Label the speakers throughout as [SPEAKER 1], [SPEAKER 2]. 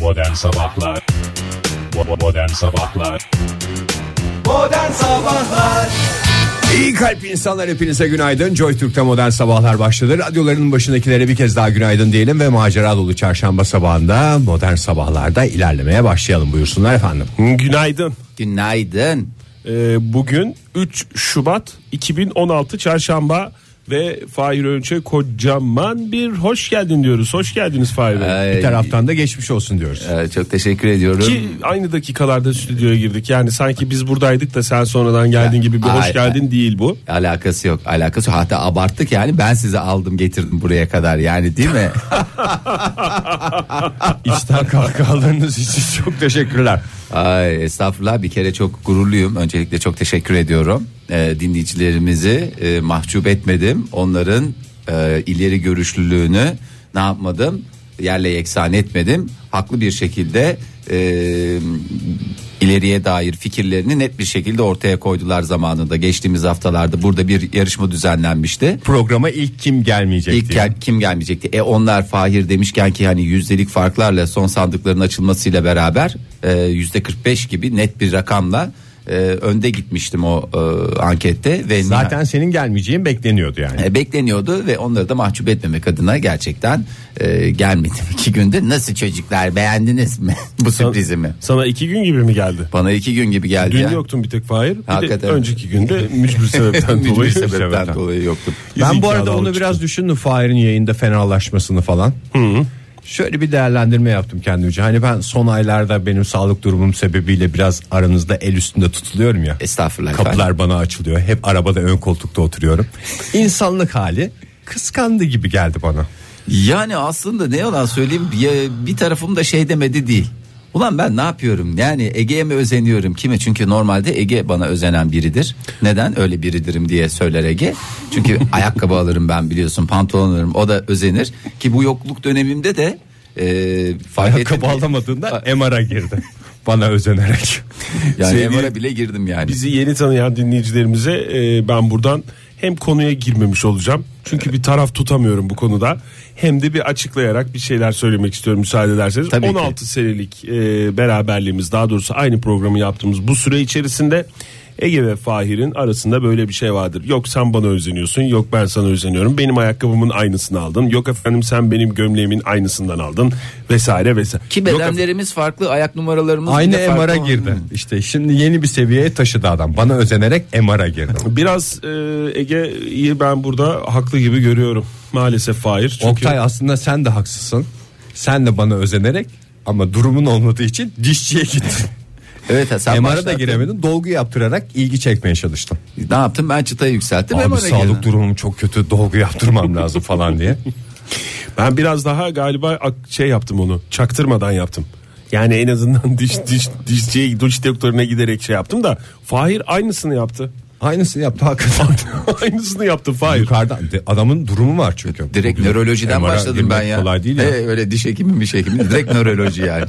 [SPEAKER 1] Modern Sabahlar Bo- Modern Sabahlar
[SPEAKER 2] Modern Sabahlar İyi kalp insanlar hepinize günaydın. Joy Türk'te modern sabahlar başladı. Radyoların başındakilere bir kez daha günaydın diyelim ve macera dolu çarşamba sabahında modern sabahlarda ilerlemeye başlayalım buyursunlar efendim.
[SPEAKER 3] Günaydın.
[SPEAKER 4] Günaydın.
[SPEAKER 3] Ee, bugün 3 Şubat 2016 Çarşamba ve Fahir Önç'e kocaman bir hoş geldin diyoruz. Hoş geldiniz Fahir Bey.
[SPEAKER 2] Bir taraftan da geçmiş olsun diyoruz.
[SPEAKER 4] Ee, çok teşekkür ediyorum.
[SPEAKER 3] Ki aynı dakikalarda stüdyoya girdik. Yani sanki biz buradaydık da sen sonradan geldin gibi bir hoş
[SPEAKER 4] Ay-
[SPEAKER 3] geldin değil bu.
[SPEAKER 4] Alakası yok alakası yok hatta abarttık yani ben sizi aldım getirdim buraya kadar yani değil mi?
[SPEAKER 2] İşten kahkahalarınız için çok teşekkürler.
[SPEAKER 4] Ay estağfurullah bir kere çok gururluyum öncelikle çok teşekkür ediyorum Ee, dinleyicilerimizi e, mahcup etmedim onların e, ileri görüşlülüğünü ne yapmadım yerle yeksan etmedim haklı bir şekilde e, ileriye dair fikirlerini net bir şekilde ortaya koydular zamanında geçtiğimiz haftalarda burada bir yarışma düzenlenmişti
[SPEAKER 2] Programa ilk kim gelmeyecek
[SPEAKER 4] İlk
[SPEAKER 2] diye.
[SPEAKER 4] gel- kim gelmeyecekti? E onlar Fahir demişken ki hani yüzdelik farklarla son sandıkların açılmasıyla beraber e, yüzde 45 gibi net bir rakamla e, önde gitmiştim o e, ankette ve
[SPEAKER 2] Zaten senin gelmeyeceğin bekleniyordu yani.
[SPEAKER 4] nihayet- e, bekleniyordu ve onları da mahcup etmemek adına gerçekten e, gelmedim iki günde. Nasıl çocuklar beğendiniz mi bu sürprizimi?
[SPEAKER 3] Sana iki gün gibi mi geldi?
[SPEAKER 4] Bana iki gün gibi geldi.
[SPEAKER 3] Dün
[SPEAKER 4] ya.
[SPEAKER 3] yoktun bir tek Fahir. Bir
[SPEAKER 4] Hakikaten.
[SPEAKER 3] de önceki günde mücbir sebepten
[SPEAKER 4] Mücbir
[SPEAKER 3] dolayı.
[SPEAKER 4] sebepten dolayı yoktum.
[SPEAKER 2] Ben bu arada
[SPEAKER 3] iddialı
[SPEAKER 2] onu
[SPEAKER 3] çıktı.
[SPEAKER 2] biraz düşündüm Fahir'in yayında fenalaşmasını falan. Şöyle bir değerlendirme yaptım kendimce. Hani ben son aylarda benim sağlık durumum sebebiyle biraz aranızda el üstünde tutuluyorum ya.
[SPEAKER 4] Estağfurullah
[SPEAKER 2] Kapılar
[SPEAKER 4] efendim.
[SPEAKER 2] bana açılıyor. Hep arabada ön koltukta oturuyorum. İnsanlık hali kıskandı gibi geldi bana.
[SPEAKER 4] Yani aslında ne yalan söyleyeyim ya- bir tarafım da şey demedi değil. Ulan ben ne yapıyorum? Yani Ege'ye mi özeniyorum? Kime? Çünkü normalde Ege bana özenen biridir. Neden? Öyle biridirim diye söyler Ege. Çünkü ayakkabı alırım ben biliyorsun. Pantolon alırım. O da özenir. Ki bu yokluk dönemimde de e, fark
[SPEAKER 2] Ayakkabı
[SPEAKER 4] ettim ki-
[SPEAKER 2] alamadığında MR'a girdi. Bana özenerek.
[SPEAKER 4] Yani
[SPEAKER 3] Sevgili-
[SPEAKER 4] MR'a bile girdim yani.
[SPEAKER 3] Bizi yeni tanıyan dinleyicilerimize e, ben buradan hem konuya girmemiş olacağım. Çünkü bir taraf tutamıyorum bu konuda. Hem de bir açıklayarak bir şeyler söylemek istiyorum müsaade ederseniz.
[SPEAKER 4] Tabii ki.
[SPEAKER 3] 16 senelik e, beraberliğimiz daha doğrusu aynı programı yaptığımız bu süre içerisinde Ege ve Fahir'in arasında böyle bir şey vardır. Yok sen bana özeniyorsun, yok ben sana özeniyorum. Benim ayakkabımın aynısını aldın. Yok efendim sen benim gömleğimin aynısından aldın vesaire vesaire.
[SPEAKER 4] Ki
[SPEAKER 3] Yok efendim-
[SPEAKER 4] bedenlerimiz farklı, ayak numaralarımız
[SPEAKER 2] Aynı
[SPEAKER 4] bile farklı.
[SPEAKER 2] MR'a girdi. İşte şimdi yeni bir seviyeye taşıdı adam. Bana özenerek MR'a girdi.
[SPEAKER 3] Biraz e, Ege'yi ben burada haklı gibi görüyorum. Maalesef Fahir. Çünkü
[SPEAKER 2] Oktay aslında sen de haksızsın. Sen de bana özenerek ama durumun olmadığı için dişçiye gittin.
[SPEAKER 4] Evet ha, sen
[SPEAKER 2] MR'a da
[SPEAKER 4] başlattın.
[SPEAKER 2] giremedin. Dolgu yaptırarak ilgi çekmeye çalıştın.
[SPEAKER 4] Ne yaptım? Ben çıtayı yükselttim.
[SPEAKER 2] Abi
[SPEAKER 4] MR'a
[SPEAKER 2] sağlık
[SPEAKER 4] girdim.
[SPEAKER 2] durumum çok kötü. Dolgu yaptırmam lazım falan diye.
[SPEAKER 3] ben biraz daha galiba ak- şey yaptım onu. Çaktırmadan yaptım. Yani en azından diş diş dişçiye diş doktoruna giderek şey yaptım da Fahir aynısını yaptı.
[SPEAKER 2] Aynısını yaptı hakikaten.
[SPEAKER 3] aynısını yaptı Fahir.
[SPEAKER 2] Yukarıdan de- adamın durumu var çünkü.
[SPEAKER 4] Direkt
[SPEAKER 2] Bugün
[SPEAKER 4] nörolojiden
[SPEAKER 2] MR'a
[SPEAKER 4] başladım
[SPEAKER 2] girmek
[SPEAKER 4] ben ya.
[SPEAKER 2] Kolay değil ya.
[SPEAKER 4] Ee, öyle diş hekimi bir hekimi direkt nöroloji yani.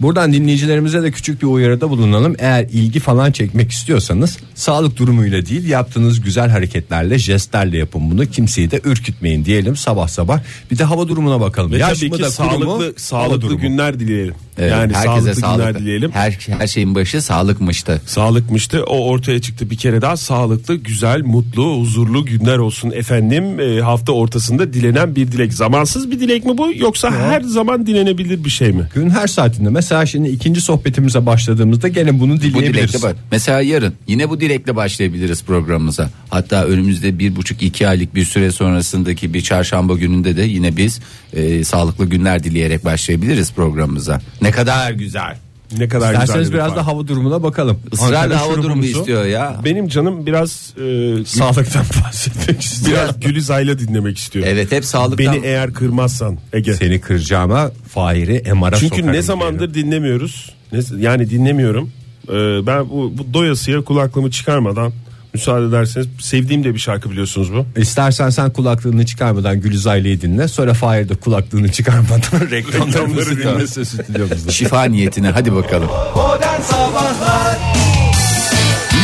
[SPEAKER 2] Buradan dinleyicilerimize de küçük bir uyarıda bulunalım. Eğer ilgi falan çekmek istiyorsanız sağlık durumuyla değil yaptığınız güzel hareketlerle jestlerle yapın bunu. Kimseyi de ürkütmeyin diyelim sabah sabah. Bir de hava durumuna bakalım.
[SPEAKER 3] Ve
[SPEAKER 2] Yaş
[SPEAKER 3] tabii
[SPEAKER 2] mı
[SPEAKER 3] ki
[SPEAKER 2] da
[SPEAKER 3] sağlıklı
[SPEAKER 2] kuru mu, hava
[SPEAKER 3] sağlıklı
[SPEAKER 2] durumu.
[SPEAKER 3] günler dileyelim.
[SPEAKER 4] Evet,
[SPEAKER 3] yani
[SPEAKER 4] herkese
[SPEAKER 3] sağlıklı
[SPEAKER 4] sağlık.
[SPEAKER 3] günler dileyelim.
[SPEAKER 4] Her, her şeyin başı sağlıkmıştı.
[SPEAKER 3] Sağlıkmıştı. O ortaya çıktı bir kere daha. Sağlıklı, güzel, mutlu, huzurlu günler olsun efendim. Ee, hafta ortasında dilenen bir dilek. Zamansız bir dilek mi bu yoksa her zaman dilenebilir bir şey mi?
[SPEAKER 2] Gün her saatinde mesela şimdi ikinci sohbetimize başladığımızda gene bunu
[SPEAKER 4] Bu dilekle
[SPEAKER 2] dileyebiliriz.
[SPEAKER 4] bak. Mesela yarın yine bu dilekle başlayabiliriz programımıza. Hatta önümüzde bir buçuk iki aylık bir süre sonrasındaki bir çarşamba gününde de yine biz e, sağlıklı günler dileyerek başlayabiliriz programımıza. Ne kadar güzel.
[SPEAKER 3] Ne kadar
[SPEAKER 2] Derseniz
[SPEAKER 3] güzel. bir
[SPEAKER 2] biraz
[SPEAKER 3] fark.
[SPEAKER 2] da hava durumuna bakalım.
[SPEAKER 4] Israrla
[SPEAKER 2] Ankara
[SPEAKER 4] hava
[SPEAKER 2] şurubumuzu-
[SPEAKER 4] durumu istiyor ya.
[SPEAKER 3] Benim canım biraz e,
[SPEAKER 2] Sağlıktan bahsetmek istiyorum.
[SPEAKER 3] biraz Gülizay'la dinlemek istiyor.
[SPEAKER 4] Evet hep
[SPEAKER 3] Beni
[SPEAKER 4] sağlıktan.
[SPEAKER 3] eğer kırmazsan Ege.
[SPEAKER 2] Seni kıracağıma Fahir'i
[SPEAKER 3] E,
[SPEAKER 2] emara
[SPEAKER 3] Çünkü ne zamandır dinlemiyoruz. Ne- Yani dinlemiyorum. Ee, ben bu, bu doyasıya kulaklığımı çıkarmadan müsaade ederseniz sevdiğim de bir şarkı biliyorsunuz bu.
[SPEAKER 2] İstersen sen kulaklığını çıkarmadan Gülizaylı'yı dinle. Sonra Fahir de kulaklığını çıkarmadan reklamlarımızı
[SPEAKER 4] Reklamları
[SPEAKER 2] dinlese stüdyomuzda.
[SPEAKER 4] Şifa niyetine hadi bakalım.
[SPEAKER 2] Modern Sabahlar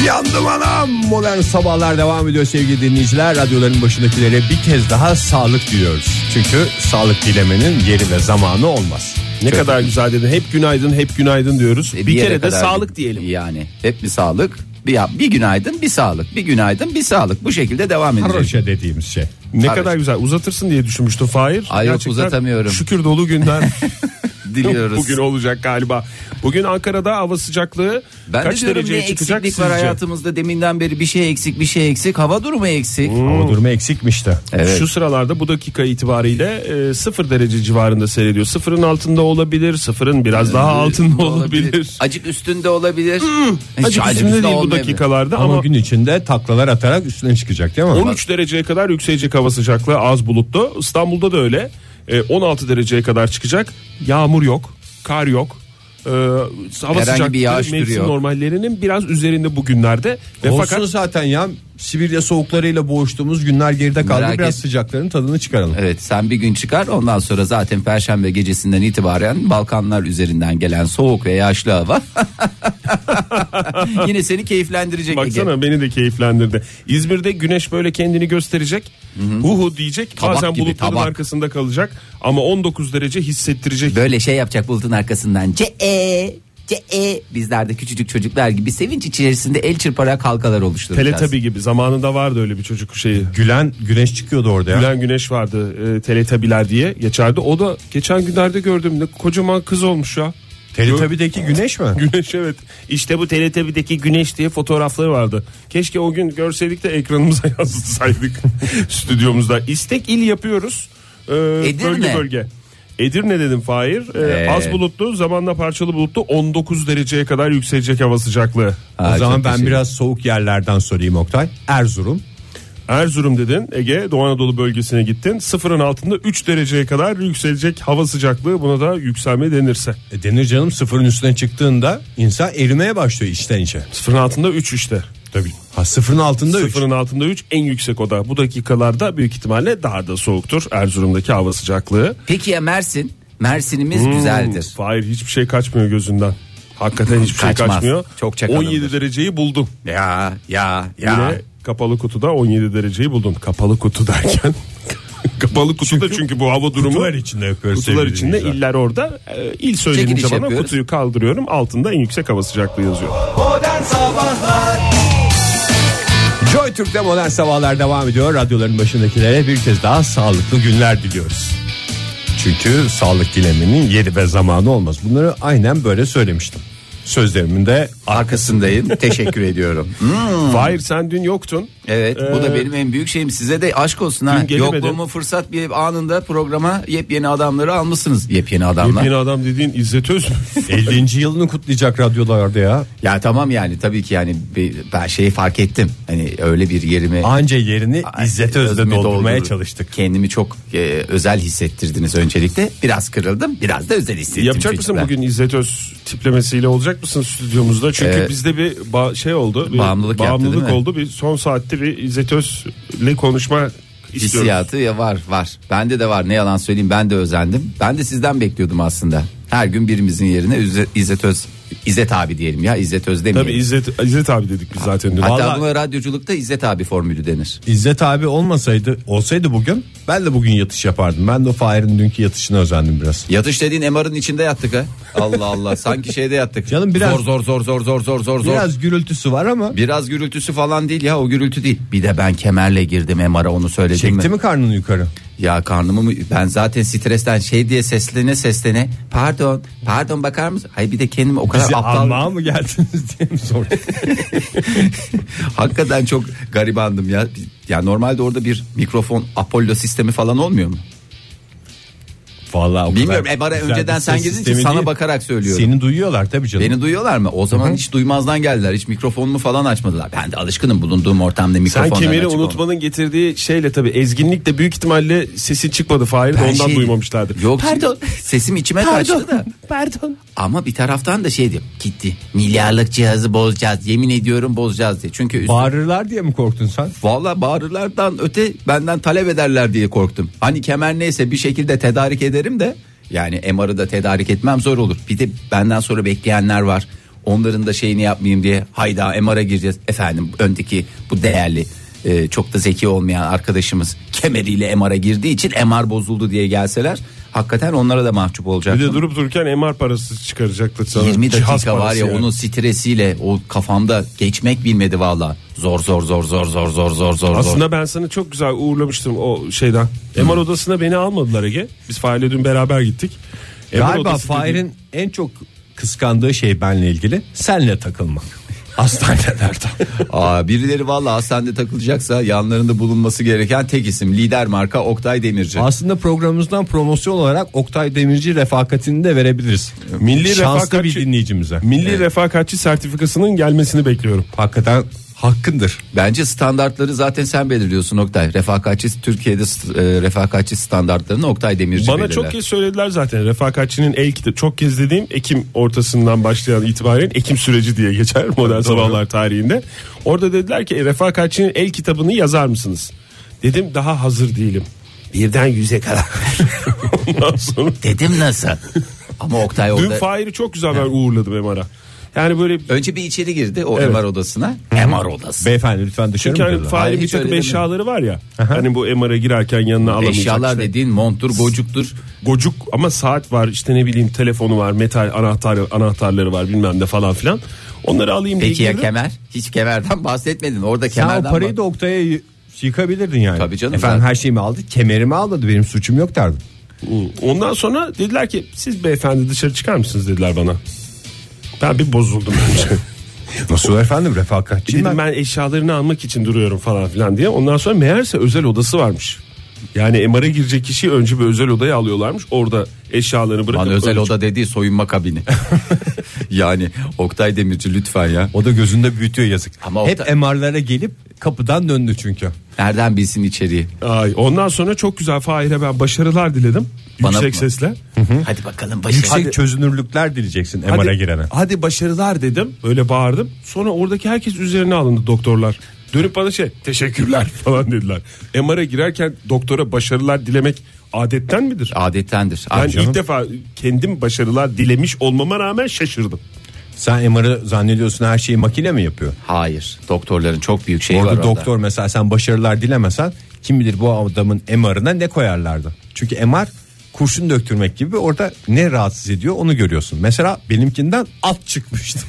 [SPEAKER 2] Yandım anam Modern Sabahlar devam ediyor sevgili dinleyiciler Radyoların başındakilere bir kez daha sağlık diliyoruz Çünkü sağlık dilemenin yeri ve zamanı olmaz
[SPEAKER 3] Ne kadar güzel dedin. Hep günaydın, hep günaydın diyoruz.
[SPEAKER 4] E,
[SPEAKER 3] bir
[SPEAKER 4] yere
[SPEAKER 3] kere de
[SPEAKER 4] kadar-
[SPEAKER 3] sağlık diyelim.
[SPEAKER 4] Yani hep bir sağlık. Bir, ya- bir günaydın bir sağlık. Bir günaydın bir sağlık. Bu şekilde devam edecek.
[SPEAKER 1] Haroşa dediğimiz şey.
[SPEAKER 3] Ne
[SPEAKER 4] Tabii.
[SPEAKER 3] kadar güzel. Uzatırsın diye düşünmüştüm Fahir.
[SPEAKER 4] Ay yok,
[SPEAKER 3] Gerçekten
[SPEAKER 4] uzatamıyorum.
[SPEAKER 3] Şükür dolu günler.
[SPEAKER 4] Diliyoruz.
[SPEAKER 3] Bugün olacak galiba. Bugün Ankara'da hava sıcaklığı
[SPEAKER 4] ben
[SPEAKER 3] kaç
[SPEAKER 4] de diyorum ne
[SPEAKER 3] dereceye
[SPEAKER 4] eksiklik
[SPEAKER 3] çıkacak
[SPEAKER 4] var
[SPEAKER 3] sizce?
[SPEAKER 4] hayatımızda deminden beri bir şey eksik bir şey eksik hava durumu eksik.
[SPEAKER 1] Ama durumu eksikmiş de.
[SPEAKER 4] Evet.
[SPEAKER 3] Hmm. Şu sıralarda bu dakika itibariyle e, sıfır derece civarında seyrediyor. Sıfırın altında olabilir, sıfırın biraz daha altında olabilir.
[SPEAKER 4] Ee,
[SPEAKER 3] Hmm.
[SPEAKER 4] Acık üstünde olabilir. Hiç
[SPEAKER 3] Acık üstünde
[SPEAKER 4] üstünde
[SPEAKER 3] değil bu
[SPEAKER 4] olmayabilir.
[SPEAKER 3] dakikalarda
[SPEAKER 1] Ama,
[SPEAKER 3] ama,
[SPEAKER 1] gün içinde taklalar atarak üstüne çıkacak değil mi?
[SPEAKER 3] 13 dereceye kadar yükselecek hava sıcaklığı az bulutlu. İstanbul'da da öyle. E, 16 dereceye kadar çıkacak. Yağmur yok, kar yok. E, hava
[SPEAKER 4] bir
[SPEAKER 3] sıcaklığı
[SPEAKER 4] yağış türü
[SPEAKER 3] mevsim
[SPEAKER 4] yok.
[SPEAKER 3] normallerinin biraz üzerinde bugünlerde. Ve
[SPEAKER 1] Olsun
[SPEAKER 3] fakat
[SPEAKER 1] zaten ya Sibirya soğuklarıyla boğuştuğumuz günler geride kaldı.
[SPEAKER 4] Merak
[SPEAKER 1] Biraz
[SPEAKER 4] et-
[SPEAKER 1] sıcakların tadını çıkaralım.
[SPEAKER 4] Evet sen bir gün çıkar ondan sonra zaten perşembe gecesinden itibaren Balkanlar üzerinden gelen soğuk ve yağışlı hava yine seni keyiflendirecek. Ege.
[SPEAKER 3] baksana beni de keyiflendirdi. İzmir'de güneş böyle kendini gösterecek. Huhu diyecek.
[SPEAKER 4] Tabak
[SPEAKER 3] Bazen
[SPEAKER 4] gibi,
[SPEAKER 3] bulutların
[SPEAKER 4] tabak.
[SPEAKER 3] arkasında kalacak ama 19 derece hissettirecek.
[SPEAKER 4] Böyle şey yapacak bulutun arkasından ce e ce e bizler de küçücük çocuklar gibi sevinç içerisinde el çırparak halkalar oluşturacağız.
[SPEAKER 3] Teletabi gibi zamanında vardı öyle bir çocuk şeyi.
[SPEAKER 1] Gülen güneş çıkıyordu orada ya.
[SPEAKER 3] Gülen Güneş vardı e, Teletabiler diye geçerdi. O da geçen günlerde gördüm. Ne kocaman kız olmuş ya.
[SPEAKER 1] Teletubbies'deki güneş mi?
[SPEAKER 3] Güneş evet. İşte bu Teletubbies'deki güneş diye fotoğrafları vardı. Keşke o gün görseydik de ekranımıza yazsaydık stüdyomuzda. İstek il yapıyoruz. Ee,
[SPEAKER 4] Edirne.
[SPEAKER 3] Bölge bölge. Edirne dedim Fahir. Ee,
[SPEAKER 4] Ee.
[SPEAKER 3] Az bulutlu zamanla parçalı bulutlu 19 dereceye kadar yükselecek hava sıcaklığı.
[SPEAKER 4] Ha,
[SPEAKER 1] o
[SPEAKER 4] çok
[SPEAKER 1] zaman ben
[SPEAKER 4] teşekkür-
[SPEAKER 1] biraz soğuk yerlerden sorayım Oktay. Erzurum.
[SPEAKER 3] Erzurum dedin Ege Doğu Anadolu bölgesine gittin. Sıfırın altında 3 dereceye kadar yükselecek hava sıcaklığı buna da yükselme denirse.
[SPEAKER 1] E, denir canım sıfırın üstüne çıktığında insan erimeye başlıyor içten içe.
[SPEAKER 3] Sıfırın altında 3 işte.
[SPEAKER 1] Tabii. Ha sıfırın altında üç.
[SPEAKER 3] Sıfırın altında 3 en yüksek oda. Bu dakikalarda büyük ihtimalle daha da soğuktur Erzurum'daki hava sıcaklığı.
[SPEAKER 4] Peki ya Mersin? Mersin'imiz güzeldir.
[SPEAKER 3] Hayır hiçbir şey kaçmıyor gözünden. Hakikaten hiçbir şey
[SPEAKER 4] Kaçmaz.
[SPEAKER 3] kaçmıyor.
[SPEAKER 4] Çok çakalındır.
[SPEAKER 3] 17 dereceyi buldum.
[SPEAKER 4] Ya ya ya.
[SPEAKER 3] Yine kapalı kutuda 17 dereceyi buldum. Kapalı kutu derken kapalı kutuda çünkü, bu hava durumu
[SPEAKER 1] Kutular içinde yapıyoruz
[SPEAKER 3] Kutular
[SPEAKER 1] sevgili
[SPEAKER 3] içinde
[SPEAKER 1] dinleyiciler.
[SPEAKER 3] iller orada. Ee, il söyleyince
[SPEAKER 4] Çekiliş
[SPEAKER 3] bana
[SPEAKER 4] yapıyoruz.
[SPEAKER 3] kutuyu kaldırıyorum. Altında en yüksek hava sıcaklığı yazıyor.
[SPEAKER 5] Modern Sabahlar
[SPEAKER 1] Joy Türk'te modern sabahlar devam ediyor. Radyoların başındakilere bir kez daha sağlıklı günler diliyoruz. Çünkü sağlık dileminin yeri ve zamanı olmaz. Bunları aynen böyle söylemiştim. Sözlerimin de
[SPEAKER 4] Arkasındayım. Teşekkür ediyorum. Hmm.
[SPEAKER 3] Fahir sen dün yoktun.
[SPEAKER 4] Evet bu da
[SPEAKER 3] Ee,
[SPEAKER 4] benim en büyük şeyim size de aşk olsun ha.
[SPEAKER 3] dün gelemedim.
[SPEAKER 4] Yokluğumu fırsat bir anında programa yepyeni adamları almışsınız. Yepyeni adamlar.
[SPEAKER 3] Yepyeni adam dediğin İzzet Öz.
[SPEAKER 1] 50. yılını kutlayacak radyolarda ya.
[SPEAKER 4] Ya tamam yani tabii ki yani bir- ben şeyi fark ettim. Hani öyle bir yerimi
[SPEAKER 1] Anca yerini İzzet Öz'de
[SPEAKER 4] özümü
[SPEAKER 1] doldurmaya
[SPEAKER 4] doldurur.
[SPEAKER 1] çalıştık.
[SPEAKER 4] Kendimi çok e, özel hissettirdiniz öncelikle. Biraz kırıldım, biraz da özel hissettim.
[SPEAKER 3] Yapacak mısın
[SPEAKER 4] çocuklar.
[SPEAKER 3] bugün İzzet Öz tiplemesiyle olacak mısın stüdyomuzda? Çünkü
[SPEAKER 4] Ee,
[SPEAKER 3] bizde bir ba- şey oldu. Bir
[SPEAKER 4] Bağımlılık yaptı, değil mi?
[SPEAKER 3] oldu. Bir son saatte bir İzzet Öz'le konuşma istiyorum.
[SPEAKER 4] Hissiyatı ya var var. Bende de var ne yalan söyleyeyim ben de özendim. Ben de sizden bekliyordum aslında. Her gün birimizin yerine Üze- İzzet Öz, İzzet abi diyelim ya İzzet Öz demeyelim.
[SPEAKER 3] Tabii İzzet, İzzet abi dedik biz zaten. dün.
[SPEAKER 4] Hatta
[SPEAKER 3] Vallahi
[SPEAKER 4] buna radyoculukta İzzet abi formülü denir.
[SPEAKER 1] İzzet abi olmasaydı olsaydı bugün ben de bugün yatış yapardım. Ben de o Fahir'in dünkü yatışına özendim biraz.
[SPEAKER 4] Yatış dediğin MR'ın içinde yattık ha. Allah Allah sanki şeyde yattık.
[SPEAKER 1] Canım biraz-
[SPEAKER 4] zor zor zor zor zor zor zor. Biraz...
[SPEAKER 1] Biraz gürültüsü var ama
[SPEAKER 4] gürültüsü falan değil ya o gürültü değil. Bir de ben kemerle girdim MR'a onu söyledim
[SPEAKER 1] çekti mi karnını yukarı?
[SPEAKER 4] Ya karnımı mı ben zaten stresten şey diye seslene seslene pardon pardon bakar mısın? Hayır bir de kendimi o kadar
[SPEAKER 1] Bizi
[SPEAKER 4] aptal
[SPEAKER 1] almaya mı geldiniz diye mi sordun?
[SPEAKER 4] hakikaten çok garibandım ya. Ya normalde orada bir mikrofon Apollo sistemi falan olmuyor mu?
[SPEAKER 1] Vallahi o kadar
[SPEAKER 4] Bilmiyorum e bana
[SPEAKER 1] güzel
[SPEAKER 4] önceden
[SPEAKER 1] bir
[SPEAKER 4] sen
[SPEAKER 1] ses
[SPEAKER 4] girdin
[SPEAKER 1] sistemi
[SPEAKER 4] sana
[SPEAKER 1] değil.
[SPEAKER 4] bakarak söylüyorum.
[SPEAKER 1] Seni duyuyorlar tabii canım.
[SPEAKER 4] Beni duyuyorlar mı? O zaman hiç duymazdan geldiler. Hiç mikrofonumu falan açmadılar. Ben de alışkınım bulunduğum ortamda mikrofon
[SPEAKER 3] Sen kemeri unutmanın getirdiği şeyle tabii ezginlikle büyük ihtimalle sesi çıkmadı Fahir de
[SPEAKER 4] Ben
[SPEAKER 3] ondan
[SPEAKER 4] şey-
[SPEAKER 3] duymamışlardı.
[SPEAKER 4] Yok pardon. Sesim içime kaçtı da. Pardon. Ama bir taraftan da şey diyor. Gitti. Milyarlık cihazı bozacağız. Yemin ediyorum bozacağız diye. Çünkü üst-
[SPEAKER 1] Bağırırlar diye mi korktun sen?
[SPEAKER 4] Valla bağırırlardan öte benden talep ederler diye korktum. Hani kemer neyse bir şekilde tedarik ederim de yani MR'ı da tedarik etmem zor olur. Bir de benden sonra bekleyenler var. Onların da şeyini yapmayayım diye hayda MR'a gireceğiz. Efendim öndeki bu değerli e, çok da zeki olmayan arkadaşımız kemeriyle MR'a girdiği için MR bozuldu diye gelseler Hakikaten onlara da mahcup olacak.
[SPEAKER 3] Bir de durup dururken MR parası çıkaracaktı sana.
[SPEAKER 4] 20
[SPEAKER 3] Cihaz
[SPEAKER 4] dakika var
[SPEAKER 3] parası
[SPEAKER 4] ya
[SPEAKER 3] yani.
[SPEAKER 4] onun stresiyle o kafamda geçmek bilmedi valla. Zor zor zor zor zor zor zor zor.
[SPEAKER 3] Aslında ben sana çok güzel uğurlamıştım o şeyden. MR odasına beni almadılar Ege. Biz Fahir'le dün beraber gittik. MR
[SPEAKER 2] Galiba
[SPEAKER 3] odası dedi-
[SPEAKER 2] Fahir'in en çok kıskandığı şey benle ilgili senle takılmak. Hastanelerde.
[SPEAKER 4] Aa, birileri valla hastanede takılacaksa yanlarında bulunması gereken tek isim lider marka Oktay Demirci.
[SPEAKER 2] Aslında programımızdan promosyon olarak Oktay Demirci refakatini de verebiliriz.
[SPEAKER 3] Milli
[SPEAKER 2] Şanslı
[SPEAKER 3] refakatçi-
[SPEAKER 2] bir dinleyicimize.
[SPEAKER 3] Milli refakatçi sertifikasının gelmesini bekliyorum.
[SPEAKER 2] Hakikaten hakkındır.
[SPEAKER 4] Bence standartları zaten sen belirliyorsun Oktay. Refakatçi Türkiye'de st- e, refakatçi standartlarını Oktay Demirci
[SPEAKER 3] Bana
[SPEAKER 4] belirler.
[SPEAKER 3] çok kez söylediler zaten. Refakatçinin el kitabı çok kez dediğim Ekim ortasından başlayan itibaren Ekim süreci diye geçer modern sabahlar tarihinde. Orada dediler ki "E, refakatçinin el kitabını yazar mısınız? Dedim daha hazır değilim. Birden yüze kadar. Ondan sonra
[SPEAKER 4] Dedim nasıl? Ama Oktay
[SPEAKER 3] dün
[SPEAKER 4] orada
[SPEAKER 3] Fahir'i çok güzel ben uğurladım Emara. Yani böyle
[SPEAKER 4] önce bir içeri girdi o
[SPEAKER 3] Evet.
[SPEAKER 4] MR odasına. MR odası.
[SPEAKER 2] Beyefendi lütfen dışarı
[SPEAKER 3] çünkü
[SPEAKER 2] mı
[SPEAKER 3] hani
[SPEAKER 2] dediler?
[SPEAKER 4] Hayır,
[SPEAKER 3] Fahir'in bir
[SPEAKER 4] hiç öyle
[SPEAKER 3] takım
[SPEAKER 4] demedim.
[SPEAKER 3] eşyaları var ya. Hani bu Emara girerken yanına alamayacak.
[SPEAKER 4] Eşyalar
[SPEAKER 3] işte.
[SPEAKER 4] dediğin monttur, gocuktur.
[SPEAKER 3] gocuk ama saat var işte ne bileyim telefonu var metal anahtar anahtarları var bilmem ne falan filan. Onları alayım diye
[SPEAKER 4] Peki ya
[SPEAKER 3] girdim.
[SPEAKER 4] kemer? Hiç kemerden bahsetmedin. Orada
[SPEAKER 2] Sen o
[SPEAKER 4] kemerden
[SPEAKER 2] parayı da Oktay'a y- yıkabilirdin yani.
[SPEAKER 4] Tabii canım,
[SPEAKER 2] Efendim
[SPEAKER 4] zaten.
[SPEAKER 2] her şeyimi aldı kemerimi almadı benim suçum yok derdim.
[SPEAKER 3] Hmm. Ondan sonra dediler ki siz beyefendi dışarı çıkar mısınız dediler bana. Ben bir bozuldum önce.
[SPEAKER 2] Nasıl efendim refakatçiyim
[SPEAKER 3] E Dedim
[SPEAKER 2] ben.
[SPEAKER 3] ben eşyalarını almak için duruyorum falan filan diye. Ondan sonra meğerse özel odası varmış. Yani MR'a girecek kişi önce bir özel odaya alıyorlarmış. Orada eşyalarını bırakıp
[SPEAKER 4] Lan özel
[SPEAKER 3] öyle-
[SPEAKER 4] oda dediği soyunma kabini. yani Oktay Demirci lütfen ya.
[SPEAKER 2] O da gözünde büyütüyor yazık.
[SPEAKER 4] Ama
[SPEAKER 2] Hep
[SPEAKER 4] Oktay-
[SPEAKER 2] MR'lara gelip kapıdan döndü çünkü.
[SPEAKER 4] Nereden bilsin içeriği?
[SPEAKER 3] Ay, ondan sonra çok güzel Fahir'e ben başarılar diledim.
[SPEAKER 4] Bana
[SPEAKER 3] yüksek
[SPEAKER 4] mı?
[SPEAKER 3] sesle.
[SPEAKER 4] Hadi bakalım başarı.
[SPEAKER 2] Yüksek çözünürlükler dileyeceksin MR'a girene.
[SPEAKER 3] Hadi başarılar dedim. Böyle bağırdım. Sonra oradaki herkes üzerine alındı doktorlar. Dönüp bana şey teşekkürler falan dediler. MR'a girerken doktora başarılar dilemek adetten midir?
[SPEAKER 4] Adettendir.
[SPEAKER 3] Ben
[SPEAKER 4] Abi,
[SPEAKER 3] ilk defa kendim başarılar dilemiş olmama rağmen şaşırdım.
[SPEAKER 2] Sen MR'ı zannediyorsun her şeyi makine mi yapıyor?
[SPEAKER 4] Hayır. Doktorların çok büyük
[SPEAKER 3] Şey
[SPEAKER 4] şeyi var
[SPEAKER 2] Orada
[SPEAKER 4] orada.
[SPEAKER 2] doktor mesela sen başarılar dilemesen kim bilir bu adamın MR'ına ne koyarlardı. Çünkü MR kurşun döktürmek gibi orada ne rahatsız ediyor onu görüyorsun. Mesela benimkinden at çıkmıştı.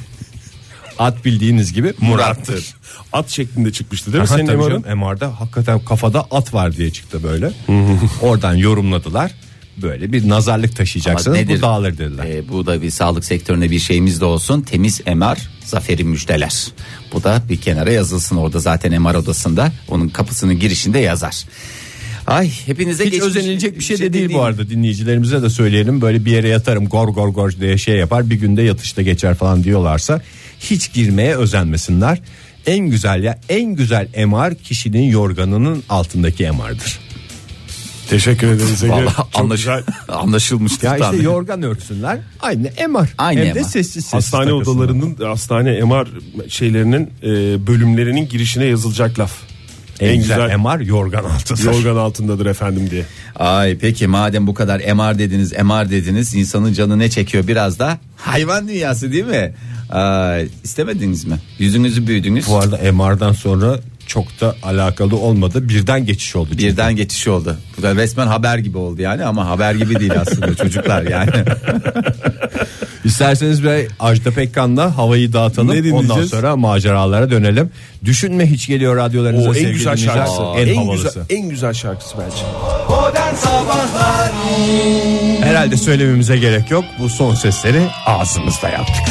[SPEAKER 2] at bildiğiniz gibi Murat'tır.
[SPEAKER 3] At şeklinde çıkmıştı değil mi
[SPEAKER 2] Aha,
[SPEAKER 3] senin
[SPEAKER 2] tabii
[SPEAKER 3] MR'ın?
[SPEAKER 2] canım, MR'da hakikaten kafada at var diye çıktı böyle. Oradan yorumladılar. Böyle bir nazarlık
[SPEAKER 4] Ama
[SPEAKER 2] taşıyacaksınız
[SPEAKER 4] nedir?
[SPEAKER 2] bu dağılır dediler.
[SPEAKER 4] Ee, bu da bir sağlık sektörüne bir şeyimiz de olsun. Temiz MR zaferi müjdeler. Bu da bir kenara yazılsın orada zaten MR odasında. Onun kapısının girişinde yazar. Ay hepinize
[SPEAKER 2] Hiç
[SPEAKER 4] geçmiş-
[SPEAKER 2] özenilecek bir şey de değil bu arada dinleyicilerimize de söyleyelim böyle bir yere yatarım gor gor gor diye şey yapar bir günde yatışta geçer falan diyorlarsa hiç girmeye özenmesinler. En güzel ya en güzel MR kişinin yorganının altındaki MR'dır.
[SPEAKER 3] Teşekkür ederiz. Ege.
[SPEAKER 4] Vallahi
[SPEAKER 3] Çok
[SPEAKER 4] anlaş-
[SPEAKER 3] güzel.
[SPEAKER 4] anlaşılmıştır
[SPEAKER 2] Ya işte
[SPEAKER 4] tahmin.
[SPEAKER 2] yorgan örtsünler aynı MR.
[SPEAKER 4] Aynı
[SPEAKER 2] Hem de
[SPEAKER 4] MR.
[SPEAKER 2] sessiz sessiz
[SPEAKER 3] Hastane
[SPEAKER 2] takılsınlar.
[SPEAKER 3] odalarının hastane MR şeylerinin e, bölümlerinin girişine yazılacak laf.
[SPEAKER 2] en, güzel, MR yorgan altıdır.
[SPEAKER 3] yorgan altındadır efendim diye.
[SPEAKER 4] Ay peki madem bu kadar MR dediniz MR dediniz insanın canı ne çekiyor biraz da hayvan dünyası değil mi? Ay, istemediniz mi? Yüzünüzü büyüdünüz.
[SPEAKER 2] Bu arada MR'dan sonra çok da alakalı olmadı birden geçiş oldu. çünkü.
[SPEAKER 4] Birden geçiş oldu. Bu da resmen haber gibi oldu yani ama haber gibi değil aslında çocuklar yani.
[SPEAKER 2] İsterseniz bir Ajda Pekkan'la havayı dağıtalım. Ondan
[SPEAKER 3] dinleyeceğiz?
[SPEAKER 2] sonra maceralara dönelim. Düşünme hiç geliyor radyolarınıza
[SPEAKER 3] O en
[SPEAKER 2] sevgili
[SPEAKER 3] güzel
[SPEAKER 2] dinleyiciler.
[SPEAKER 3] şarkısı.
[SPEAKER 2] En, havalısı.
[SPEAKER 3] güzel en güzel şarkısı bence.
[SPEAKER 1] Modern Sabahlar
[SPEAKER 2] Herhalde söylememize gerek yok. Bu son sesleri ağzımızda yaptık.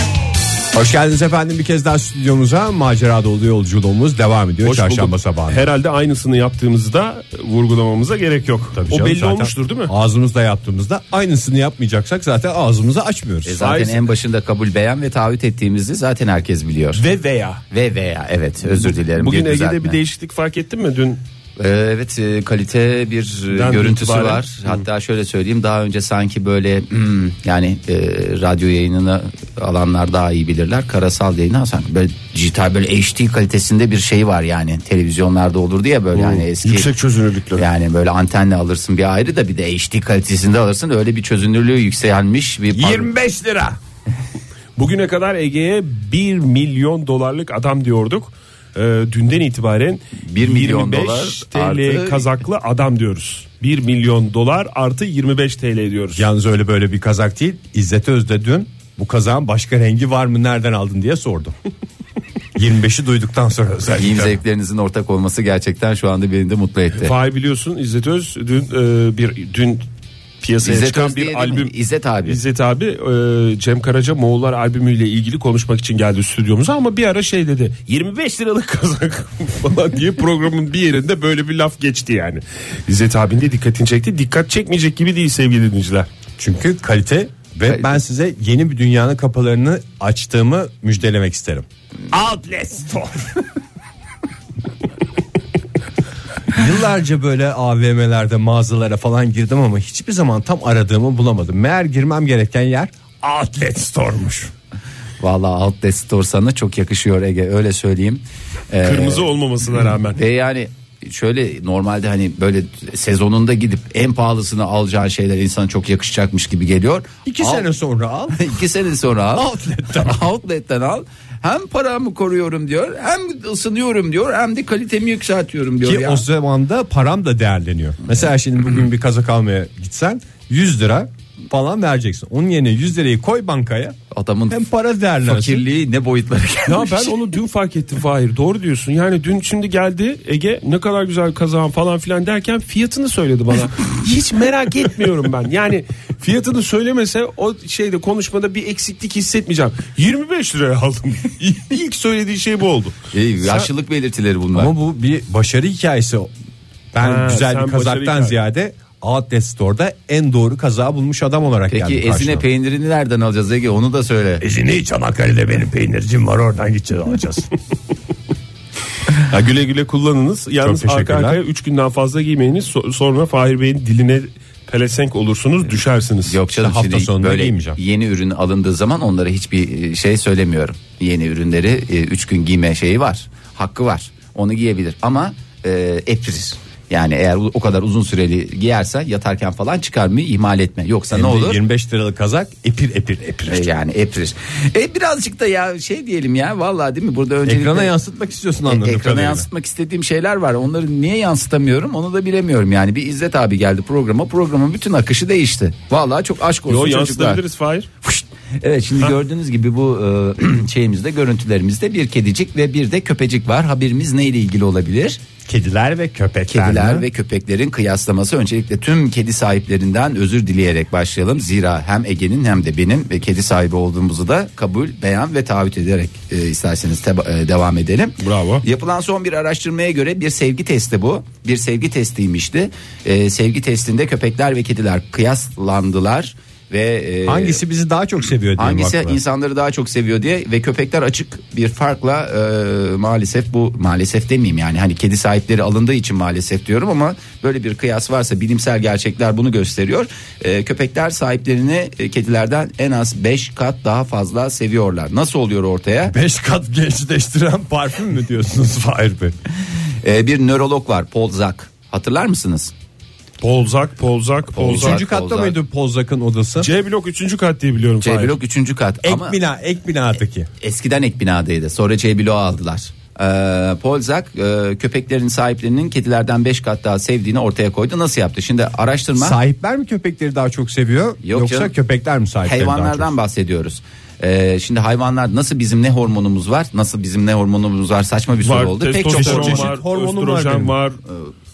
[SPEAKER 2] Hoş geldiniz efendim bir kez daha stüdyomuza. Macera dolu yolculuğumuz devam ediyor
[SPEAKER 3] Hoş
[SPEAKER 2] çarşamba
[SPEAKER 3] bulduk.
[SPEAKER 2] sabahı.
[SPEAKER 3] Herhalde aynısını yaptığımızda vurgulamamıza gerek yok.
[SPEAKER 2] Tabii
[SPEAKER 3] o
[SPEAKER 2] canım,
[SPEAKER 3] belli
[SPEAKER 2] zaten
[SPEAKER 3] olmuştur değil mi?
[SPEAKER 2] Ağzımızda yaptığımızda aynısını yapmayacaksak zaten ağzımızı açmıyoruz.
[SPEAKER 4] E zaten en başında kabul beyan ve taahhüt ettiğimizi zaten herkes biliyor.
[SPEAKER 3] Ve veya.
[SPEAKER 4] Ve veya evet özür dilerim. bir
[SPEAKER 3] Bugün Ege'de
[SPEAKER 4] düzeltme.
[SPEAKER 3] bir değişiklik fark ettin mi dün?
[SPEAKER 4] Ee, Evet e, kalite bir e,
[SPEAKER 3] Den
[SPEAKER 4] görüntüsü
[SPEAKER 3] itibaren.
[SPEAKER 4] var. Hatta şöyle söyleyeyim daha önce sanki böyle hmm, yani e, radyo yayınını alanlar daha iyi bilirler. Karasal yayını sanki böyle dijital böyle HD kalitesinde bir şey var yani. Televizyonlarda olurdu ya böyle yani eski.
[SPEAKER 3] yüksek çözünürlüklü.
[SPEAKER 4] Yani böyle antenle alırsın bir ayrı da bir de HD kalitesinde alırsın. Öyle bir çözünürlüğü yükselmiş bir
[SPEAKER 2] 25 lira.
[SPEAKER 3] Bugüne kadar Ege'ye 1 milyon dolarlık adam diyorduk. e, dünden itibaren
[SPEAKER 4] Bir milyon
[SPEAKER 3] 25
[SPEAKER 4] dolar
[SPEAKER 3] TL
[SPEAKER 4] artı-
[SPEAKER 3] kazaklı adam diyoruz. 1 milyon dolar artı 25 TL diyoruz.
[SPEAKER 2] Yalnız öyle böyle bir kazak değil. İzzet Özde dün bu kazağın başka rengi var mı nereden aldın diye sordu. 25'i duyduktan sonra
[SPEAKER 4] Giyim
[SPEAKER 2] özellikle.
[SPEAKER 4] zevklerinizin ortak olması gerçekten şu anda beni de mutlu etti.
[SPEAKER 3] Fahir biliyorsun İzzet Öz dün e, bir dün piyasaya
[SPEAKER 4] İzzet
[SPEAKER 3] çıkan
[SPEAKER 4] Öz diye
[SPEAKER 3] bir
[SPEAKER 4] değil mi?
[SPEAKER 3] albüm.
[SPEAKER 4] İzzet abi.
[SPEAKER 3] İzzet abi e, Cem Karaca Moğollar albümüyle ilgili konuşmak için geldi stüdyomuza ama bir ara şey dedi. 25 liralık kazak falan diye programın bir yerinde böyle bir laf geçti yani. İzzet abinin de dikkatini çekti. Dikkat çekmeyecek gibi değil sevgili dinleyiciler.
[SPEAKER 2] Çünkü kalite ve
[SPEAKER 4] Kalite.
[SPEAKER 2] ben size yeni bir dünyanın kapılarını açtığımı müjdelemek isterim.
[SPEAKER 3] Outlet Store.
[SPEAKER 2] Yıllarca böyle AVM'lerde mağazalara falan girdim ama hiçbir zaman tam aradığımı bulamadım. Meğer girmem gereken yer Outlet Store'muş.
[SPEAKER 4] Vallahi Outlet Store sana çok yakışıyor Ege öyle söyleyeyim. Ee,
[SPEAKER 3] Kırmızı olmamasına rağmen.
[SPEAKER 4] Ve yani şöyle normalde hani böyle sezonunda gidip en pahalısını alacağı şeyler insana çok yakışacakmış gibi geliyor.
[SPEAKER 2] İki
[SPEAKER 4] Al-
[SPEAKER 2] sene sonra al.
[SPEAKER 4] İki sene sonra al.
[SPEAKER 2] Outlet'ten
[SPEAKER 4] Outlet'ten al. Hem paramı koruyorum diyor hem ısınıyorum diyor hem de kalitemi yükseltiyorum diyor.
[SPEAKER 2] Ki
[SPEAKER 4] ya.
[SPEAKER 2] o zaman da param da değerleniyor. Mesela şimdi bugün bir kazak almaya gitsen 100 lira falan vereceksin. Onun yerine 100 lirayı koy bankaya.
[SPEAKER 4] Adamın
[SPEAKER 2] Hem para değerlensin.
[SPEAKER 4] fakirliği ne boyutlara
[SPEAKER 3] Ya
[SPEAKER 4] gelmiş.
[SPEAKER 3] ben onu dün fark ettim Fahir. Doğru diyorsun. Yani dün şimdi geldi Ege ne kadar güzel kazağın falan filan derken fiyatını söyledi bana. Hiç merak etmiyorum ben. Yani fiyatını söylemese o şeyde konuşmada bir eksiklik hissetmeyeceğim. 25 liraya aldım. İlk söylediği şey bu oldu.
[SPEAKER 4] İyi, yaşlılık belirtileri bunlar.
[SPEAKER 2] Ama bu bir başarı hikayesi. Ben
[SPEAKER 3] Ha,
[SPEAKER 2] güzel
[SPEAKER 3] sen
[SPEAKER 2] bir
[SPEAKER 3] başarı
[SPEAKER 2] kazaktan
[SPEAKER 3] hikaye.
[SPEAKER 2] ziyade Outlet Store'da en doğru kazağı bulmuş adam olarak
[SPEAKER 4] Peki
[SPEAKER 2] geldim
[SPEAKER 4] ezine
[SPEAKER 2] karşına.
[SPEAKER 4] peynirini nereden alacağız Ege onu da söyle.
[SPEAKER 2] Ezine Çanakkale'de benim peynircim var oradan gideceğiz alacağız.
[SPEAKER 3] Ya güle güle kullanınız. Yalnız
[SPEAKER 2] Çok
[SPEAKER 3] arka
[SPEAKER 2] teşekkürler.
[SPEAKER 3] arkaya 3 günden fazla giymeyiniz. So- sonra Fahir Bey'in diline pelesenk olursunuz düşersiniz.
[SPEAKER 4] Yok canım
[SPEAKER 2] hafta
[SPEAKER 4] şimdi
[SPEAKER 2] sonunda
[SPEAKER 4] böyle
[SPEAKER 2] giymeyeceğim.
[SPEAKER 4] yeni ürün alındığı zaman onlara hiçbir e, şey söylemiyorum. Yeni ürünleri 3 gün giyme şeyi var. Hakkı var. Onu giyebilir ama e, eprir. Yani eğer o o kadar uzun süreli giyersen yatarken falan çıkarmayı ihmal etme. Yoksa ne olur?
[SPEAKER 2] 25 liralık kazak epir epir epir.
[SPEAKER 4] E, Yani eprir. E birazcık da ya şey diyelim ya vallahi değil mi? Burada öncelikle E,
[SPEAKER 2] Ekrana yansıtmak istiyorsun anladım.
[SPEAKER 4] ekrana yansıtmak istediğim şeyler var. Onları niye yansıtamıyorum onu da bilemiyorum. Yani bir İzzet abi geldi programa. Programın bütün akışı değişti. Vallahi çok aşk olsun
[SPEAKER 3] Yo
[SPEAKER 4] çocuklar.
[SPEAKER 3] yansıtabiliriz Fahir.
[SPEAKER 4] Fışt. Evet şimdi gördüğünüz gibi bu e, şeyimizde görüntülerimizde bir kedicik ve bir de köpecik var. Haberimiz neyle ilgili olabilir?
[SPEAKER 2] Kediler ve köpekler.
[SPEAKER 4] Kediler
[SPEAKER 2] mi?
[SPEAKER 4] ve köpeklerin kıyaslaması öncelikle tüm kedi sahiplerinden özür dileyerek başlayalım. Zira hem Ege'nin hem de benim ve kedi sahibi olduğumuzu da kabul, beyan ve taahhüt ederek e, isterseniz teba- e, devam edelim.
[SPEAKER 3] Bravo.
[SPEAKER 4] Yapılan son bir araştırmaya göre bir sevgi testi bu. Bir sevgi testiymişti. E, sevgi testinde köpekler ve kediler kıyaslandılar ve e,
[SPEAKER 2] Hangisi bizi daha çok seviyor diye
[SPEAKER 4] Hangisi
[SPEAKER 2] bakma.
[SPEAKER 4] insanları daha çok seviyor diye ve köpekler açık bir farkla e, maalesef bu maalesef demeyeyim yani hani kedi sahipleri alındığı için maalesef diyorum ama böyle bir kıyas varsa bilimsel gerçekler bunu gösteriyor. E, köpekler sahiplerini e, kedilerden en az 5 kat daha fazla seviyorlar. Nasıl oluyor ortaya?
[SPEAKER 2] 5 kat gençleştiren parfüm mü diyorsunuz Fahir Bey?
[SPEAKER 4] E, bir nörolog var Paul Zak. Hatırlar mısınız?
[SPEAKER 3] Polzak, polzak, polzak.
[SPEAKER 2] Üçüncü katta
[SPEAKER 4] Ozark.
[SPEAKER 2] mıydı Polzak'ın odası?
[SPEAKER 3] C blok 3. kat diye biliyorum
[SPEAKER 4] C
[SPEAKER 3] Fahir.
[SPEAKER 4] Şey, blok 3. kat
[SPEAKER 2] ek
[SPEAKER 4] ama
[SPEAKER 2] bina, ek binadaki.
[SPEAKER 4] eskiden ek binadaydı. Sonra C bloğu aldılar. Ee, Polzak e, köpeklerin sahiplerinin kedilerden 5 kat daha sevdiğini ortaya koydu. Nasıl yaptı? Şimdi araştırma
[SPEAKER 2] Sahipler mi köpekleri daha çok seviyor yoksa
[SPEAKER 4] canım.
[SPEAKER 2] köpekler mi sahipleri daha çok?
[SPEAKER 4] hayvanlardan bahsediyoruz. Ee, şimdi hayvanlar nasıl bizim ne hormonumuz var? Nasıl bizim ne hormonumuz var? Saçma bir soru
[SPEAKER 3] Var,
[SPEAKER 4] oldu. Pek çok
[SPEAKER 3] testosteron
[SPEAKER 4] hormon var.
[SPEAKER 3] var,
[SPEAKER 2] hormonum var benim.
[SPEAKER 3] östrojen var,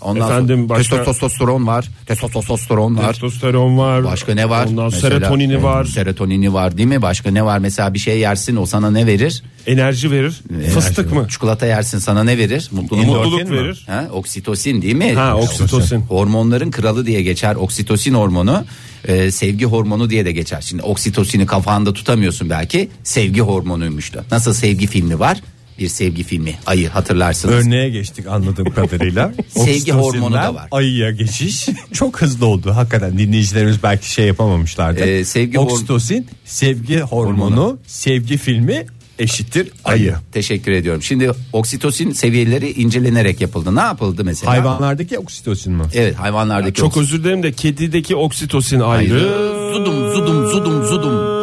[SPEAKER 4] Ondan
[SPEAKER 3] Efendim,
[SPEAKER 4] sonra
[SPEAKER 3] başka-
[SPEAKER 4] testosteron var. Testosteron var.
[SPEAKER 3] testosteron var.
[SPEAKER 4] Başka ne var?
[SPEAKER 3] Ondan
[SPEAKER 4] Mesela- e,
[SPEAKER 3] serotonini var,
[SPEAKER 4] Serotonini var değil mi? Başka ne var? Mesela bir şey yersin o sana ne verir? E,
[SPEAKER 3] enerji verir. Fıstık mı?
[SPEAKER 4] Çikolata yersin sana ne verir? Mutluluk,
[SPEAKER 3] Mutluluk
[SPEAKER 2] Endorfin mi?
[SPEAKER 3] verir.
[SPEAKER 4] Ha, oksitosin değil mi?
[SPEAKER 3] Ha, oksitosin.
[SPEAKER 4] Hormonların kralı diye geçer oksitosin hormonu. e, sevgi hormonu diye de geçer. Şimdi oksitosini kafanda tutamıyorsun belki. Sevgi hormonuymuş da. Nasıl sevgi filmi var? Bir sevgi filmi. Ayı hatırlarsınız.
[SPEAKER 2] Örneğe geçtik anladığım kadarıyla.
[SPEAKER 4] Sevgi
[SPEAKER 2] Oksitosinden
[SPEAKER 4] hormonu da var.
[SPEAKER 2] Ayıya geçiş çok hızlı oldu. Hakikaten dinleyicilerimiz belki şey yapamamışlardı.
[SPEAKER 4] Ee, sevgi hor-
[SPEAKER 2] Oksitosin, sevgi hormonu,
[SPEAKER 4] Hormonu.
[SPEAKER 2] sevgi filmi eşittir ayı.
[SPEAKER 4] Teşekkür ediyorum. Şimdi oksitosin seviyeleri incelenerek yapıldı. Ne yapıldı mesela?
[SPEAKER 2] Hayvanlardaki oksitosin mi?
[SPEAKER 4] Evet hayvanlardaki
[SPEAKER 3] Çok
[SPEAKER 4] oksitosin.
[SPEAKER 3] özür dilerim de kedideki oksitosin ayrı.
[SPEAKER 4] Zudum zudum zudum zudum.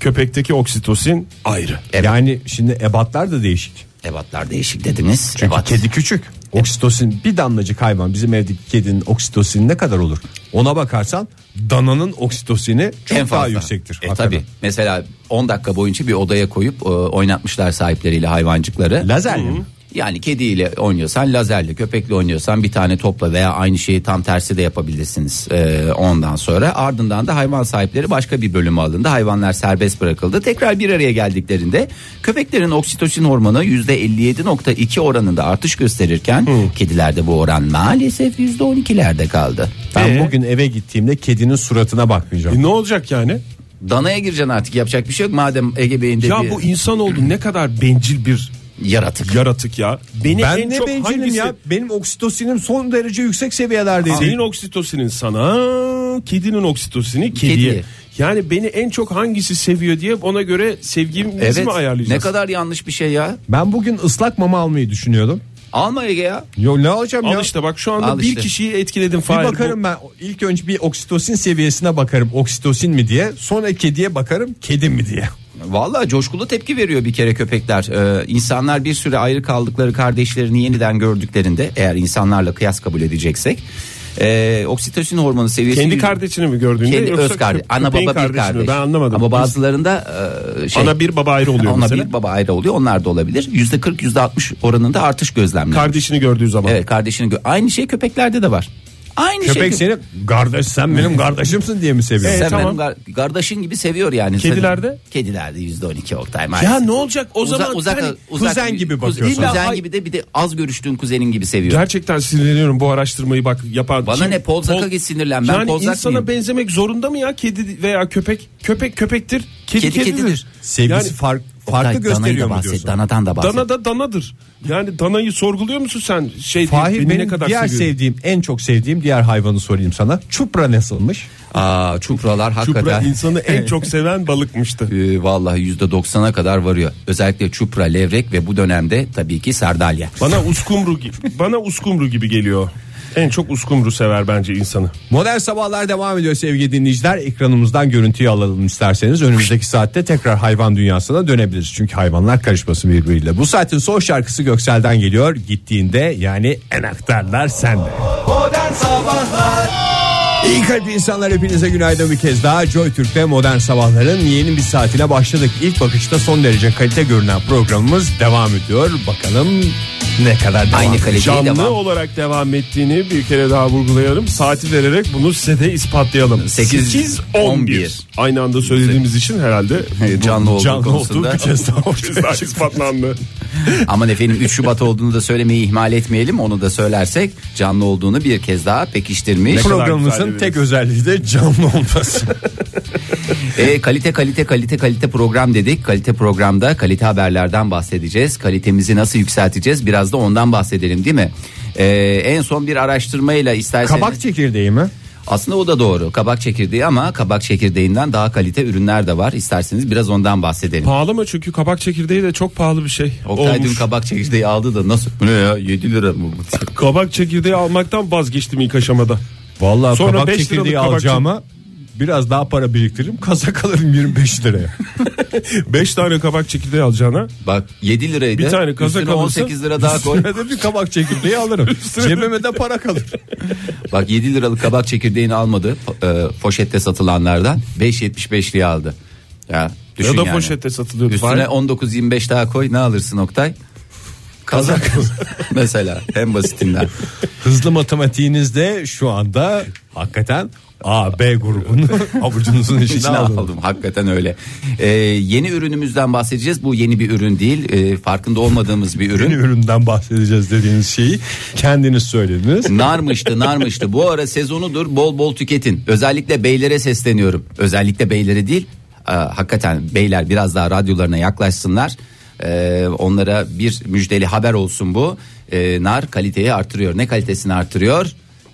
[SPEAKER 3] Köpekteki oksitosin ayrı.
[SPEAKER 4] Evet.
[SPEAKER 2] Yani şimdi ebatlar da değişik.
[SPEAKER 4] ebatlar değişik dediniz.
[SPEAKER 2] Çünkü
[SPEAKER 4] Ebat.
[SPEAKER 2] kedi küçük. Oksitosin bir damlacık hayvan bizim evdeki kedinin oksitosini ne kadar olur? Ona bakarsan dananın oksitosini çok
[SPEAKER 4] En
[SPEAKER 2] daha
[SPEAKER 4] fazla.
[SPEAKER 2] yüksektir.
[SPEAKER 4] E
[SPEAKER 2] hakikaten.
[SPEAKER 4] tabi. Mesela 10 dakika boyunca bir odaya koyup e, oynatmışlar sahipleriyle hayvancıkları.
[SPEAKER 2] Lazerle mi?
[SPEAKER 4] Yani kediyle oynuyorsan lazerle, köpekle oynuyorsan bir tane topla veya aynı şeyi tam tersi de yapabilirsiniz e, ondan sonra. Ardından da hayvan sahipleri başka bir bölüme alındı. Hayvanlar serbest bırakıldı. Tekrar bir araya geldiklerinde köpeklerin oksitosin hormonu %57.2 oranında artış gösterirken kedilerde bu oran maalesef %12'lerde kaldı.
[SPEAKER 2] Ben
[SPEAKER 3] Ee?
[SPEAKER 2] bugün eve gittiğimde kedinin suratına bakmayacağım.
[SPEAKER 3] E ne olacak yani?
[SPEAKER 4] Danaya gireceksin artık yapacak bir şey yok madem Ege Bey'in dediği
[SPEAKER 3] Ya bu insan oldu ne kadar bencil bir
[SPEAKER 4] yaratık.
[SPEAKER 3] yaratık ya. Beni en
[SPEAKER 2] Ben ne
[SPEAKER 3] çok
[SPEAKER 2] bencilim
[SPEAKER 3] hangisi-
[SPEAKER 2] ya? Benim oksitosinim son derece yüksek seviyelerdeydi.
[SPEAKER 3] Senin oksitosinin sana, kedinin oksitosini kediye.
[SPEAKER 4] Kediye.
[SPEAKER 3] Yani beni en çok hangisi seviyor diye ona göre sevgimizi mi ayarlayacağız?
[SPEAKER 4] Ne kadar yanlış bir şey ya.
[SPEAKER 2] Ben bugün ıslak mama almayı düşünüyordum.
[SPEAKER 4] Alma Ege ya.
[SPEAKER 2] Yo ne alacağım ya?
[SPEAKER 3] Al işte bak şu anda
[SPEAKER 4] Al
[SPEAKER 3] bir
[SPEAKER 4] işte.
[SPEAKER 3] kişiyi etkiledin
[SPEAKER 2] Bir
[SPEAKER 3] Fahir. Bu-
[SPEAKER 2] bakarım ben ilk önce bir oksitosin seviyesine bakarım oksitosin mi diye sonra kediye bakarım kedi mi diye.
[SPEAKER 4] Vallahi coşkulu tepki veriyor bir kere köpekler. Ee, insanlar bir süre ayrı kaldıkları kardeşlerini yeniden gördüklerinde eğer insanlarla kıyas kabul edeceksek e, oksitosin hormonu seviyesi
[SPEAKER 3] Kendi kardeşini mi gördüğünde
[SPEAKER 4] kendi
[SPEAKER 3] yoksa
[SPEAKER 4] öz kardeş,
[SPEAKER 3] köp-
[SPEAKER 4] ana
[SPEAKER 3] köpeğin
[SPEAKER 4] baba bir
[SPEAKER 3] kardeşini mi?
[SPEAKER 4] kardeş.
[SPEAKER 3] Ben anlamadım.
[SPEAKER 4] Ama bazılarında e, şey,
[SPEAKER 3] Ana bir baba ayrı oluyor
[SPEAKER 4] ona
[SPEAKER 3] mesela.
[SPEAKER 4] bir baba ayrı oluyor. Onlar da olabilir. Yüzde 40 yüzde 60 oranında artış gözlemleniyor.
[SPEAKER 3] Kardeşini gördüğü zaman.
[SPEAKER 4] evet kardeşini gö- aynı şey köpeklerde de var. Aynı şey
[SPEAKER 2] Köpek seni kardeş sen benim kardeşimsin diye mi seviyor?
[SPEAKER 3] Evet.
[SPEAKER 4] Sen
[SPEAKER 3] tamam.
[SPEAKER 4] benim gar- kardeşin gibi seviyor yani.
[SPEAKER 3] Kedilerde?
[SPEAKER 4] Sen- Kedilerde yüzde on iki Oktay maalesef.
[SPEAKER 3] Ya ne olacak o
[SPEAKER 4] Uza-
[SPEAKER 3] zaman hani
[SPEAKER 4] uzak,
[SPEAKER 3] yani
[SPEAKER 4] uzak-
[SPEAKER 2] kuzen gibi
[SPEAKER 4] kuz-
[SPEAKER 2] bakıyorsun.
[SPEAKER 4] Kuzen
[SPEAKER 3] İlla-
[SPEAKER 4] gibi de bir de az görüştüğün kuzenin gibi seviyor.
[SPEAKER 3] Gerçekten sinirleniyorum bu araştırmayı bak yapan.
[SPEAKER 4] Bana ne, Polzak'a git sinirlen, ben
[SPEAKER 3] yani
[SPEAKER 4] Polzak
[SPEAKER 3] insana
[SPEAKER 4] mıyım?
[SPEAKER 3] benzemek zorunda mı ya kedi veya köpek? Köpek köpektir. Kedi,
[SPEAKER 4] Kedi
[SPEAKER 3] kedidir.
[SPEAKER 4] kedidir.
[SPEAKER 2] Sevgisi
[SPEAKER 3] Yani-
[SPEAKER 2] fark-
[SPEAKER 4] Oktay,
[SPEAKER 2] farklı
[SPEAKER 4] danayı da
[SPEAKER 2] gösteriyor mu
[SPEAKER 4] bahset,
[SPEAKER 2] diyorsun?
[SPEAKER 4] Danadan da bahset.
[SPEAKER 3] Dana da danadır. Yani danayı sorguluyor musun sen? Şey
[SPEAKER 2] Fahir
[SPEAKER 3] beni
[SPEAKER 2] benim
[SPEAKER 3] ne kadar
[SPEAKER 2] diğer
[SPEAKER 3] seviyorum?
[SPEAKER 2] sevdiğim en çok sevdiğim diğer hayvanı sorayım sana. Çupra nasılmış?
[SPEAKER 4] Aa, çupralar
[SPEAKER 3] Çupra
[SPEAKER 4] hakikaten.
[SPEAKER 3] insanı en çok seven balıkmıştı.
[SPEAKER 4] Ee, vallahi yüzde doksana kadar varıyor. Özellikle çupra, levrek ve bu dönemde tabii ki sardalya.
[SPEAKER 3] Bana uskumru gibi. Bana uskumru gibi geliyor. En çok uskumru sever bence insanı.
[SPEAKER 2] Modern sabahlar devam ediyor sevgili dinleyiciler. Ekranımızdan görüntüyü alalım isterseniz. Önümüzdeki saatte tekrar hayvan dünyasına dönebiliriz. Çünkü hayvanlar karışması birbiriyle. Bu saatin son şarkısı Göksel'den geliyor. Gittiğinde yani enaktarlar sende.
[SPEAKER 1] Modern Sabahlar
[SPEAKER 2] İyi kalp insanlar hepinize günaydın bir kez daha. Joy Türk'te modern sabahların yeni bir saatine başladık. İlk bakışta son derece kalite görünen programımız devam ediyor. Bakalım ne kadar devam
[SPEAKER 4] Aynı
[SPEAKER 2] edecek.
[SPEAKER 4] kalite.
[SPEAKER 3] Canlı
[SPEAKER 4] devam.
[SPEAKER 3] olarak devam ettiğini bir kere daha vurgulayalım. Saati vererek bunu size de ispatlayalım.
[SPEAKER 4] Sekiz,
[SPEAKER 3] 8
[SPEAKER 4] 11.
[SPEAKER 3] 11. Aynı anda söylediğimiz için herhalde
[SPEAKER 4] Evet, Ee, canlı olduğu konusunda.
[SPEAKER 3] bir kez daha bir kez daha ispatlandı.
[SPEAKER 4] Aman efendim 3 Şubat olduğunu da söylemeyi ihmal etmeyelim. Onu da söylersek canlı olduğunu bir kez daha pekiştirmiş.
[SPEAKER 3] kadar güzel
[SPEAKER 2] Programımızın
[SPEAKER 3] dediniz.
[SPEAKER 2] tek özelliği de canlı olması.
[SPEAKER 4] E, kalite kalite kalite kalite program dedik. Kalite programda kalite haberlerden bahsedeceğiz. Kalitemizi nasıl yükselteceğiz biraz da ondan bahsedelim değil mi? E, en son bir araştırmayla isterseniz
[SPEAKER 2] Kabak çekirdeği mi?
[SPEAKER 4] aslında o da doğru kabak çekirdeği ama kabak çekirdeğinden daha kalite ürünler de var. İsterseniz biraz ondan bahsedelim.
[SPEAKER 3] Pahalı mı çünkü kabak çekirdeği de çok pahalı bir şey.
[SPEAKER 4] Oktay
[SPEAKER 3] olmuş.
[SPEAKER 4] dün kabak çekirdeği aldı da nasıl? Bu ne ya 7 lira mı bu?
[SPEAKER 3] kabak çekirdeği almaktan vazgeçtim ilk aşamada.
[SPEAKER 2] Vallahi
[SPEAKER 3] Sonra
[SPEAKER 2] kabak
[SPEAKER 3] beş
[SPEAKER 2] çekirdeği
[SPEAKER 3] liralık kabak
[SPEAKER 2] alacağıma biraz daha para biriktiririm. Kaza kalırım 25 liraya.
[SPEAKER 3] 5 tane kabak çekirdeği alacağına
[SPEAKER 4] Bak 7 liraydı.
[SPEAKER 3] Bir tane kaza
[SPEAKER 4] Üstüne
[SPEAKER 3] kalırsa
[SPEAKER 4] 18 lira daha koy.
[SPEAKER 2] Üstüne de bir kabak çekirdeği alırım. Cebime de para kalır.
[SPEAKER 4] Bak 7 liralık kabak çekirdeğini almadı. po- e, poşette satılanlardan 5.75'liye aldı. Ya düşün
[SPEAKER 3] ya da
[SPEAKER 4] yani.
[SPEAKER 3] poşette satılıyordu.
[SPEAKER 4] Üstüne
[SPEAKER 3] Fahir.
[SPEAKER 4] 19-25 daha koy ne alırsın Oktay? Kazak mesela en basitinden.
[SPEAKER 2] Hızlı matematiğinizde şu anda hakikaten A, B grubunu avucunuzun içine
[SPEAKER 4] İçine
[SPEAKER 2] alın.
[SPEAKER 4] aldım hakikaten öyle. Ee, yeni ürünümüzden bahsedeceğiz. Bu yeni bir ürün değil. Ee, farkında olmadığımız bir
[SPEAKER 2] Yeni
[SPEAKER 4] ürün.
[SPEAKER 2] üründen bahsedeceğiz dediğiniz şeyi kendiniz söylediniz.
[SPEAKER 4] Narmıştı narmıştı bu ara sezonudur bol bol tüketin özellikle beylere sesleniyorum özellikle beylere değil e, hakikaten beyler biraz daha radyolarına yaklaşsınlar E, onlara bir müjdeli haber olsun bu E, nar kaliteyi artırıyor ne kalitesini artırıyor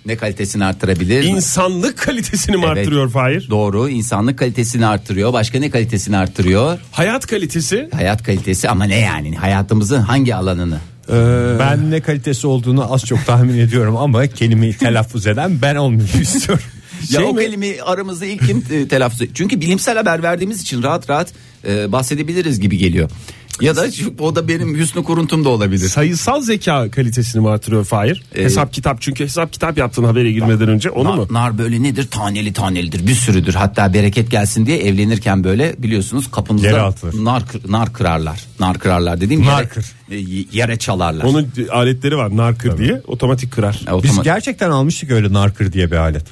[SPEAKER 4] ne kalitesini artırabilir
[SPEAKER 3] İnsanlık kalitesini mi
[SPEAKER 4] Evet.
[SPEAKER 3] arttırıyor Fahir?
[SPEAKER 4] doğru insanlık kalitesini artırıyor başka ne kalitesini artırıyor
[SPEAKER 3] Hayat kalitesi
[SPEAKER 4] hayat kalitesi ama ne yani hayatımızın hangi alanını
[SPEAKER 2] Ee, Ben ne kalitesi olduğunu az çok tahmin ediyorum ama kelimeyi telaffuz eden ben olmayı istiyorum.
[SPEAKER 4] Ya
[SPEAKER 2] Şey
[SPEAKER 4] o
[SPEAKER 2] mi?
[SPEAKER 4] kelime aramızda ilk kim e, telaffuz Çünkü bilimsel haber verdiğimiz için rahat rahat e, bahsedebiliriz gibi geliyor. Ya da şu- o da benim hüsnü kuruntum da olabilir.
[SPEAKER 3] Sayısal zeka kalitesini mi artırıyor Fahir?
[SPEAKER 4] Ee,
[SPEAKER 3] hesap kitap çünkü hesap kitap yaptığın habere girmeden önce onu mu?
[SPEAKER 4] Nar, nar böyle nedir? Taneli tanelidir. Bir sürüdür. Hatta bereket gelsin diye evlenirken böyle biliyorsunuz kapınızda
[SPEAKER 2] Yere atılır.
[SPEAKER 4] nar kır- nar kırarlar. Nar kırarlar dediğim
[SPEAKER 2] Nar
[SPEAKER 4] yere,
[SPEAKER 2] kır.
[SPEAKER 4] e, y- yere çalarlar.
[SPEAKER 3] Onun aletleri var narkır diye otomatik kırar.
[SPEAKER 4] Ya,
[SPEAKER 2] Biz
[SPEAKER 4] otomatik-
[SPEAKER 2] gerçekten almıştık öyle narkır diye bir alet.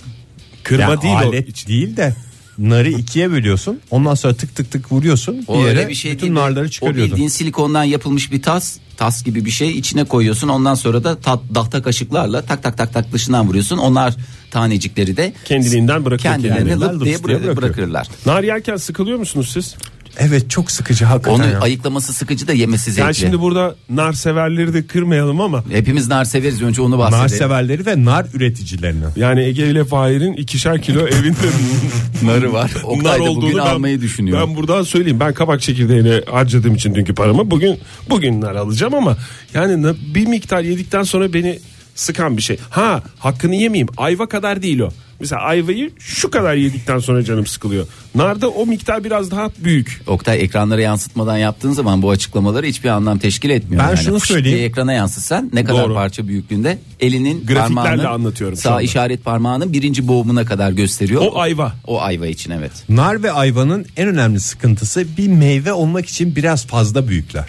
[SPEAKER 3] Kırma
[SPEAKER 2] Yani
[SPEAKER 3] değil
[SPEAKER 2] alet
[SPEAKER 3] o.
[SPEAKER 2] değil de narı ikiye bölüyorsun. Ondan sonra tık tık tık vuruyorsun.
[SPEAKER 4] O
[SPEAKER 2] bir
[SPEAKER 4] öyle
[SPEAKER 2] yere
[SPEAKER 4] bir şey
[SPEAKER 2] bütün
[SPEAKER 4] değil.
[SPEAKER 2] narları
[SPEAKER 4] O
[SPEAKER 2] çıkarıyordun.
[SPEAKER 4] bildiğin silikondan yapılmış bir tas, tas gibi bir şey içine koyuyorsun. Ondan sonra da tat, tahta kaşıklarla tak tak tak tak dışından vuruyorsun. Onlar tanecikleri de
[SPEAKER 3] Kendiliğinden bırakıyor
[SPEAKER 4] kendilerini
[SPEAKER 3] kendilerini.
[SPEAKER 4] lıp diye
[SPEAKER 2] Lıps diye
[SPEAKER 4] bıra-
[SPEAKER 2] bırakıyor.
[SPEAKER 4] bırakırlar.
[SPEAKER 3] Nar yerken sıkılıyor musunuz siz?
[SPEAKER 2] Evet çok sıkıcı hakikaten.
[SPEAKER 4] Onu
[SPEAKER 2] ya.
[SPEAKER 4] ayıklaması sıkıcı da yemesi
[SPEAKER 3] Yani
[SPEAKER 4] zevkli.
[SPEAKER 3] şimdi burada nar severleri de kırmayalım ama
[SPEAKER 4] Hepimiz nar severiz önce onu
[SPEAKER 2] Nar
[SPEAKER 4] bahsedelim.
[SPEAKER 2] severleri ve nar üreticilerine.
[SPEAKER 3] yani Ege ile Fahir'in ikişer kilo evinde
[SPEAKER 4] Narı var.
[SPEAKER 3] nar
[SPEAKER 4] Oktay da
[SPEAKER 3] olduğunu
[SPEAKER 4] bugün
[SPEAKER 3] ben,
[SPEAKER 4] almayı düşünüyor.
[SPEAKER 3] Ben buradan söyleyeyim. Ben kabak çekirdeğine harcadığım için dünkü paramı bugün bugün nar alacağım ama yani na- bir miktar yedikten sonra beni sıkan bir şey. Ha hakkını yemeyeyim. Ayva kadar değil o. Mesela ayvayı şu kadar yedikten sonra canım sıkılıyor. Narda o miktar biraz daha büyük.
[SPEAKER 4] Oktay ekranlara yansıtmadan yaptığın zaman bu açıklamaları hiçbir anlam teşkil etmiyor.
[SPEAKER 2] Ben
[SPEAKER 4] Yani
[SPEAKER 2] şunu
[SPEAKER 4] fış diye
[SPEAKER 2] söyleyeyim.
[SPEAKER 4] ekrana yansıtsan ne kadar
[SPEAKER 3] Doğru.
[SPEAKER 4] parça büyüklüğünde elinin
[SPEAKER 3] Grafiklerle
[SPEAKER 4] parmağının
[SPEAKER 3] anlatıyorum şu
[SPEAKER 4] sağ
[SPEAKER 3] anda.
[SPEAKER 4] işaret parmağının birinci boğumuna kadar gösteriyor.
[SPEAKER 3] O ayva.
[SPEAKER 4] O ayva için evet.
[SPEAKER 2] Nar ve ayvanın en önemli sıkıntısı bir meyve olmak için biraz fazla büyükler.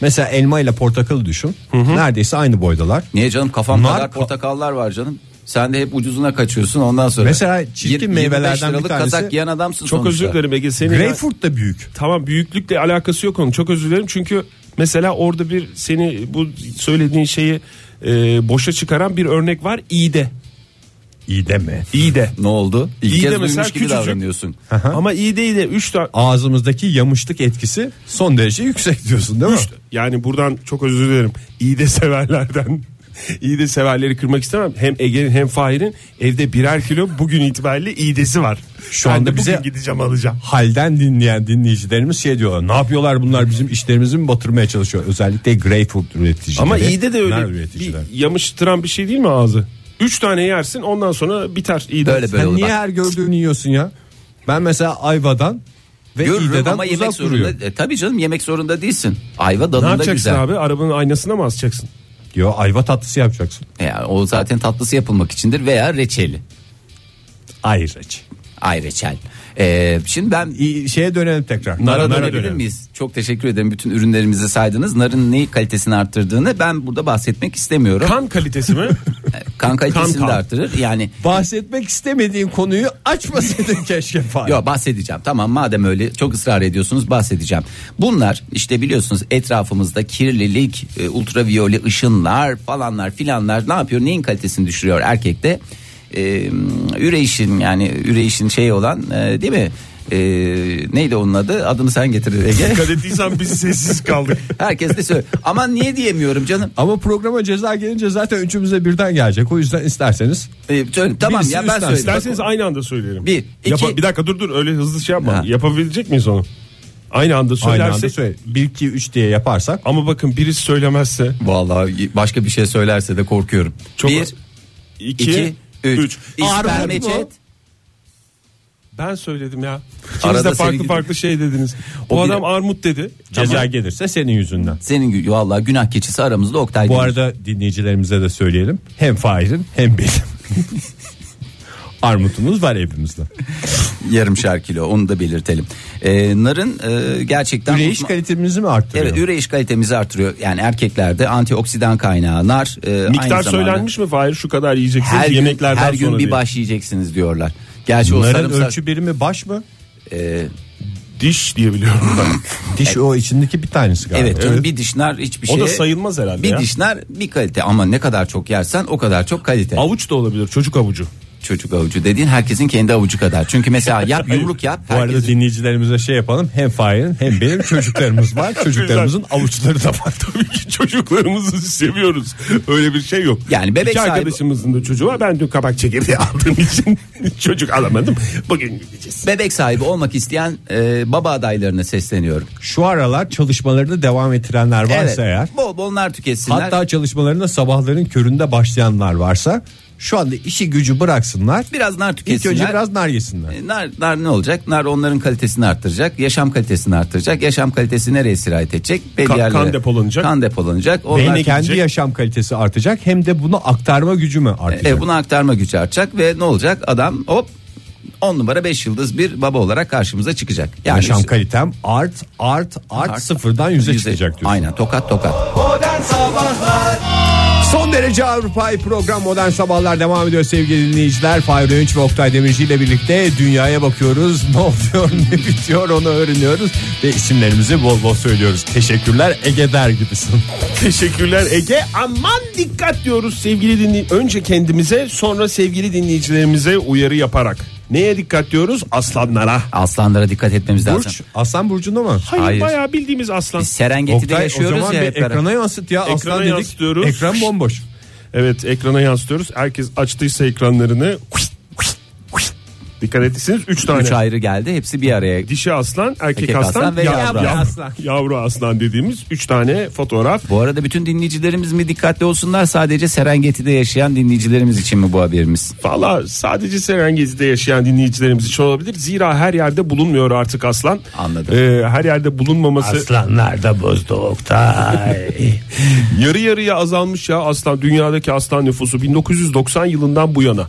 [SPEAKER 2] Mesela elma ile portakalı düşün. Neredeyse aynı boydalar.
[SPEAKER 4] Niye canım kafam
[SPEAKER 2] Nar-
[SPEAKER 4] kadar portakallar var canım. Sen de hep ucuzuna kaçıyorsun ondan sonra.
[SPEAKER 2] Mesela çirkin
[SPEAKER 4] Yir- 25
[SPEAKER 2] meyvelerden bir
[SPEAKER 4] liralık
[SPEAKER 2] tanesi-
[SPEAKER 4] kazak giyen adamsın
[SPEAKER 3] Çok
[SPEAKER 4] sonuçta.
[SPEAKER 3] özür dilerim Ege. Senin
[SPEAKER 2] Greyfurt da büyük.
[SPEAKER 3] Tamam büyüklükle alakası yok onun. Çok özür dilerim çünkü mesela orada bir seni bu söylediğin şeyi e, boşa çıkaran bir örnek var. İyi de.
[SPEAKER 2] İyi deme.
[SPEAKER 3] İyi de.
[SPEAKER 4] Ne oldu? İlk
[SPEAKER 3] İyi de
[SPEAKER 4] kez
[SPEAKER 3] mesela
[SPEAKER 4] duymuş gibi
[SPEAKER 3] küçücük.
[SPEAKER 4] davranıyorsun.
[SPEAKER 3] Ama iyi değil de 3 tane
[SPEAKER 2] Ağzımızdaki yamışlık etkisi son derece yüksek diyorsun değil mi?
[SPEAKER 3] yani buradan çok özür dilerim. İyi de severlerden. iyi de severleri kırmak istemem. Hem Ege'nin hem Fahir'in evde birer kilo bugün itibariyle iğdesi var.
[SPEAKER 2] Şu
[SPEAKER 3] Ben
[SPEAKER 2] anda
[SPEAKER 3] de
[SPEAKER 2] bize-
[SPEAKER 3] bugün gideceğim alacağım.
[SPEAKER 2] Halden dinleyen dinleyicilerimiz şey diyorlar. Ne yapıyorlar bunlar bizim işlerimizi mi batırmaya çalışıyor? Özellikle greyfurt üreticileri.
[SPEAKER 3] Ama iğde de
[SPEAKER 2] nar
[SPEAKER 3] öyle bir
[SPEAKER 2] üreticiler.
[SPEAKER 3] yamıştıran bir şey değil mi ağzı? Üç tane yersin ondan sonra biter iğde.
[SPEAKER 4] Böyle böyle
[SPEAKER 2] Sen
[SPEAKER 4] olur.
[SPEAKER 2] niye
[SPEAKER 4] Bak,
[SPEAKER 2] her gördüğünü yiyorsun ya? Ben mesela ayvadan ve
[SPEAKER 4] Görürüm
[SPEAKER 2] iğdeden
[SPEAKER 4] ama yemek
[SPEAKER 2] uzak
[SPEAKER 4] zorunda.
[SPEAKER 2] duruyorum.
[SPEAKER 4] E, tabii canım yemek zorunda değilsin. Ayva
[SPEAKER 3] Ne
[SPEAKER 4] dalında
[SPEAKER 3] yapacaksın
[SPEAKER 4] güzel.
[SPEAKER 3] abi? Arabanın aynasına mı asacaksın?
[SPEAKER 2] Yo ayva tatlısı yapacaksın.
[SPEAKER 4] Yani E, o zaten tatlısı yapılmak içindir veya reçeli.
[SPEAKER 2] Ayraç.
[SPEAKER 4] Ay reçel. Ee, şimdi ben
[SPEAKER 2] İyi, şeye dönelim tekrar.
[SPEAKER 4] Nara
[SPEAKER 2] Nara
[SPEAKER 4] dönebilir miyiz? Çok teşekkür ederim. Bütün ürünlerimizi saydınız. Narın neyi kalitesini arttırdığını ben burada bahsetmek istemiyorum.
[SPEAKER 3] Kan kalitesi mi?
[SPEAKER 4] Kan kalitesini
[SPEAKER 3] Kan, kan.
[SPEAKER 4] de arttırır. Yani
[SPEAKER 2] Bahsetmek istemediğin konuyu açmasaydın keşke falan.
[SPEAKER 4] Yok bahsedeceğim. Tamam madem öyle çok ısrar ediyorsunuz bahsedeceğim. Bunlar işte biliyorsunuz etrafımızda kirlilik, e, ultraviyole ışınlar falanlar filanlar ne yapıyor? Neyin kalitesini düşürüyor erkekte? E, üreyişin yani üreyişin şey olan e, değil mi? E, neydi onun adı? Adını sen getirdin Ege.
[SPEAKER 3] Dikkat ettiysen biz sessiz kaldık.
[SPEAKER 4] Herkes de söylüyor. Aman niye diyemiyorum canım.
[SPEAKER 2] Ama programa ceza gelince zaten üçümüze birden gelecek. O yüzden isterseniz
[SPEAKER 4] E, söyle- tamam
[SPEAKER 2] Birisi
[SPEAKER 4] ya ben
[SPEAKER 2] üstten,
[SPEAKER 4] söyleyeyim.
[SPEAKER 3] İsterseniz aynı anda söyleyelim.
[SPEAKER 4] Bir,
[SPEAKER 3] Yapa-
[SPEAKER 4] iki-
[SPEAKER 3] bir dakika dur dur öyle hızlı şey yapma.
[SPEAKER 4] Ha.
[SPEAKER 3] Yapabilecek miyiz onu? Aynı anda söylerse.
[SPEAKER 2] aynı anda söyle. 1 2 3 diye yaparsak
[SPEAKER 3] Ama bakın birisi söylemezse
[SPEAKER 4] Vallahi başka bir şey söylerse de korkuyorum.
[SPEAKER 3] Çok-
[SPEAKER 4] bir,
[SPEAKER 3] 2
[SPEAKER 4] iki, üç.
[SPEAKER 3] 3
[SPEAKER 4] İspermeçet.
[SPEAKER 3] Ben söyledim ya. İkiniz
[SPEAKER 4] Arada
[SPEAKER 3] de
[SPEAKER 4] seni
[SPEAKER 3] farklı
[SPEAKER 4] gidip-
[SPEAKER 3] farklı şey dediniz. O,
[SPEAKER 4] O bir-
[SPEAKER 3] adam armut dedi.
[SPEAKER 2] ceza gelirse senin yüzünden.
[SPEAKER 4] Senin gü- vallahi günah keçisi aramızda Oktay.
[SPEAKER 2] Bu
[SPEAKER 4] demiş.
[SPEAKER 2] arada dinleyicilerimize de söyleyelim. Hem Fahir'in hem benim. Armutumuz var evimizde.
[SPEAKER 4] yarımşar kilo onu da belirtelim. Ee, narın e, gerçekten
[SPEAKER 2] Üreyiş
[SPEAKER 4] uzman-
[SPEAKER 2] kalitemizi mi arttırıyor?
[SPEAKER 4] Evet üreyiş kalitemizi artırıyor. Yani erkeklerde antioksidan kaynağı nar e, aynı
[SPEAKER 3] Miktar
[SPEAKER 4] zamanda-
[SPEAKER 3] söylenmiş mi Fahir şu kadar yiyeceksiniz
[SPEAKER 4] Her gün,
[SPEAKER 3] yemeklerden
[SPEAKER 4] her gün
[SPEAKER 3] sonra
[SPEAKER 4] bir
[SPEAKER 3] diye.
[SPEAKER 4] baş yiyeceksiniz diyorlar. Gerçi o
[SPEAKER 2] Narın
[SPEAKER 4] sarımsak
[SPEAKER 2] ölçü birimi baş mı?
[SPEAKER 4] e,
[SPEAKER 3] Diş diye biliyorum ben. E,
[SPEAKER 2] Diş o içindeki bir tanesi galiba.
[SPEAKER 4] evet, canım, bir diş nar hiçbir
[SPEAKER 3] O
[SPEAKER 4] şey.
[SPEAKER 3] da sayılmaz herhalde
[SPEAKER 4] Bir
[SPEAKER 3] ya.
[SPEAKER 4] diş nar bir kalite ama ne kadar çok yersen o kadar çok kalite.
[SPEAKER 3] Avuç da olabilir çocuk avucu.
[SPEAKER 4] Çocuk avucu dediğin herkesin kendi avucu kadar. Çünkü mesela yap yumruk yap.
[SPEAKER 2] Bu arada
[SPEAKER 4] herkes-
[SPEAKER 2] dinleyicilerimize şey yapalım. Hem Fahir'in hem benim çocuklarımız var. Çocuklarımızın avuçları da var.
[SPEAKER 3] Tabii ki çocuklarımızı seviyoruz. Öyle bir şey yok.
[SPEAKER 4] Yani Hani bebek
[SPEAKER 3] İki
[SPEAKER 4] sahibi-
[SPEAKER 3] arkadaşımızın da çocuğu var. Ben dün kabak çekirdeği aldığım için çocuk alamadım. Bugün gideceğiz.
[SPEAKER 4] Bebek sahibi olmak isteyen e, baba adaylarına sesleniyorum.
[SPEAKER 2] Şu aralar çalışmalarını devam ettirenler varsa
[SPEAKER 4] evet.
[SPEAKER 2] eğer.
[SPEAKER 4] Bol bol nar tüketsinler.
[SPEAKER 2] Hatta çalışmalarına sabahların köründe başlayanlar varsa Şu anda işi gücü bıraksınlar.
[SPEAKER 4] Biraz nar
[SPEAKER 2] İlk
[SPEAKER 4] tüketsinler.
[SPEAKER 2] önce biraz nar yesinler.
[SPEAKER 4] E, Nar, nar ne olacak? Nar onların kalitesini arttıracak. Yaşam kalitesini arttıracak. Yaşam kalitesi nereye sirayet edecek? Belli
[SPEAKER 3] Kan- kan
[SPEAKER 4] yerlere.
[SPEAKER 3] depolanacak.
[SPEAKER 4] Kan depolanacak. Onlar,
[SPEAKER 2] Beyne kendi yaşam kalitesi artacak hem de bunu aktarma gücü mü artacak?
[SPEAKER 4] e, bunu aktarma gücü artacak ve ne olacak? Adam hop 10 numara 5 yıldız bir baba olarak karşımıza çıkacak. Yani
[SPEAKER 2] yaşam
[SPEAKER 4] işte-
[SPEAKER 2] kalitem art art art,
[SPEAKER 4] Art-
[SPEAKER 2] sıfırdan yüze çıkacak diyorsun.
[SPEAKER 4] Aynen tokat tokat.
[SPEAKER 1] Modern Sabahlar Son derece Avrupa'yı program Modern Sabahlar devam ediyor sevgili dinleyiciler. Fahri Önç ve Oktay Demirci ile birlikte dünyaya bakıyoruz. Ne oluyor ne bitiyor onu öğreniyoruz. Ve isimlerimizi bol bol söylüyoruz. Teşekkürler Ege der gibisin.
[SPEAKER 3] Teşekkürler Ege. Aman dikkat diyoruz sevgili dinley Önce kendimize sonra sevgili dinleyicilerimize uyarı yaparak. Neye dikkat diyoruz? Aslanlara.
[SPEAKER 4] Aslanlara dikkat etmemiz lazım.
[SPEAKER 2] Burç Aslan Burcu'nda mı?
[SPEAKER 3] Hayır,
[SPEAKER 4] Hayır.
[SPEAKER 3] bayağı bildiğimiz aslan.
[SPEAKER 4] Biz Serengeti'de
[SPEAKER 2] Oktay,
[SPEAKER 4] yaşıyoruz
[SPEAKER 2] o zaman
[SPEAKER 4] ya
[SPEAKER 2] bir
[SPEAKER 4] hep beraber.
[SPEAKER 2] ekrana yansıt ya.
[SPEAKER 3] Ekrana
[SPEAKER 2] Aslan dedik.
[SPEAKER 3] yansıtıyoruz.
[SPEAKER 2] Ekran bomboş.
[SPEAKER 3] Evet ekrana yansıtıyoruz. Herkes açtıysa ekranlarını. Dikkat ettiyseniz 3 tane.
[SPEAKER 4] Üç ayrı geldi hepsi bir araya.
[SPEAKER 3] Dişi aslan, erkek,
[SPEAKER 4] Erkek
[SPEAKER 3] aslan,
[SPEAKER 4] aslan ve
[SPEAKER 3] yav-
[SPEAKER 4] yavru
[SPEAKER 3] yav-
[SPEAKER 4] aslan.
[SPEAKER 3] Yavru aslan dediğimiz 3 tane fotoğraf.
[SPEAKER 4] Bu arada bütün dinleyicilerimiz mi dikkatli olsunlar sadece Serengeti'de yaşayan dinleyicilerimiz için mi bu haberimiz?
[SPEAKER 3] Valla sadece Serengeti'de yaşayan dinleyicilerimiz için olabilir. Zira her yerde bulunmuyor artık aslan.
[SPEAKER 4] Anladım.
[SPEAKER 3] Ee, her yerde bulunmaması
[SPEAKER 2] Aslanlar da bozdu Oktay.
[SPEAKER 3] yarı yarıya azalmış ya aslan. Dünyadaki aslan nüfusu 1990 yılından bu yana.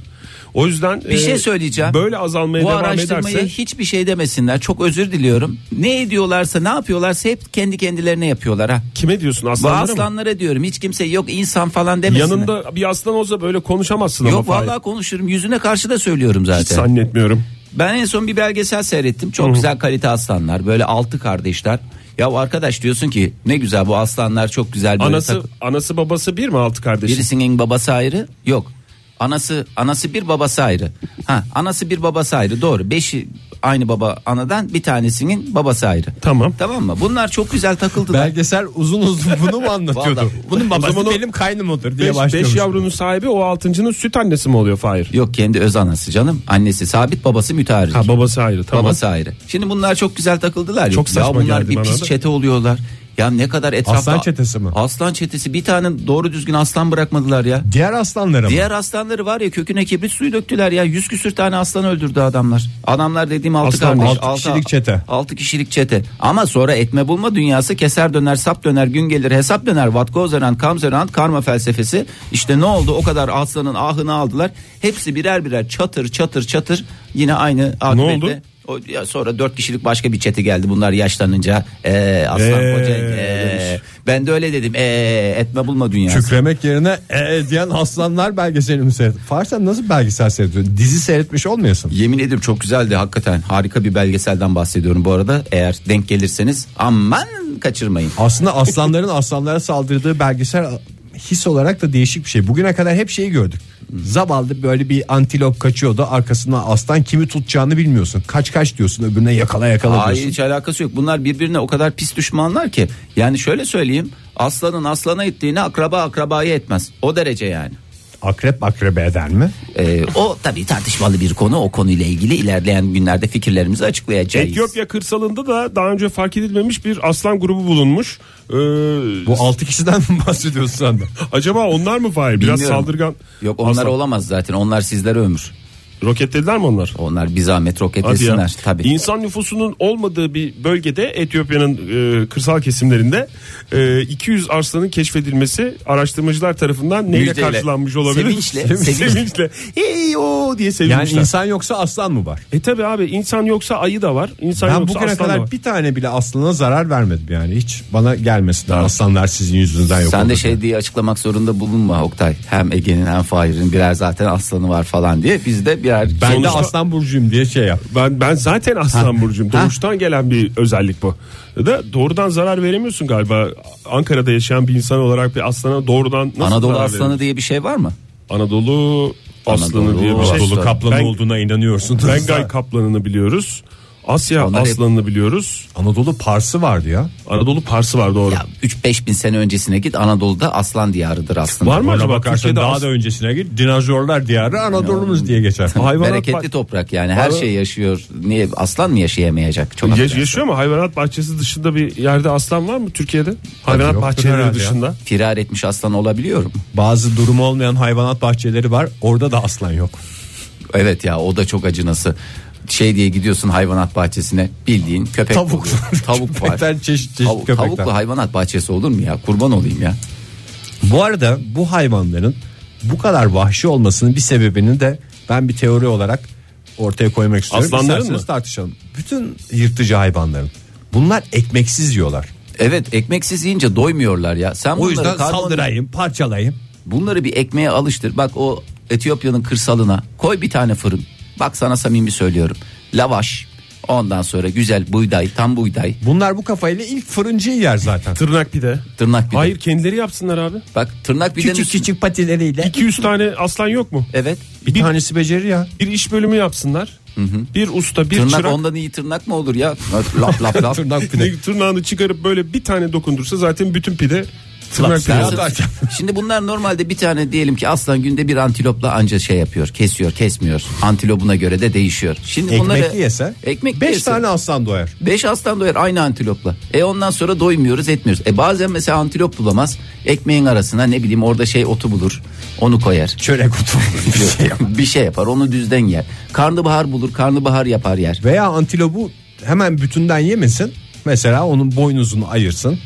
[SPEAKER 3] O yüzden e,
[SPEAKER 4] Bir şey söyleyeceğim.
[SPEAKER 3] Böyle azalmaya
[SPEAKER 4] bu
[SPEAKER 3] devam
[SPEAKER 4] araştırmayı
[SPEAKER 3] ederse
[SPEAKER 4] hiçbir şey demesinler çok özür diliyorum. Ne ediyorlarsa ne yapıyorlarsa hep kendi kendilerine yapıyorlar ha.
[SPEAKER 3] kime diyorsun
[SPEAKER 4] Bu
[SPEAKER 3] aslanlara mı?
[SPEAKER 4] aslanlara diyorum hiç kimse yok insan falan demesinler.
[SPEAKER 3] Yanında bir aslan olsa böyle konuşamazsın ama.
[SPEAKER 4] Yok
[SPEAKER 3] Fahir.
[SPEAKER 4] vallahi konuşurum yüzüne karşı da söylüyorum zaten.
[SPEAKER 3] Hiç zannetmiyorum.
[SPEAKER 4] Ben en son bir belgesel seyrettim. Çok güzel kalite aslanlar. Böyle altı kardeşler. Ya arkadaş diyorsun ki ne güzel bu aslanlar çok güzel. Böyle
[SPEAKER 3] Anası
[SPEAKER 4] takı-
[SPEAKER 3] anası babası bir mi altı kardeşi?
[SPEAKER 4] birisinin babası ayrı. Yok. Anası anası bir babası ayrı. Ha anası bir babası ayrı. Doğru. Beşi aynı baba anadan bir tanesinin babası ayrı.
[SPEAKER 3] Tamam.
[SPEAKER 4] Tamam mı? Bunlar çok güzel takıldılar.
[SPEAKER 2] Belgesel uzun uzun bunu mu anlatıyordu?
[SPEAKER 4] Vallahi.
[SPEAKER 2] Bunun babası
[SPEAKER 3] O zaman o-
[SPEAKER 2] benim kaynımdır diye
[SPEAKER 3] 5
[SPEAKER 2] başlıyormuş.
[SPEAKER 3] yavrunun sahibi o altıncının süt annesi mi oluyor Fahir?
[SPEAKER 4] Yok kendi öz anası canım. Annesi sabit babası müteahhit.
[SPEAKER 3] Ha babası ayrı tamam.
[SPEAKER 4] Babası ayrı. Şimdi bunlar çok güzel takıldılar. ya.
[SPEAKER 3] Çok saçma
[SPEAKER 4] ya bunlar
[SPEAKER 3] geldi
[SPEAKER 4] bir
[SPEAKER 3] bana
[SPEAKER 4] pis
[SPEAKER 3] da.
[SPEAKER 4] çete oluyorlar. Ya ne kadar etrafta
[SPEAKER 2] Aslan çetesi mi?
[SPEAKER 4] Aslan çetesi bir tane doğru düzgün aslan bırakmadılar ya.
[SPEAKER 2] Diğer aslanlara mı?
[SPEAKER 4] Diğer aslanları var ya köküne kibrit suyu döktüler ya. Yüz küsür tane aslan öldürdü adamlar. Adamlar dediğim altı
[SPEAKER 2] Aslan,
[SPEAKER 4] kardeş.
[SPEAKER 2] altı kişilik çete.
[SPEAKER 4] Altı kişilik çete. Ama sonra etme bulma dünyası keser döner sap döner gün gelir hesap döner. What goes around comes around karma felsefesi. İşte ne oldu o kadar aslanın ahını aldılar. Hepsi birer birer çatır çatır çatır yine aynı akıbette.
[SPEAKER 3] oldu?
[SPEAKER 4] O, ya sonra dört kişilik başka bir çete geldi bunlar yaşlanınca. Ee, aslan
[SPEAKER 3] Ee,
[SPEAKER 4] koca. ee. Ben de öyle dedim. Ee, etme bulma dünyası.
[SPEAKER 2] Kükremek yerine
[SPEAKER 1] e,
[SPEAKER 2] ee diyen aslanlar belgeselini mi seyret? Farsen nasıl belgesel seyrediyorsun? Dizi seyretmiş olmuyorsun.
[SPEAKER 4] Yemin ederim çok güzeldi hakikaten. Harika bir belgeselden bahsediyorum bu arada. Eğer denk gelirseniz aman kaçırmayın.
[SPEAKER 2] Aslında aslanların aslanlara saldırdığı belgesel his olarak da değişik bir şey. Bugüne kadar hep şeyi gördük. Zavallı böyle bir antilop kaçıyordu. Arkasına aslan kimi tutacağını bilmiyorsun. Kaç kaç diyorsun öbürüne yakala yakala
[SPEAKER 4] Hayır
[SPEAKER 2] diyorsun.
[SPEAKER 4] hiç alakası yok. Bunlar birbirine o kadar pis düşmanlar ki. Yani şöyle söyleyeyim. Aslanın aslana ettiğini akraba akrabayı etmez. O derece yani.
[SPEAKER 2] Akrep akrebe eder mi?
[SPEAKER 4] Ee, o tabii tartışmalı bir konu. O konuyla ilgili ilerleyen günlerde fikirlerimizi açıklayacağız.
[SPEAKER 3] Etiyopya kırsalında da daha önce fark edilmemiş bir aslan grubu bulunmuş. Ee,
[SPEAKER 2] Bu 6 kişiden mi bahsediyorsun sen de?
[SPEAKER 3] acaba onlar mı Fahir? Biraz
[SPEAKER 4] Bilmiyorum.
[SPEAKER 3] saldırgan.
[SPEAKER 4] Yok onlar
[SPEAKER 3] aslan.
[SPEAKER 4] olamaz zaten. Onlar sizlere ömür.
[SPEAKER 3] Roketlediler mi onlar?
[SPEAKER 4] Onlar bir zahmet
[SPEAKER 3] Hadi ya.
[SPEAKER 4] roketlesinler tabii.
[SPEAKER 3] İnsan nüfusunun olmadığı bir bölgede Etiyopya'nın e, kırsal kesimlerinde e, 200 aslanın keşfedilmesi araştırmacılar tarafından neyle
[SPEAKER 4] Müjdeyle.
[SPEAKER 3] karşılanmış olabilir?
[SPEAKER 4] Sevinçle, sevinçle.
[SPEAKER 3] sevinçle. Hey o diye
[SPEAKER 2] Yani
[SPEAKER 3] sevinmişler.
[SPEAKER 2] insan yoksa aslan mı var?
[SPEAKER 3] E tabi abi insan yoksa ayı da var. İnsan
[SPEAKER 2] Ben
[SPEAKER 3] yoksa
[SPEAKER 2] bugüne
[SPEAKER 3] aslan da var.
[SPEAKER 2] kadar bir tane bile aslana zarar vermedim yani. Hiç bana gelmesin aslanlar sizin yüzünüzden yok.
[SPEAKER 4] Sen de
[SPEAKER 2] oldu.
[SPEAKER 4] şey diye açıklamak zorunda bulunma Oktay. Hem Ege'nin hem Fahir'in birer zaten aslanı var falan diye. Biz de birer...
[SPEAKER 2] ben
[SPEAKER 3] Sonuçta-
[SPEAKER 2] de aslan burcuyum diye şey yap.
[SPEAKER 3] Ben ben zaten aslan burcuyum. Doğuştan gelen bir özellik bu. Ya da doğrudan zarar veremiyorsun galiba. Ankara'da yaşayan bir insan olarak bir aslana doğrudan nasıl
[SPEAKER 4] Anadolu
[SPEAKER 3] zarar
[SPEAKER 4] aslanı
[SPEAKER 3] verilir?
[SPEAKER 4] diye bir şey var mı?
[SPEAKER 3] Anadolu aslanı
[SPEAKER 4] Anadolu
[SPEAKER 3] diye bir şey.
[SPEAKER 4] aslanı.
[SPEAKER 2] Dolu kaplan
[SPEAKER 3] Ben-
[SPEAKER 2] olduğuna inanıyorsun.
[SPEAKER 3] Bengay kaplanını biliyoruz. Asya
[SPEAKER 4] Onlar hep-
[SPEAKER 3] aslanını biliyoruz.
[SPEAKER 2] Anadolu Parsı vardı ya.
[SPEAKER 3] Anadolu Parsı var doğru.
[SPEAKER 4] Ya 3-5 bin sene öncesine git Anadolu'da aslan diyarıdır aslında.
[SPEAKER 3] var mı
[SPEAKER 2] Ona
[SPEAKER 3] acaba
[SPEAKER 2] bakarsan
[SPEAKER 3] Türkiye'de
[SPEAKER 2] daha
[SPEAKER 3] as-
[SPEAKER 2] da öncesine git. Dinozorlar diyarı Anadolu'muz diye geçer.
[SPEAKER 3] hayvanat
[SPEAKER 4] Bereketli
[SPEAKER 3] bah-
[SPEAKER 4] toprak yani her şey yaşıyor. Niye aslan mı yaşayamayacak? Çok
[SPEAKER 3] Ya-
[SPEAKER 4] affedersin.
[SPEAKER 3] yaşıyor mu hayvanat bahçesi dışında bir yerde aslan var mı Türkiye'de? Hayvanat
[SPEAKER 2] yoktur herhalde
[SPEAKER 3] bahçeleri
[SPEAKER 2] ya.
[SPEAKER 3] dışında.
[SPEAKER 4] Firar etmiş aslan olabiliyor mu?
[SPEAKER 2] Bazı durumu olmayan hayvanat bahçeleri var. Orada da aslan yok.
[SPEAKER 4] Evet ya o da çok acınası. Şey diye gidiyorsun hayvanat bahçesine bildiğin köpek
[SPEAKER 2] Tavuk.
[SPEAKER 4] oluyor. tavuk var.
[SPEAKER 2] Köpekler, çeşit çeşit
[SPEAKER 4] Tavuk,
[SPEAKER 2] köpekler.
[SPEAKER 4] tavuklu hayvanat bahçesi olur mu ya? Kurban olayım ya.
[SPEAKER 2] Bu arada bu hayvanların bu kadar vahşi olmasının bir sebebini de ben bir teori olarak ortaya koymak istiyorum.
[SPEAKER 3] Aslanların
[SPEAKER 2] İsterseniz
[SPEAKER 3] mı?
[SPEAKER 2] tartışalım. Bütün yırtıcı hayvanların. Bunlar ekmeksiz yiyorlar.
[SPEAKER 4] Evet ekmeksiz yiyince doymuyorlar ya. Sen
[SPEAKER 2] O yüzden
[SPEAKER 4] bunları karbon-
[SPEAKER 2] saldırayım, parçalayayım.
[SPEAKER 4] Bunları bir ekmeğe alıştır. Bak o Etiyopya'nın kırsalına koy bir tane fırın. Bak sana samimi söylüyorum. Lavaş. Ondan sonra güzel buğday, tam buğday,
[SPEAKER 2] Bunlar bu kafayla ilk fırıncıyı Şey yer zaten.
[SPEAKER 3] Tırnak pide.
[SPEAKER 4] tırnak pide.
[SPEAKER 3] Hayır kendileri yapsınlar abi.
[SPEAKER 4] Bak tırnak pidenin
[SPEAKER 2] küçük
[SPEAKER 4] üstü-
[SPEAKER 2] küçük patileriyle.
[SPEAKER 3] 200 tane aslan yok mu?
[SPEAKER 4] Evet.
[SPEAKER 2] Bir tanesi becerir ya.
[SPEAKER 3] Bir iş bölümü yapsınlar. Bir usta bir
[SPEAKER 4] Tırnak
[SPEAKER 3] çırak.
[SPEAKER 4] ondan iyi tırnak mı olur ya? Lap lap lap.
[SPEAKER 2] Tırnak pide.
[SPEAKER 3] Ne- Tırnağını çıkarıp böyle bir tane dokundursa zaten bütün pide
[SPEAKER 4] Bak,
[SPEAKER 3] tırnak
[SPEAKER 4] sen-
[SPEAKER 3] pide.
[SPEAKER 4] Şimdi bunlar normalde bir tane diyelim ki aslan günde bir antilopla anca şey yapıyor. Kesiyor, kesmiyor. Antilopuna göre de değişiyor. Şimdi bunları
[SPEAKER 2] Ekmekli yese.
[SPEAKER 4] ekmekli
[SPEAKER 2] beş
[SPEAKER 4] yese-
[SPEAKER 2] tane aslan doyar.
[SPEAKER 4] 5 aslan doyar aynı antilopla. E ondan sonra doymuyoruz etmiyoruz. E bazen mesela antilop bulamaz. Ekmeğin arasına ne bileyim orada şey otu bulur. Onu koyar.
[SPEAKER 2] Çörek otu. Bir şey yok.
[SPEAKER 4] bir şey yapar onu düzden yer. Karnabahar bulur karnabahar yapar yer.
[SPEAKER 2] Veya antilopu hemen bütünden yemesin. Mesela onun boynuzunu ayırsın.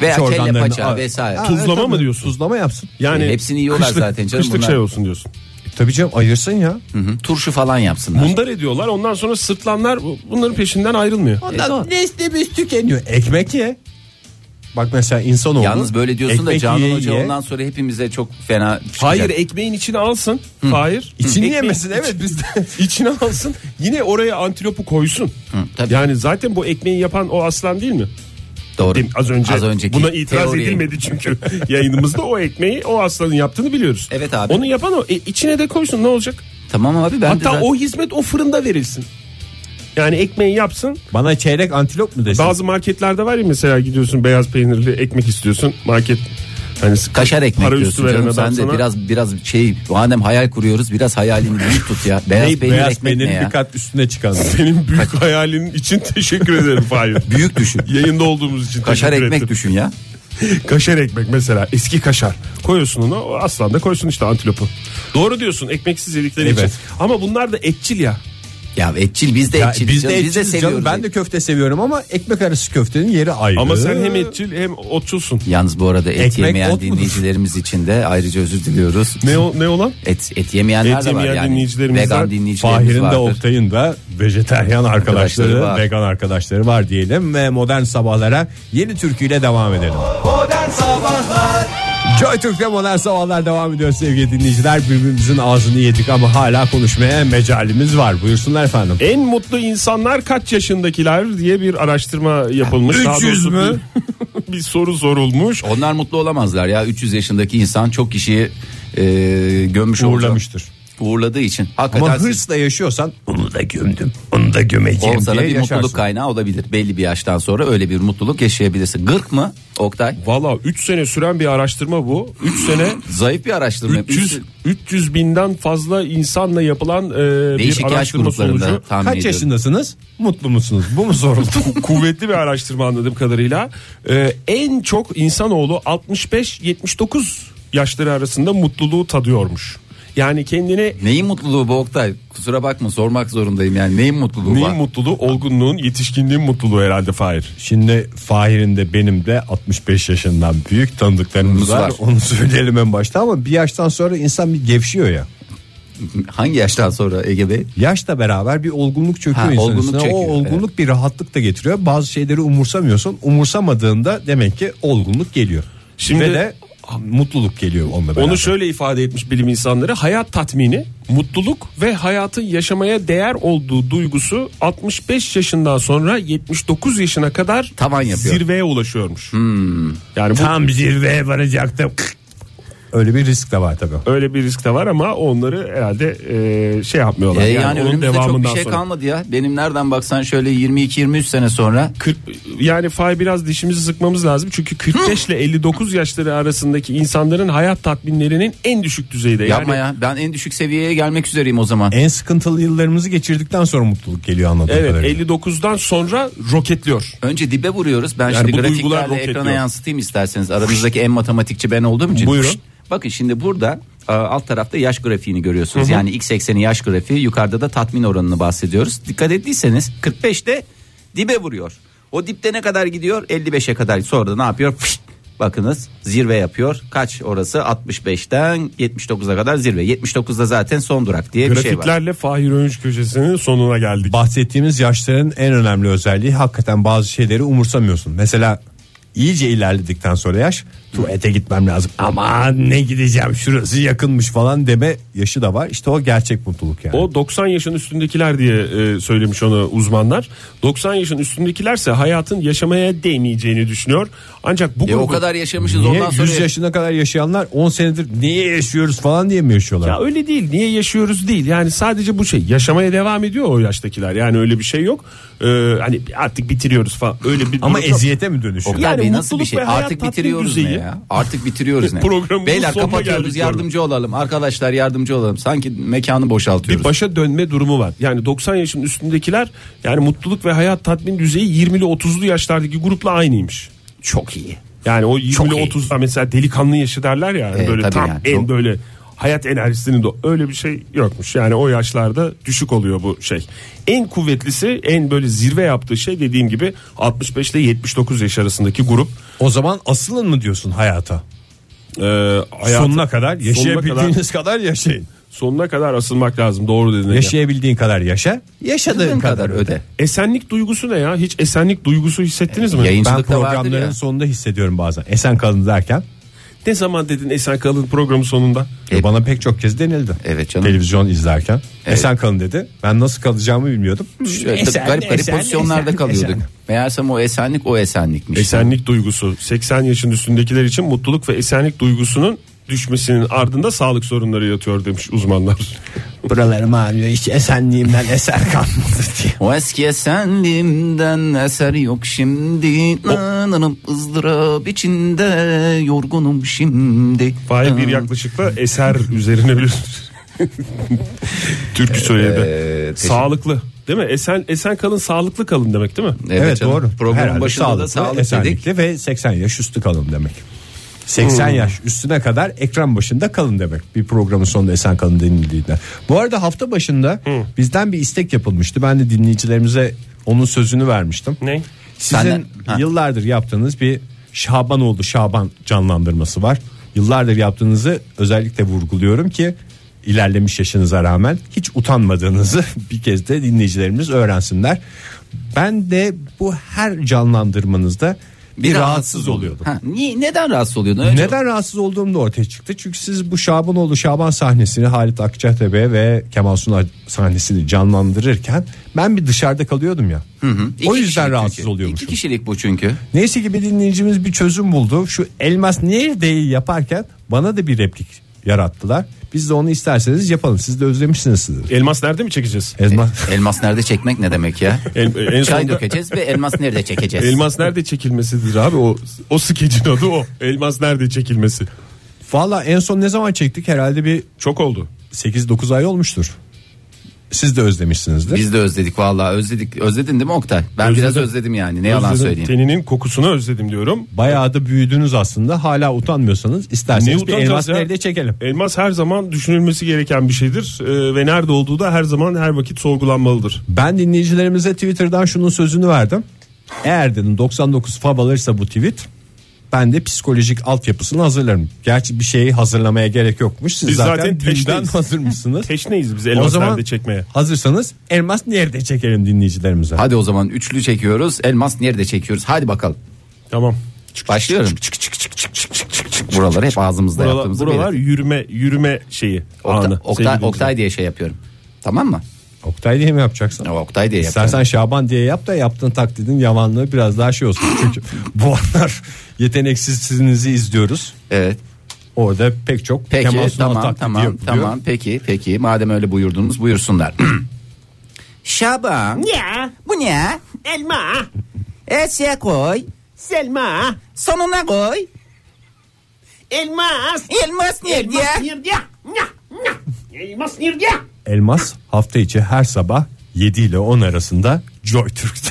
[SPEAKER 4] Veya
[SPEAKER 2] İç
[SPEAKER 4] kelle
[SPEAKER 2] organlarını
[SPEAKER 4] paça
[SPEAKER 2] ar-
[SPEAKER 4] vesaire.
[SPEAKER 2] Ha,
[SPEAKER 3] Tuzlama
[SPEAKER 2] tabii.
[SPEAKER 3] mı diyorsun?
[SPEAKER 2] Tuzlama yapsın.
[SPEAKER 3] Yani
[SPEAKER 4] E, hepsini yiyorlar
[SPEAKER 3] kışlık-
[SPEAKER 4] zaten canım
[SPEAKER 3] Kışlık
[SPEAKER 4] bunlar.
[SPEAKER 3] şey olsun diyorsun.
[SPEAKER 2] e, Tabii canım ayırsın ya.
[SPEAKER 4] Hı hı. Turşu falan yapsınlar.
[SPEAKER 3] Mundar ediyorlar ondan sonra sırtlanlar bu- bunların peşinden ayrılmıyor.
[SPEAKER 4] E,
[SPEAKER 2] Ondan neslimiz tükeniyor. Ekmek ye. Bak mesela insanoğlu.
[SPEAKER 4] Yalnız böyle diyorsun da
[SPEAKER 2] ekmek
[SPEAKER 4] Canan
[SPEAKER 2] yiye
[SPEAKER 4] Hoca
[SPEAKER 2] yiye,
[SPEAKER 4] ondan sonra hepimize çok fena çıkacak.
[SPEAKER 3] Hayır ekmeğin içine alsın. Hayır.
[SPEAKER 2] İçini
[SPEAKER 3] Ekmeğin
[SPEAKER 2] yemesin
[SPEAKER 3] iç-
[SPEAKER 2] evet biz de.
[SPEAKER 3] içine alsın. Yine oraya antilopu koysun.
[SPEAKER 4] tabii.
[SPEAKER 3] Yani zaten bu ekmeği yapan o aslan değil mi?
[SPEAKER 4] Doğru.
[SPEAKER 3] Değil mi? Az önce
[SPEAKER 4] önceki
[SPEAKER 3] buna itiraz
[SPEAKER 4] teoriye.
[SPEAKER 3] edilmedi çünkü yayınımızda o ekmeği o aslanın yaptığını biliyoruz.
[SPEAKER 4] Evet abi.
[SPEAKER 3] Onu yapan o. E, içine de koysun ne olacak?
[SPEAKER 4] Tamam abi ben de
[SPEAKER 3] Hatta
[SPEAKER 4] zaten-
[SPEAKER 3] o hizmet o fırında verilsin. Yani ekmeği yapsın.
[SPEAKER 2] Bana çeyrek antilop mu desin?
[SPEAKER 3] Bazı marketlerde var ya mesela gidiyorsun beyaz peynirli ekmek istiyorsun. Market hani sık-
[SPEAKER 4] Kaşar ekmek
[SPEAKER 3] para üstü
[SPEAKER 4] diyorsun
[SPEAKER 3] veren
[SPEAKER 4] canım.
[SPEAKER 3] adam
[SPEAKER 4] Sen de
[SPEAKER 3] sana-
[SPEAKER 4] biraz biraz şey madem hayal kuruyoruz biraz hayalini büyük tut ya. Beyaz
[SPEAKER 2] Ney-
[SPEAKER 4] peynir
[SPEAKER 2] beyaz
[SPEAKER 4] ekmek ne
[SPEAKER 2] peynirin
[SPEAKER 4] ya?
[SPEAKER 2] bir kat üstüne çıkan.
[SPEAKER 3] Senin büyük hayalin için teşekkür ederim Fahir.
[SPEAKER 4] Büyük düşün.
[SPEAKER 3] Yayında olduğumuz için
[SPEAKER 4] Kaşar
[SPEAKER 3] teşekkür
[SPEAKER 4] ekmek
[SPEAKER 3] ettim.
[SPEAKER 4] düşün ya.
[SPEAKER 3] Kaşar ekmek mesela eski kaşar. Koyuyorsun onu o aslan da koysun işte antilopu. Doğru diyorsun ekmeksiz yedikleri
[SPEAKER 2] Evet.
[SPEAKER 3] için. Ama bunlar da etçil ya.
[SPEAKER 4] Ya etçil biz de
[SPEAKER 2] Ya
[SPEAKER 4] etçil.
[SPEAKER 2] biz de
[SPEAKER 4] biz de
[SPEAKER 2] etçiliz canım.
[SPEAKER 4] seviyoruz.
[SPEAKER 2] Ben de köfte seviyorum ama ekmek arası köftenin yeri ayrı.
[SPEAKER 3] Ama sen hem etçil hem otçulsun.
[SPEAKER 4] Yalnız bu arada et
[SPEAKER 2] Ekmek
[SPEAKER 4] yemeyen
[SPEAKER 2] ot mudur?
[SPEAKER 4] dinleyicilerimiz için de ayrıca özür diliyoruz.
[SPEAKER 3] Ne o, ne olan?
[SPEAKER 4] Et et yemeyenler
[SPEAKER 3] Et
[SPEAKER 4] de var
[SPEAKER 3] yemeyen
[SPEAKER 4] yani.
[SPEAKER 3] dinleyicilerimiz var.
[SPEAKER 4] Vegan dinleyicilerimiz
[SPEAKER 2] Fahir'in de
[SPEAKER 4] var.
[SPEAKER 2] Oktay'ın da vejeteryan arkadaşları,
[SPEAKER 4] Arkadaşları var.
[SPEAKER 2] vegan arkadaşları var diyelim ve modern sabahlara yeni türküyle devam edelim.
[SPEAKER 1] Modern Sabahlar
[SPEAKER 2] Joy Türk'te modern sabahlar devam ediyor sevgili dinleyiciler. Birbirimizin ağzını yedik ama hala konuşmaya mecalimiz var. Buyursunlar efendim.
[SPEAKER 3] En mutlu insanlar kaç yaşındakiler diye bir araştırma yapılmış. Daha
[SPEAKER 2] 300
[SPEAKER 3] doğrusu
[SPEAKER 2] mü?
[SPEAKER 3] Bir, bir soru sorulmuş.
[SPEAKER 4] Onlar mutlu olamazlar ya 300 yaşındaki insan çok kişiyi e, gömmüş olacak.
[SPEAKER 2] Uğurlamıştır.
[SPEAKER 4] Uğurladığı için.
[SPEAKER 2] Ama
[SPEAKER 4] Hakikaten siz-
[SPEAKER 2] hırsla yaşıyorsan onu da gömdüm, onu da gömeceğim
[SPEAKER 4] o sana
[SPEAKER 2] diye
[SPEAKER 4] bir
[SPEAKER 2] yaşarsın.
[SPEAKER 4] mutluluk kaynağı olabilir. Belli bir yaştan sonra öyle bir mutluluk yaşayabilirsin. Gırk mı Oktay?
[SPEAKER 3] Valla 3 sene süren bir araştma bu. 3 sene
[SPEAKER 4] Zayıf bir araştırma.
[SPEAKER 3] 300 300 binden fazla insanla yapılan e,
[SPEAKER 4] Değişik
[SPEAKER 3] bir
[SPEAKER 4] yaş
[SPEAKER 3] araştırma
[SPEAKER 4] gruplarında.
[SPEAKER 3] sonucu.
[SPEAKER 4] Tahmin
[SPEAKER 2] Kaç
[SPEAKER 4] ediyorum.
[SPEAKER 2] yaşındasınız? Mutlu musunuz? Bu mu soruldu?
[SPEAKER 3] kuvvetli bir araştırma anladığım kadarıyla Ee, en çok insanoğlu 65-79 yaşları arasında mutluluğu tadıyormuş. Yani kendine
[SPEAKER 4] Neyin mutluluğu bu Oktay? Kusura bakma sormak zorundayım yani. Neyin mutluluğu
[SPEAKER 3] neyin
[SPEAKER 4] var?
[SPEAKER 3] mutluluğu? Olgunluğun, yetişkinliğin mutluluğu herhalde Fahir.
[SPEAKER 2] Şimdi Fahir'in de benim de 65 yaşından büyük tanıdıklarımız
[SPEAKER 4] Biz
[SPEAKER 2] var.
[SPEAKER 4] var.
[SPEAKER 2] Onu söyleyelim en başta ama bir yaştan sonra insan bir gevşiyor ya.
[SPEAKER 4] Hangi yaştan sonra Ege Bey?
[SPEAKER 2] Yaşla beraber bir olgunluk çöküyor
[SPEAKER 4] Ha,
[SPEAKER 2] insanın
[SPEAKER 4] olgunluk
[SPEAKER 2] üstüne.
[SPEAKER 4] çöküyor,
[SPEAKER 2] o olgunluk bir rahatlık da getiriyor. Bazı şeyleri umursamıyorsun. Umursamadığında demek ki olgunluk geliyor.
[SPEAKER 3] Şimdi-
[SPEAKER 2] Ve de mutluluk geliyor onunla beraber.
[SPEAKER 3] Onu şöyle ifade etmiş bilim insanları. Hayat tatmini, mutluluk ve hayatın yaşamaya değer olduğu duygusu 65 yaşından sonra 79 yaşına kadar
[SPEAKER 4] Tavan yapıyor. Hmm.
[SPEAKER 3] zirveye ulaşıyormuş. Yani bu
[SPEAKER 2] Tam zirveye varacaktım. Öyle bir risk de var tabii.
[SPEAKER 3] Öyle bir risk de var ama onları herhalde e, şey yapmıyorlar.
[SPEAKER 4] E, yani,
[SPEAKER 3] onun
[SPEAKER 4] önümüzde çok bir
[SPEAKER 3] devamından
[SPEAKER 4] şey
[SPEAKER 3] sonra.
[SPEAKER 4] kalmadı ya. Benim nereden baksan şöyle 22-23 sene sonra
[SPEAKER 3] 40 yani fay biraz dişimizi sıkmamız lazım. Çünkü 45 ile 59 yaşları arasındaki insanların hayat tatminlerinin en düşük düzeyde. Yani
[SPEAKER 4] yapma ya. Ben en düşük seviyeye gelmek üzereyim o zaman.
[SPEAKER 2] En sıkıntılı yıllarımızı geçirdikten sonra mutluluk geliyor anladığım
[SPEAKER 3] Evet
[SPEAKER 2] kadarıyla.
[SPEAKER 3] 59'dan sonra roketliyor.
[SPEAKER 4] Önce dibe vuruyoruz. Ben
[SPEAKER 3] Yani bu
[SPEAKER 4] şimdi
[SPEAKER 3] duygular
[SPEAKER 4] grafiklerle
[SPEAKER 3] roketliyor.
[SPEAKER 4] ekrana yansıtayım isterseniz. Aranızdaki en matematikçi ben olduğum için.
[SPEAKER 3] Buyurun.
[SPEAKER 4] Şşt. Bakın şimdi burada e, alt tarafta yaş grafiğini görüyorsunuz. Yani x ekseni yaş grafiği yukarıda da tatmin oranını bahsediyoruz. Dikkat ettiyseniz 45'te dibe vuruyor. O dipte ne kadar gidiyor? 55'e kadar. Sonra da ne yapıyor? Fışt! Bakınız zirve yapıyor. Kaç orası? 65'ten 79'a kadar zirve. 79'da zaten son durak diye bir şey var.
[SPEAKER 3] Grafiklerle Fahir Öğünç köşesinin sonuna geldik.
[SPEAKER 2] Bahsettiğimiz yaşların en önemli özelliği hakikaten bazı şeyleri umursamıyorsun. Mesela iyice ilerledikten sonra yaş tuvalete gitmem lazım. Aman ne gideceğim şurası yakınmış falan deme yaşı da var. İşte o gerçek mutluluk yani.
[SPEAKER 3] O 90 yaşın üstündekiler diye e, söylemiş onu uzmanlar. 90 yaşın üstündekilerse hayatın yaşamaya değmeyeceğini düşünüyor. Ancak bu
[SPEAKER 4] E, o
[SPEAKER 3] grubun-
[SPEAKER 4] kadar yaşamışız
[SPEAKER 2] Niye
[SPEAKER 4] ondan sonra
[SPEAKER 2] 100 yaşına kadar yaşayanlar 10 senedir niye yaşıyoruz falan diye mi yaşıyorlar?
[SPEAKER 3] Ya öyle değil. Niye yaşıyoruz değil. Yani sadece bu şey. Yaşamaya devam ediyor o yaştakiler. Yani öyle bir şey yok. Ee, hani artık bitiriyoruz falan. Öyle bir
[SPEAKER 2] Ama
[SPEAKER 3] durum yok.
[SPEAKER 2] eziyete mi dönüşüyor?
[SPEAKER 4] Oktay
[SPEAKER 3] Yani
[SPEAKER 4] Bey nasıl
[SPEAKER 3] mutluluk
[SPEAKER 4] bir şey?
[SPEAKER 3] ve hayat
[SPEAKER 4] Artık
[SPEAKER 3] tatmin
[SPEAKER 4] bitiriyoruz ne
[SPEAKER 3] düzeyi.
[SPEAKER 4] ya? Artık bitiriyoruz ne?
[SPEAKER 3] Programımızın
[SPEAKER 4] Beyler
[SPEAKER 3] sonuna
[SPEAKER 4] kapatıyoruz
[SPEAKER 3] geldik
[SPEAKER 4] yardımcı olalım. Arkadaşlar yardımcı olalım. Sanki mekanı boşaltıyoruz.
[SPEAKER 3] Bir başa dönme durumu var. Yani 90 yaşın üstündekiler yani mutluluk ve hayat tatmin düzeyi 20'li 30'lu yaşlardaki grupla aynıymış.
[SPEAKER 4] Çok iyi.
[SPEAKER 3] Yani o 20'li
[SPEAKER 4] iyi.
[SPEAKER 3] 30'da mesela delikanlı yaşı derler ya hani
[SPEAKER 4] Evet,
[SPEAKER 3] böyle
[SPEAKER 4] tabii
[SPEAKER 3] tam
[SPEAKER 4] yani.
[SPEAKER 3] en
[SPEAKER 4] Çok-
[SPEAKER 3] böyle hayat enerjisinin de öyle bir şey yokmuş. Yani o yaşlarda düşük oluyor bu şey. En kuvvetlisi en böyle zirve yaptığı şey dediğim gibi 65 ile 79 yaş arasındaki grup.
[SPEAKER 2] O zaman asılın mı diyorsun hayata?
[SPEAKER 3] Ee, hayatı-
[SPEAKER 2] sonuna kadar yaşayabildiğiniz kadar, yaşayın.
[SPEAKER 3] sonuna kadar asılmak lazım doğru dedin. Ege.
[SPEAKER 2] Yaşayabildiğin kadar yaşa.
[SPEAKER 4] Yaşadığın kadar öde.
[SPEAKER 3] Esenlik duygusu ne ya? Hiç esenlik duygusu hissettiniz mi?
[SPEAKER 2] Ben
[SPEAKER 4] Yayıncılıkta vardır
[SPEAKER 2] programların
[SPEAKER 4] ya.
[SPEAKER 2] sonunda hissediyorum bazen. Esen kalın derken
[SPEAKER 3] Ne zaman dedin Esen Kalın programı sonunda?
[SPEAKER 4] Evet.
[SPEAKER 2] bana pek çok kez denildi.
[SPEAKER 4] E, Evet canım.
[SPEAKER 2] Televizyon izlerken esen kalın dedi. Ben nasıl kalacağımı bilmiyordum.
[SPEAKER 4] Şöyle tabii garip garip pozisyonlarda kalıyorduk. Meğersem o esenlik o esenlikmiş.
[SPEAKER 3] Esenlik duygusu 80 yaşın üstündekiler için mutluluk ve esenlik duygusunun düşmesinin ardında sağlık sorunları yatıyor demiş uzmanlar.
[SPEAKER 2] Buralarım ağrıyor hiç esenliğimden eser kalmadı diye.
[SPEAKER 4] O eski esenliğimden eser yok şimdi. Nananım ızdırap içinde yorgunum şimdi.
[SPEAKER 3] Fahir bir yaklaşıkla eser üzerine bir türkü söyledi.
[SPEAKER 4] Ee,
[SPEAKER 3] Sağlıklı değil mi? Esen esen kalın sağlıklı kalın demek değil mi?
[SPEAKER 2] Evet,
[SPEAKER 4] canım.
[SPEAKER 2] doğru.
[SPEAKER 4] Programın
[SPEAKER 2] Herhalde
[SPEAKER 4] başında da sağlık dedik. Hmm.
[SPEAKER 2] esenlikli ve 80 yaş üstü kalın demek. 80 yaş üstüne kadar ekran başında kalın demek. Bir programın sonunda esen kalın denildiğinde. Bu arada hafta başında bizden bir istek yapılmıştı. Ben de dinleyicilerimize onun sözünü vermiştim.
[SPEAKER 3] Ne?
[SPEAKER 2] Sizin
[SPEAKER 4] Senden- Ha.
[SPEAKER 2] yıllardır yaptığınız bir Şaban oldu Şaban canlandırması var. Yıllardır yaptığınızı özellikle vurguluyorum ki ilerlemiş yaşınıza rağmen hiç utanmadığınızı bir kez de dinleyicilerimiz öğrensinler. Ben de bu her canlandırmanızda bir, rahatsız, oluyordum.
[SPEAKER 4] Ha, niye, neden rahatsız oluyordun? Önce-
[SPEAKER 2] Neden rahatsız olduğum da ortaya çıktı. Çünkü siz bu Şabanoğlu Şaban sahnesini Halit Akçatepe ve Kemal Sunal sahnesini canlandırırken ben bir dışarıda kalıyordum ya.
[SPEAKER 4] İki
[SPEAKER 2] O yüzden
[SPEAKER 4] kişilik
[SPEAKER 2] rahatsız
[SPEAKER 4] çünkü.
[SPEAKER 2] oluyormuşum.
[SPEAKER 4] İki kişilik bu çünkü.
[SPEAKER 2] Neyse ki bir dinleyicimiz bir çözüm buldu. Şu elmas neredeyi yaparken bana da bir replik yarattılar. Biz de onu isterseniz yapalım. Siz de özlemişsiniz sizi.
[SPEAKER 3] Elmas nerede mi çekeceğiz?
[SPEAKER 2] Elmas.
[SPEAKER 4] Elmas nerede çekmek ne demek ya?
[SPEAKER 3] El- en
[SPEAKER 4] Çay
[SPEAKER 3] sonunda-
[SPEAKER 4] dökeceğiz ve elmas nerede çekeceğiz?
[SPEAKER 3] Elmas nerede çekilmesidir abi o o skecin adı o. Elmas nerede çekilmesi.
[SPEAKER 2] Valla en son ne zaman çektik? Herhalde bir
[SPEAKER 3] Çok oldu.
[SPEAKER 2] 8-9 ay olmuştur. Siz de özlemişsinizdir.
[SPEAKER 4] Biz de özledik vallahi özledik. Özledin değil mi Oktay? Ben biraz özledim yani. Ne yalan
[SPEAKER 3] Özledim,
[SPEAKER 4] söyleyeyim.
[SPEAKER 3] Teninin kokusunu özledim diyorum.
[SPEAKER 2] Bayağı da büyüdünüz aslında. Hala utanmıyorsanız isterseniz bir
[SPEAKER 3] utanacağız
[SPEAKER 2] elmas
[SPEAKER 3] ya?
[SPEAKER 2] nerede çekelim.
[SPEAKER 3] Elmas her zaman düşünülmesi gereken bir şeydir Ee, ve nerede olduğu da her zaman her vakit sorgulanmalıdır.
[SPEAKER 2] Ben dinleyicilerimize Twitter'dan şunun sözünü verdim. Eğer dedim 99 fav alırsa bu tweet ben de psikolojik altyapısını hazırlarım. Gerçi bir şeyi hazırlamaya gerek yokmuş. Siz
[SPEAKER 3] Biz
[SPEAKER 2] zaten,
[SPEAKER 3] zaten
[SPEAKER 2] dünden
[SPEAKER 3] teşneyiz.
[SPEAKER 2] hazır mısınız?
[SPEAKER 3] Teşneyiz biz
[SPEAKER 2] o
[SPEAKER 3] elmas
[SPEAKER 2] zaman
[SPEAKER 3] nerede çekmeye.
[SPEAKER 2] hazırsanız elmas nerede çekelim dinleyicilerimize.
[SPEAKER 4] Hadi o zaman üçlü çekiyoruz. Elmas nerede çekiyoruz? Hadi bakalım.
[SPEAKER 3] Tamam.
[SPEAKER 4] Başlıyorum. Çık çık çık çık çık çık çık çık. Buralar hep ağzımızda
[SPEAKER 3] Buralar,
[SPEAKER 4] yaptığımızı
[SPEAKER 3] buralar
[SPEAKER 4] bilir.
[SPEAKER 3] yürüme yürüme şeyi
[SPEAKER 4] Okta-
[SPEAKER 3] anı.
[SPEAKER 4] Oktay,
[SPEAKER 3] sevgili
[SPEAKER 4] Oktay diye şey yapıyorum. Tamam mı?
[SPEAKER 2] Oktay diye mi yapacaksın?
[SPEAKER 4] Ya, Oktay diye yapıyorum.
[SPEAKER 2] İstersen Şaban diye yap da yaptığın taklidin yamanlığı biraz daha şey olsun. Çünkü bu aralar yeteneksizsinizi izliyoruz.
[SPEAKER 4] Evet.
[SPEAKER 3] dinleyiciler.
[SPEAKER 2] Orada pek çok
[SPEAKER 4] Peki
[SPEAKER 2] Kemal Sunal
[SPEAKER 4] tamam
[SPEAKER 2] taklidi
[SPEAKER 4] tamam
[SPEAKER 2] yapıyor.
[SPEAKER 4] tamam peki peki madem öyle buyurdunuz buyursunlar. Şaban
[SPEAKER 6] Ya
[SPEAKER 4] bu ne?
[SPEAKER 6] elma,
[SPEAKER 4] Eşya koy.
[SPEAKER 6] Selma,
[SPEAKER 4] Sonuna koy.
[SPEAKER 6] elmas.
[SPEAKER 4] Elmas nerede?
[SPEAKER 6] Elmas nerede? Nya, nya. Elmas nerede?
[SPEAKER 2] Elmas hafta içi her sabah 7 ile 10 arasında Joy Türk'te.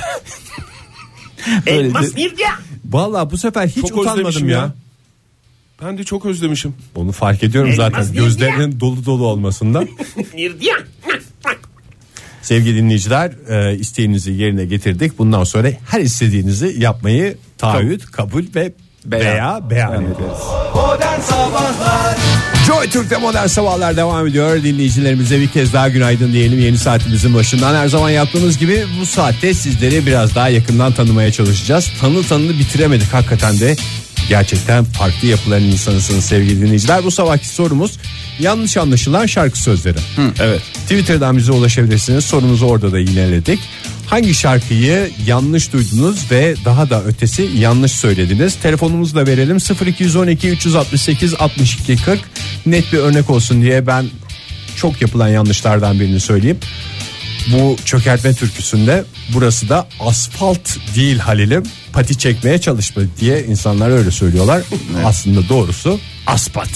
[SPEAKER 6] Elmas nerede?
[SPEAKER 2] Valla bu sefer hiç
[SPEAKER 3] Çok
[SPEAKER 2] utanmadım
[SPEAKER 3] özlemişim
[SPEAKER 2] ya.
[SPEAKER 3] ya. Ben de çok özlemişim.
[SPEAKER 2] Onu fark ediyorum
[SPEAKER 6] Elmas
[SPEAKER 2] zaten
[SPEAKER 6] diyor
[SPEAKER 2] gözlerinin dolu dolu olmasından.
[SPEAKER 6] Nerede? Nya, nya.
[SPEAKER 2] Sevgili dinleyiciler e, isteğinizi yerine getirdik. Bundan sonra her istediğinizi yapmayı taahhüt, kabul ve veya beyan ediyoruz.
[SPEAKER 1] Modern Sabahlar Joy Türk'te Modern Sabahlar devam ediyor. Dinleyicilerimize bir kez daha günaydın diyelim yeni saatimizin başından. Her zaman yaptığımız gibi bu saatte sizleri biraz daha yakından tanımaya çalışacağız. Tanı tanını bitiremedik hakikaten de. Gerçekten farklı yapıların insanısınız sevgili dinleyiciler. Bu sabahki sorumuz yanlış anlaşılan şarkı sözleri. Evet. Twitter'dan bize ulaşabilirsiniz. Sorumuzu orada da yineledik. Hangi şarkıyı yanlış duydunuz ve daha da ötesi yanlış söylediniz? Telefonumuzu da verelim 0212 368 62 40. Net bir örnek olsun diye ben çok yapılan yanlışlardan birini söyleyeyim. Bu çökertme türküsünde burası da asfalt değil Halil'im pati çekmeye çalışma diye insanlar öyle söylüyorlar. Aslında doğrusu aspat.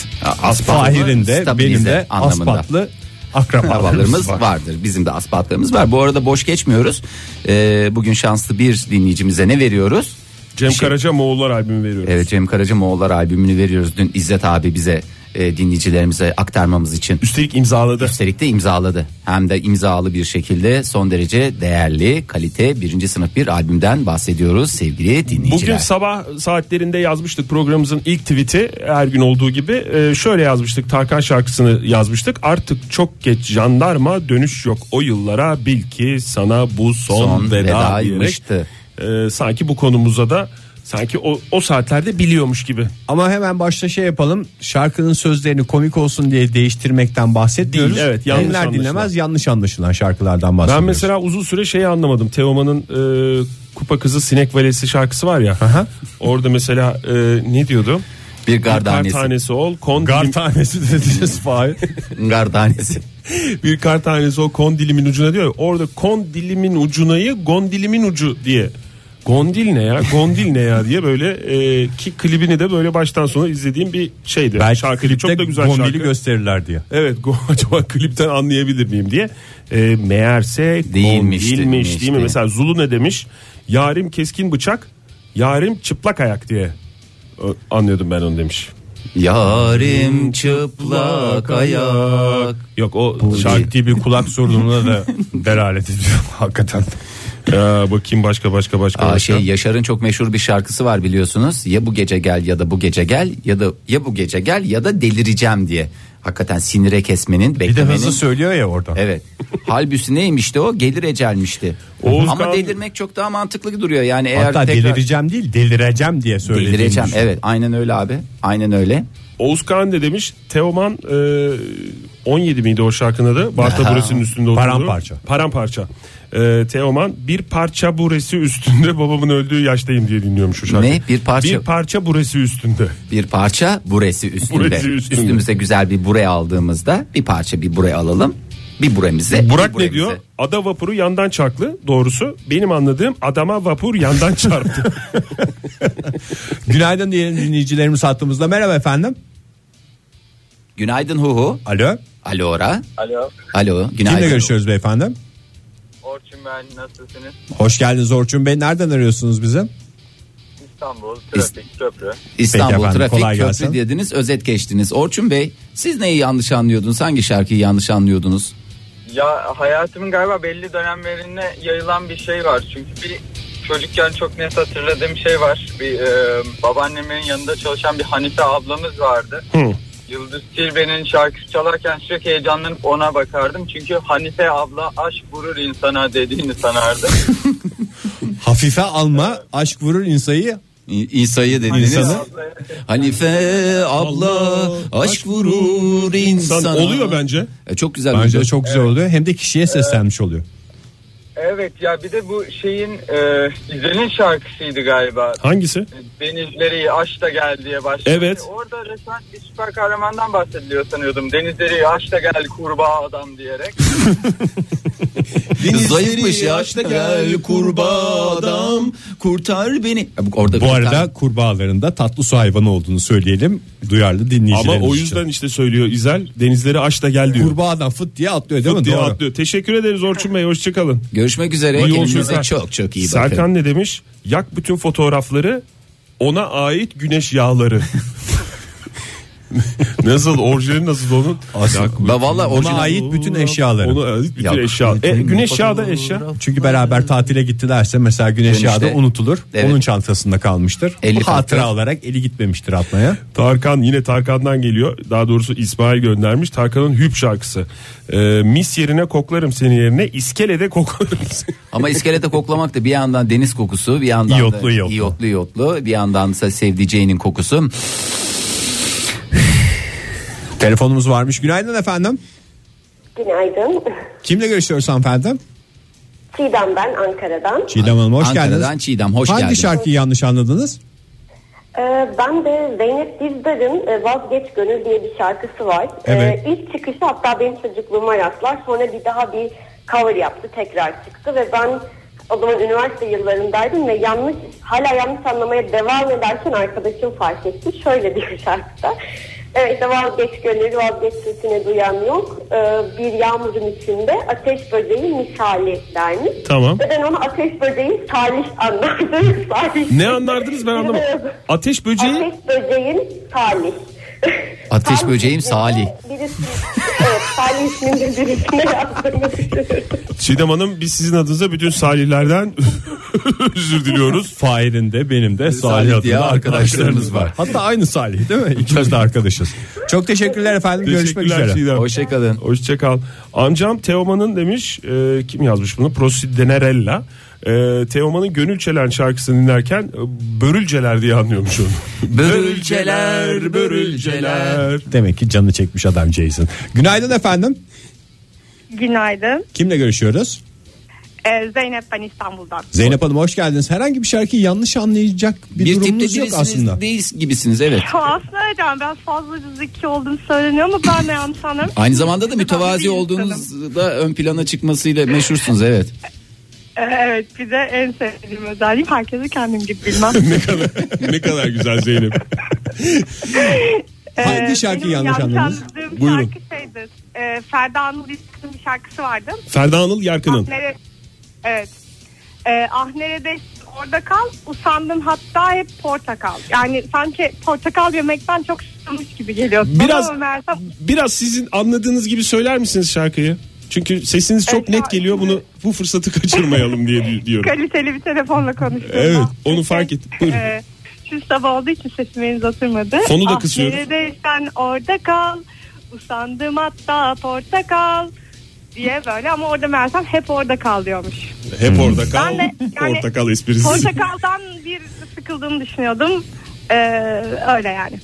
[SPEAKER 4] aspat.
[SPEAKER 2] Fahir'in de
[SPEAKER 4] Stabilize
[SPEAKER 2] benim de
[SPEAKER 4] anlamında.
[SPEAKER 2] aspatlı akrabalarımız
[SPEAKER 4] Akrabalarımız
[SPEAKER 2] var.
[SPEAKER 4] vardır. Bizim de aspatlarımız var. Bu arada boş geçmiyoruz. Ee, bugün şanslı bir dinleyicimize ne veriyoruz?
[SPEAKER 3] Cem
[SPEAKER 4] Bir şey-
[SPEAKER 3] Karaca Moğollar albümü veriyorum.
[SPEAKER 4] Evet Cem Karaca Moğollar albümünü veriyoruz. Dün İzzet abi bize e, dinleyicilerimize aktarmamız için.
[SPEAKER 3] Üstelik imzaladı.
[SPEAKER 4] Üstelik de imzaladı. Hem de imzalı bir şekilde son derece değerli, kalite, birinci sınıf bir albümden bahsediyoruz sevgili dinleyiciler.
[SPEAKER 3] Bugün sabah saatlerinde yazmıştık programımızın ilk tweet'i her gün olduğu gibi e, şöyle yazmıştık Tarkan şarkısını yazmıştık artık çok geç jandarma dönüş yok o yıllara bil ki sana bu son,
[SPEAKER 4] Son
[SPEAKER 3] veda diyerek
[SPEAKER 4] vedaymıştı.
[SPEAKER 3] e, sanki bu konumuza da sanki o, o saatlerde biliyormuş gibi
[SPEAKER 2] Ama hemen başta şey yapalım. Şarkının sözlerini komik olsun diye değiştirmekten bahsetmiyoruz.
[SPEAKER 3] Değil, evet, yanlış
[SPEAKER 2] Dinler
[SPEAKER 3] anlaşılan.
[SPEAKER 2] dinlemez yanlış anlaşılan şarkılardan bahsediyoruz.
[SPEAKER 3] Ben mesela uzun süre şeyi anlamadım. Teoman'ın e, Kupa Kızı Sinek Valesi şarkısı var ya. Orada mesela e, ne diyordu?
[SPEAKER 4] bir
[SPEAKER 3] Bir kar
[SPEAKER 4] gardanesi.
[SPEAKER 3] tanesi ol, kon
[SPEAKER 2] Gar
[SPEAKER 3] dilim-
[SPEAKER 2] tanesi dediniz Fahir.
[SPEAKER 4] Gardanesi.
[SPEAKER 3] bir kar tanesi ol kon dilimin ucuna diyor. ya. Orada kon dilimin ucunayı gon dilimin ucu diye. Gondil ne ya? Gondil ne ya diye böyle e, ki klibini de böyle baştan sona izlediğim bir şeydi.
[SPEAKER 2] Belki
[SPEAKER 3] şarkıydı. Çok da güzel
[SPEAKER 2] Gombili
[SPEAKER 3] şarkı.
[SPEAKER 2] gösterirler diye.
[SPEAKER 3] Evet go- acaba klipten anlayabilir miyim diye. E, meğerse
[SPEAKER 4] Değilmiş,
[SPEAKER 3] değilmiş, değilmiş değil
[SPEAKER 4] değilmişti.
[SPEAKER 3] mi? Mesela Zulu ne demiş? Yarim keskin bıçak, yarim çıplak ayak diye Ö, anlıyordum ben onu demiş.
[SPEAKER 4] Yarim çıplak ayak.
[SPEAKER 3] Yok o şarkı.
[SPEAKER 2] Şarkı bir kulak sorununa da delalet ediyor hakikaten.
[SPEAKER 3] Ya, bakayım başka başka başka.
[SPEAKER 4] Aa,
[SPEAKER 3] başka.
[SPEAKER 4] şey Yaşar'ın çok meşhur bir şarkısı var biliyorsunuz. Ya bu gece gel ya da bu gece gel ya da ya bu gece gel ya da delireceğim diye. Hakikaten sinire kesmenin
[SPEAKER 2] Bir de
[SPEAKER 4] beklemenin.
[SPEAKER 2] hızlı söylüyor ya orada.
[SPEAKER 4] Evet. Halbüsü neymişti o? Gelir ecelmişti.
[SPEAKER 3] Oğuzkan-
[SPEAKER 4] Ama delirmek çok daha mantıklı duruyor. Yani eğer
[SPEAKER 2] Hatta
[SPEAKER 4] tekrar-
[SPEAKER 2] delireceğim değil delireceğim diye söylediğini
[SPEAKER 4] delireceğim.
[SPEAKER 2] düşün.
[SPEAKER 4] Evet, aynen öyle abi. Aynen öyle.
[SPEAKER 3] Oğuz Kağan ne demiş? Teoman e, 17 miydi o şarkının adı? Barta Buresi'nin üstünde oturdu.
[SPEAKER 2] Paramparça.
[SPEAKER 3] Paramparça. E, Teoman bir parça buresi üstünde babamın öldüğü yaştayım diye dinliyormuş o şarkıyı.
[SPEAKER 4] Ne? Bir parça-
[SPEAKER 3] Bir parça buresi üstünde.
[SPEAKER 4] Bir parça buresi üstünde.
[SPEAKER 3] Buresi üstünde.
[SPEAKER 4] Üstümüze güzel bir buraya aldığımızda bir parça bir buraya alalım. Bir buremize.
[SPEAKER 3] Burak
[SPEAKER 4] bir
[SPEAKER 3] ne
[SPEAKER 4] buremize.
[SPEAKER 3] diyor? Ada vapuru yandan çarklı. Doğrusu benim anladığım adama vapur yandan çarptı.
[SPEAKER 2] Günaydın diyelim dinleyicilerimiz hattımızda. Merhaba efendim.
[SPEAKER 4] Günaydın Huhu.
[SPEAKER 2] Alo.
[SPEAKER 4] Alo Ora.
[SPEAKER 7] Alo.
[SPEAKER 4] Alo. Günaydın.
[SPEAKER 2] Kimle görüşüyoruz beyefendi?
[SPEAKER 7] Orçun ben nasılsınız?
[SPEAKER 2] Hoş geldiniz Orçun Bey. Nereden arıyorsunuz bizi?
[SPEAKER 7] İstanbul trafik köprü.
[SPEAKER 4] İstanbul
[SPEAKER 2] Peki efendim,
[SPEAKER 4] Trafik
[SPEAKER 2] kolay
[SPEAKER 4] Köprü
[SPEAKER 2] gelsin.
[SPEAKER 4] dediniz. Özet geçtiniz. Orçun Bey siz neyi yanlış anlıyordunuz? Hangi şarkıyı yanlış anlıyordunuz?
[SPEAKER 7] Ya hayatımın galiba belli dönemlerine yayılan bir şey var. Çünkü bir çocukken çok net hatırladığım şey var. Bir e, babaannemin yanında çalışan bir Hanife ablamız vardı. Yıldız Tilbe'nin şarkısı çalarken sürekli heyecanlanıp ona bakardım. Çünkü Hanife abla aşk vurur insana dediğini sanardım.
[SPEAKER 2] Hafife alma aşk vurur insanı
[SPEAKER 4] İ- İsa'yı dediniz.
[SPEAKER 2] insanı.
[SPEAKER 4] Hanife abla aşk vurur insana.
[SPEAKER 3] Oluyor bence.
[SPEAKER 4] E, çok güzel.
[SPEAKER 2] Bence
[SPEAKER 4] bir-
[SPEAKER 2] de çok güzel oluyor. Hem de kişiye seslenmiş oluyor.
[SPEAKER 7] Evet ya bir de bu şeyin e, İzel'in şarkısıydı galiba.
[SPEAKER 3] Hangisi?
[SPEAKER 7] Denizleri aş da gel diye başladı. Hani
[SPEAKER 3] Evet.
[SPEAKER 7] Orada resmen bir süper kahramandan bahsediliyor sanıyordum. Denizleri aş da gel kurbağa adam diyerek.
[SPEAKER 4] Zayıfmış ya. Gel kurbağa adam kurtar beni. Ya bu- Orada
[SPEAKER 2] Bu
[SPEAKER 4] bir tane-
[SPEAKER 2] arada kurbağaların da tatlı su hayvanı olduğunu söyleyelim duyarlı
[SPEAKER 3] Ama
[SPEAKER 2] dinleyicilerimiz
[SPEAKER 3] o
[SPEAKER 2] için.
[SPEAKER 3] yüzden işte söylüyor İzel denizleri aç da gel diyor.
[SPEAKER 2] kurbağadan fıt diye atlıyor değil
[SPEAKER 3] Fıt
[SPEAKER 2] mi?
[SPEAKER 3] diye
[SPEAKER 2] Doğru.
[SPEAKER 3] atlıyor. Teşekkür ederiz Orçun Bey hoşçakalın.
[SPEAKER 4] görüşmek üzere.
[SPEAKER 3] İyi yolculuklar.
[SPEAKER 4] Kendinize çok çok iyi bakın.
[SPEAKER 3] Serkan ne demiş? Yak bütün fotoğrafları ona ait güneş yağları. nasıl orijinali nasıl onun? Yak bütün-
[SPEAKER 4] Ba- vallahi
[SPEAKER 2] Ona
[SPEAKER 4] orijinal-
[SPEAKER 2] ait bütün eşyaları.
[SPEAKER 3] Ona ait bütün
[SPEAKER 4] Yak
[SPEAKER 3] eşya. E,
[SPEAKER 4] bütün
[SPEAKER 3] güneş yağı da
[SPEAKER 4] fotoğraf-
[SPEAKER 3] eşya.
[SPEAKER 2] Çünkü beraber tatile gittilerse mesela güneş
[SPEAKER 4] Dönüşte-
[SPEAKER 2] yağda unutulur.
[SPEAKER 4] Evet.
[SPEAKER 2] Onun çantasında kalmıştır.
[SPEAKER 4] Elli
[SPEAKER 2] Bu hatıra
[SPEAKER 4] farklı.
[SPEAKER 2] olarak eli gitmemiştir atmaya.
[SPEAKER 3] Tarkan yine Tarkan'dan geliyor. Daha doğrusu İsmail göndermiş. Tarkan'ın Hüp şarkısı. Ee, mis yerine koklarım seni yerine iskelede koklarım seni.
[SPEAKER 4] Ama iskelete koklamak da bir yandan deniz kokusu bir yandan
[SPEAKER 2] İyotlu,
[SPEAKER 4] da
[SPEAKER 2] iyotlu.
[SPEAKER 4] iyotlu iyotlu, bir yandan da sevdiceğinin kokusu.
[SPEAKER 2] Telefonumuz varmış. Günaydın efendim.
[SPEAKER 8] Günaydın.
[SPEAKER 2] Kimle görüşüyoruz hanımefendi?
[SPEAKER 8] Çiğdem ben Ankara'dan.
[SPEAKER 2] Çiğdem Hanım hoş
[SPEAKER 4] Ankara'dan
[SPEAKER 2] geldiniz.
[SPEAKER 4] Çiğdem, hoş
[SPEAKER 2] Hangi
[SPEAKER 4] geldin.
[SPEAKER 2] şarkıyı yanlış anladınız?
[SPEAKER 8] Ee, ben de Zeynep Dizdar'ın e, Vazgeç Gönül diye bir şarkısı var. Ee,
[SPEAKER 2] Evet.
[SPEAKER 8] ilk çıkışı hatta benim çocukluğuma rastlar. Sonra bir daha bir cover yaptı. Tekrar çıktı ve ben o zaman üniversite yıllarındaydım ve yanlış hala yanlış anlamaya devam ederken arkadaşım fark etti. Şöyle diyor şarkıda. Evet işte vazgeç gönül vazgeç sesine duyan yok. Ee, bir yağmurun içinde ateş böceği misali dermiş.
[SPEAKER 3] Tamam.
[SPEAKER 8] Ve ben ona ateş böceği salih anlattım. Salih.
[SPEAKER 3] Ne anlardınız ben anlamadım. Ateş böceği.
[SPEAKER 8] Ateş böceğin Salih.
[SPEAKER 4] Ateş
[SPEAKER 8] Salih
[SPEAKER 4] böceğim
[SPEAKER 8] isminde
[SPEAKER 4] Salih.
[SPEAKER 8] Birisi, evet Salih isminde birisine yazdığını düşünüyorum.
[SPEAKER 3] Çiğdem Hanım biz sizin adınıza bütün salihlerden özür diliyoruz.
[SPEAKER 2] Fahir'in de benim de
[SPEAKER 4] Salih
[SPEAKER 2] Salih
[SPEAKER 4] diye
[SPEAKER 2] adında arkadaşlarımız
[SPEAKER 4] arkadaşlarınız
[SPEAKER 2] var.
[SPEAKER 4] var.
[SPEAKER 2] Hatta aynı Salih değil mi? İkimiz de arkadaşız. Çok teşekkürler efendim. Görüşmek
[SPEAKER 3] Teşekkürler
[SPEAKER 2] üzere.
[SPEAKER 3] Çiğdem.
[SPEAKER 4] Hoşçakalın.
[SPEAKER 3] Hoşça kal. Amcam Teoman'ın demiş e, kim yazmış bunu? Prosidenerella. E, Teoman'ın Gönül Çelen şarkısını dinlerken e, börülceler diye anlıyormuş onu.
[SPEAKER 4] Börülceler, börülceler.
[SPEAKER 2] Demek ki canı çekmiş adam Jason. Günaydın efendim.
[SPEAKER 9] Günaydın.
[SPEAKER 2] Kimle görüşüyoruz?
[SPEAKER 9] Ee, Zeynep ben İstanbul'dan.
[SPEAKER 2] Zeynep Hanım hoş geldiniz. Herhangi bir şarkıyı yanlış anlayacak bir,
[SPEAKER 4] Bir tipte
[SPEAKER 2] durumunuz yok
[SPEAKER 4] birisiniz
[SPEAKER 2] aslında.
[SPEAKER 4] değil gibisiniz evet.
[SPEAKER 9] Ya aslında öyle ama biraz fazla zeki olduğum söyleniyor ama ben de yanlış anlarım.
[SPEAKER 4] Aynı zamanda da
[SPEAKER 9] Ben bir
[SPEAKER 4] mütevazi
[SPEAKER 9] insanım.
[SPEAKER 4] olduğunuz da ön plana çıkmasıyla meşhursunuz evet.
[SPEAKER 9] Ee, Evet bir de en sevdiğim özelliğim herkesi kendim gibi bilmem.
[SPEAKER 3] ne kadar güzel Zeynep.
[SPEAKER 9] Ee,
[SPEAKER 2] Hangi şarkıyı
[SPEAKER 9] benim
[SPEAKER 2] yanlış anladınız?
[SPEAKER 9] anladığım
[SPEAKER 3] Buyurun.
[SPEAKER 9] şarkı şeydir. Ee, Ferda Anıl İstik'in bir şarkısı vardı.
[SPEAKER 3] Ferda Anıl Yarkın'ın.
[SPEAKER 9] Ah nere- Evet. Ee, ah neredesin orada kal usandım hatta hep portakal. Yani sanki portakal yemekten çok sıkılmış gibi geliyor.
[SPEAKER 3] Biraz-
[SPEAKER 9] Ama meğersem
[SPEAKER 3] Biraz sizin anladığınız gibi söyler misiniz şarkıyı? Çünkü sesiniz çok
[SPEAKER 9] Evet,
[SPEAKER 3] net
[SPEAKER 9] ya-
[SPEAKER 3] geliyor. Bunu bu fırsatı kaçırmayalım diye di- diyorum.
[SPEAKER 9] kaliteli bir telefonla konuştum.
[SPEAKER 3] Evet,
[SPEAKER 9] Ah,
[SPEAKER 3] onu fark ettim. Buyurun.
[SPEAKER 9] Ee, şu sabah olduğu için sesim henüz oturmadı.
[SPEAKER 3] Fonu da kısıyoruz.
[SPEAKER 9] Ah neredeysen orada kal. Usandım hatta portakal diye böyle ama orada meğersem hep orada kal diyormuş.
[SPEAKER 3] Hep orada kal.
[SPEAKER 9] Ben de yani-
[SPEAKER 3] Portakal esprisi.
[SPEAKER 9] Portakaldan bir sıkıldığımı düşünüyordum. Ee, öyle yani.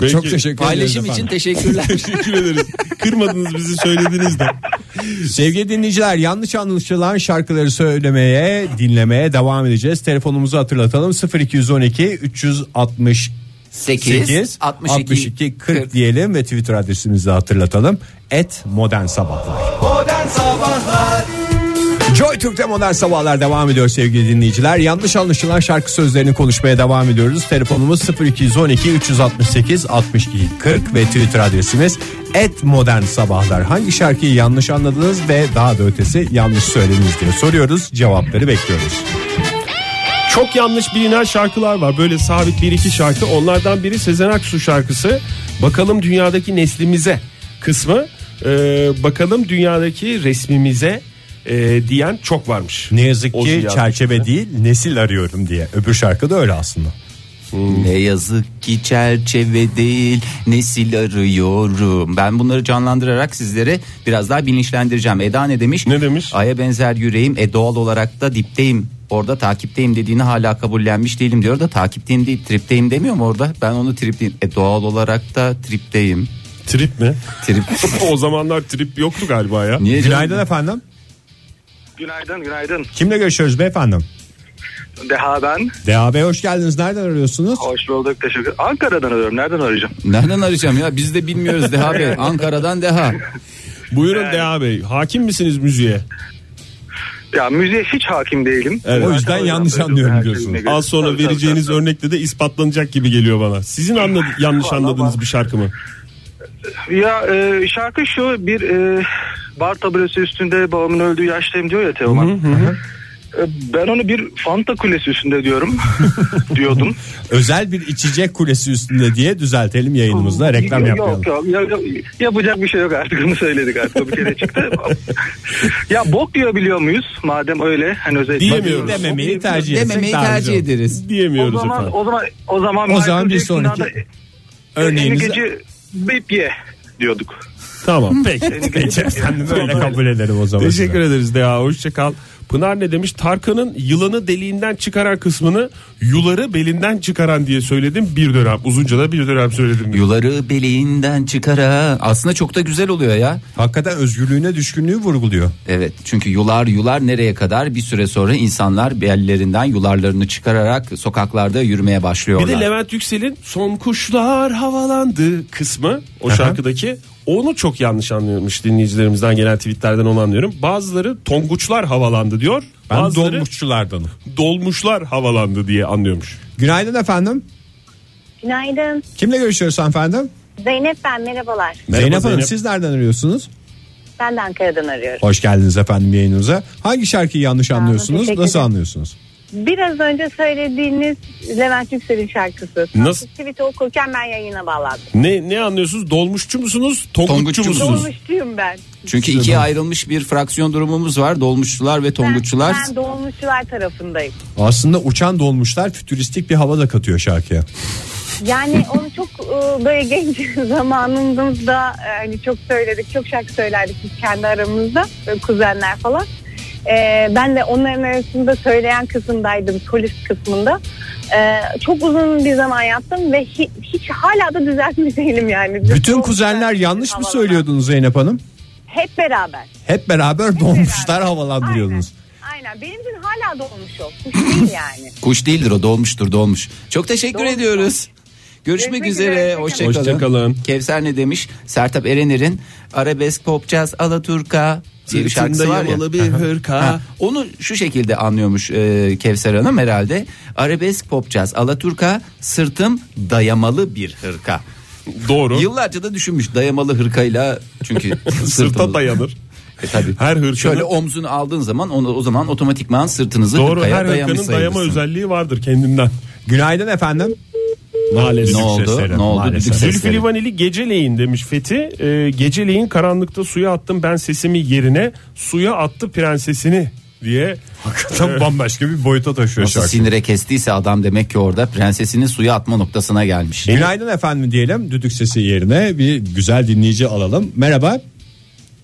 [SPEAKER 3] Peki,
[SPEAKER 2] Çok teşekkür ederiz
[SPEAKER 4] Paylaşım için
[SPEAKER 2] efendim.
[SPEAKER 4] teşekkürler.
[SPEAKER 3] Teşekkür ederiz. Kırmadınız bizi söylediniz de.
[SPEAKER 2] Sevgili dinleyiciler yanlış anlaşılan şarkıları söylemeye dinlemeye devam edeceğiz. Telefonumuzu hatırlatalım 0212 360
[SPEAKER 4] 8 62,
[SPEAKER 2] 62 40 diyelim ve Twitter adresimizi de hatırlatalım. Et Modern Sabahlar.
[SPEAKER 1] Modern Sabahlar
[SPEAKER 2] Joy Türk'te Modern Sabahlar devam ediyor sevgili dinleyiciler. Yanlış anlaşılan şarkı sözlerini konuşmaya devam ediyoruz. Telefonumuz 0212 368 62 40 ve Twitter adresimiz et modern sabahlar. Hangi şarkıyı yanlış anladınız ve daha da ötesi yanlış söylediniz diye soruyoruz. Cevapları bekliyoruz.
[SPEAKER 3] Çok yanlış bilinen şarkılar var. Böyle sabit bir iki şarkı. Onlardan biri Sezen Aksu şarkısı. Bakalım dünyadaki neslimize kısmı. Ee, bakalım dünyadaki resmimize e, diyen çok varmış.
[SPEAKER 2] Ne yazık
[SPEAKER 3] Olsun
[SPEAKER 2] ki
[SPEAKER 3] yazmış.
[SPEAKER 2] çerçeve değil nesil arıyorum diye. Öbür şarkı da öyle aslında.
[SPEAKER 4] Ne yazık ki çerçeve değil nesil arıyorum. Ben bunları canlandırarak sizlere biraz daha bilinçlendireceğim. Eda ne demiş?
[SPEAKER 3] Ne demiş?
[SPEAKER 4] Ay'a benzer yüreğim e doğal olarak da dipteyim. Orada takipteyim dediğini hala kabullenmiş değilim diyor da takipteyim değil tripteyim demiyor mu orada? Ben onu tripteyim. E doğal olarak da tripteyim.
[SPEAKER 3] Trip mi?
[SPEAKER 4] Trip.
[SPEAKER 3] o zamanlar trip yoktu galiba ya.
[SPEAKER 4] Niye canım?
[SPEAKER 2] Günaydın efendim.
[SPEAKER 5] Günaydın günaydın.
[SPEAKER 2] Kimle görüşüyoruz beyefendi?
[SPEAKER 5] Deha ben.
[SPEAKER 2] DAB hoş geldiniz. Nereden arıyorsunuz?
[SPEAKER 5] Hoş bulduk teşekkür Ankara'dan arıyorum. Nereden arayacağım?
[SPEAKER 4] Nereden arayacağım ya biz de bilmiyoruz Deha Bey. Ankara'dan Deha.
[SPEAKER 3] Buyurun Deha Bey. Hakim misiniz müziğe?
[SPEAKER 5] Ya müziğe hiç hakim değilim.
[SPEAKER 3] Evet.
[SPEAKER 2] O yüzden yanlış anlıyorum diyorsunuz.
[SPEAKER 3] Az sonra vereceğiniz örnekle de ispatlanacak gibi geliyor bana. Sizin anladı, yanlış
[SPEAKER 5] Vallahi
[SPEAKER 3] anladığınız bir şarkı mı?
[SPEAKER 5] Ya e, şarkı şu bir e, bar tabelası üstünde babamın öldüğü yaştayım diyor ya Teoman. E, Ben onu bir Fanta kulesi üstünde diyorum diyordum.
[SPEAKER 2] Özel bir içecek kulesi üstünde diye düzeltelim yayınımızda reklam
[SPEAKER 5] yok,
[SPEAKER 2] yapmayalım.
[SPEAKER 5] yok, yok, yok. yapacak bir şey yok artık onu söyledik artık o bir kere çıktı. ya bok diyebiliyor muyuz madem öyle hani özel
[SPEAKER 3] Diyemiyoruz.
[SPEAKER 2] Dememeyi tercih etsek
[SPEAKER 4] Dememeyi
[SPEAKER 2] daha
[SPEAKER 4] tercih
[SPEAKER 2] güzel.
[SPEAKER 4] ederiz.
[SPEAKER 5] O
[SPEAKER 3] Diyemiyoruz
[SPEAKER 5] zaman,
[SPEAKER 3] efendim.
[SPEAKER 5] o zaman o zaman
[SPEAKER 2] O zaman
[SPEAKER 5] Michael
[SPEAKER 2] bir
[SPEAKER 5] Jackson'dan
[SPEAKER 2] sonraki
[SPEAKER 5] da-
[SPEAKER 2] örneğinizi-
[SPEAKER 5] Seni gece bip ye diyorduk.
[SPEAKER 3] Tamam peki.
[SPEAKER 2] Peki, efendim, öyle kabul ederim o zaman.
[SPEAKER 3] Teşekkür ederiz Deha. Hoşçakal. Pınar ne demiş? Tarkan'ın yılanı deliğinden çıkaran kısmını yuları belinden çıkaran diye söyledim bir dönem. Uzunca da bir dönem söyledim. diyor.
[SPEAKER 4] Yuları beliğinden çıkara. Aslında çok da güzel oluyor ya.
[SPEAKER 2] Hakikaten özgürlüğüne düşkünlüğü vurguluyor.
[SPEAKER 4] Evet çünkü yular yular nereye kadar bir süre sonra insanlar bellerinden yularlarını çıkararak sokaklarda yürümeye
[SPEAKER 3] Bir
[SPEAKER 4] başlıyorlar.
[SPEAKER 3] de Levent Yüksel'in son kuşlar havalandı kısmı o şarkıdaki onu çok yanlış anlıyormuş dinleyicilerimizden gelen tweetlerden onu anlıyorum. Bazıları tonguçlar havalandı diyor.
[SPEAKER 2] Ben
[SPEAKER 3] bazıları
[SPEAKER 2] dolmuşçulardanım.
[SPEAKER 3] dolmuşlar havalandı diye anlıyormuş.
[SPEAKER 2] Günaydın efendim.
[SPEAKER 10] Günaydın.
[SPEAKER 2] Kimle görüşüyoruz efendim?
[SPEAKER 10] Zeynep ben merhabalar.
[SPEAKER 3] Merhaba
[SPEAKER 2] Zeynep Hanım
[SPEAKER 3] Zeynep.
[SPEAKER 2] siz nereden arıyorsunuz?
[SPEAKER 10] Ben de Ankara'dan arıyorum.
[SPEAKER 2] Hoş geldiniz efendim yayınımıza. Hangi şarkıyı yanlış
[SPEAKER 10] olun,
[SPEAKER 2] anlıyorsunuz?
[SPEAKER 10] teşekkür
[SPEAKER 2] Nasıl
[SPEAKER 10] ederim.
[SPEAKER 2] anlıyorsunuz?
[SPEAKER 10] Biraz önce söylediğiniz Levent Yüksel'in şarkısı.
[SPEAKER 3] Nasıl?
[SPEAKER 10] Tweet'i okurken ben yayına bağladım.
[SPEAKER 3] Ne ne anlıyorsunuz? Dolmuşçu musunuz? Tonguççu
[SPEAKER 4] Tonguççu
[SPEAKER 3] musunuz?
[SPEAKER 4] musunuz?
[SPEAKER 10] Dolmuşçuyum ben.
[SPEAKER 4] Çünkü ikiye ayrılmış bir fraksiyon durumumuz var. Dolmuşçular ve tonguççular.
[SPEAKER 10] Ben, ben dolmuşçular tarafındayım.
[SPEAKER 2] Aslında uçan dolmuşlar fütüristik bir hava da katıyor şarkıya.
[SPEAKER 10] Yani onu çok e, böyle genç zamanımızda e, hani çok söyledik, çok şarkı söylerdik biz kendi aramızda böyle kuzenler falan. E, ben de onların arasında söyleyen kısımdaydım, solist kısmında. E, çok uzun bir zaman yaptım ve hi- hiç hala da düzeltmiş değilim yani.
[SPEAKER 2] Bütün
[SPEAKER 10] Çok
[SPEAKER 2] kuzenler
[SPEAKER 10] güzel
[SPEAKER 2] yanlış mı
[SPEAKER 10] havalar.
[SPEAKER 2] söylüyordunuz Zeynep Hanım?
[SPEAKER 10] Hep beraber.
[SPEAKER 2] Hep beraber dolmuşlar havalandırıyordunuz.
[SPEAKER 10] Aynen. Aynen. Benim dün hala dolmuş o. Kuş değil yani.
[SPEAKER 4] Kuş değildir o dolmuştur dolmuş. Çok teşekkür
[SPEAKER 10] Dolmuş.
[SPEAKER 4] ediyoruz. Görüşmek
[SPEAKER 10] Görüşmek
[SPEAKER 4] üzere.
[SPEAKER 10] üzere.
[SPEAKER 4] Hoşçakalın.
[SPEAKER 3] Hoşça kalın.
[SPEAKER 4] Kevser ne demiş? Sertab Erener'in arabesk pop jazz alaturka diye bir şarkısı var ya.
[SPEAKER 3] bir hırka.
[SPEAKER 4] Ha, onu şu şekilde anlıyormuş e, Kevser Hanım herhalde. Arabesk pop jazz alaturka sırtım dayamalı bir hırka.
[SPEAKER 3] Doğru.
[SPEAKER 4] Yıllarca da düşünmüş dayamalı hırkayla çünkü
[SPEAKER 3] Sırta
[SPEAKER 4] sırtımı-
[SPEAKER 3] dayanır.
[SPEAKER 4] E, tabii.
[SPEAKER 3] Her hırkanın-
[SPEAKER 4] Şöyle omzunu aldığın zaman onu o zaman otomatikman sırtınızı
[SPEAKER 3] Doğru.
[SPEAKER 4] hırkaya
[SPEAKER 3] Her hırkanın
[SPEAKER 4] dayamış
[SPEAKER 3] dayama
[SPEAKER 4] sayılırsın.
[SPEAKER 3] özelliği vardır kendinden.
[SPEAKER 2] Günaydın efendim.
[SPEAKER 3] Maalesef.
[SPEAKER 4] Ne oldu?
[SPEAKER 2] sesleri,
[SPEAKER 4] Ne oldu?
[SPEAKER 2] maalesef.
[SPEAKER 4] Düdük
[SPEAKER 3] Zülfü
[SPEAKER 4] sesleri.
[SPEAKER 3] Livaneli geceleyin demiş Fethi. Ee, geceleyin karanlıkta suya attım ben sesimi yerine suya attı prensesini diye. Ee,
[SPEAKER 2] Tam bambaşka bir boyuta taşıyor
[SPEAKER 4] Nasıl
[SPEAKER 2] şarkı.
[SPEAKER 4] sinire kestiyse adam demek ki orada prensesini suya atma noktasına gelmiş.
[SPEAKER 2] Günaydın efendim diyelim düdük sesi yerine bir güzel dinleyici alalım. Merhaba.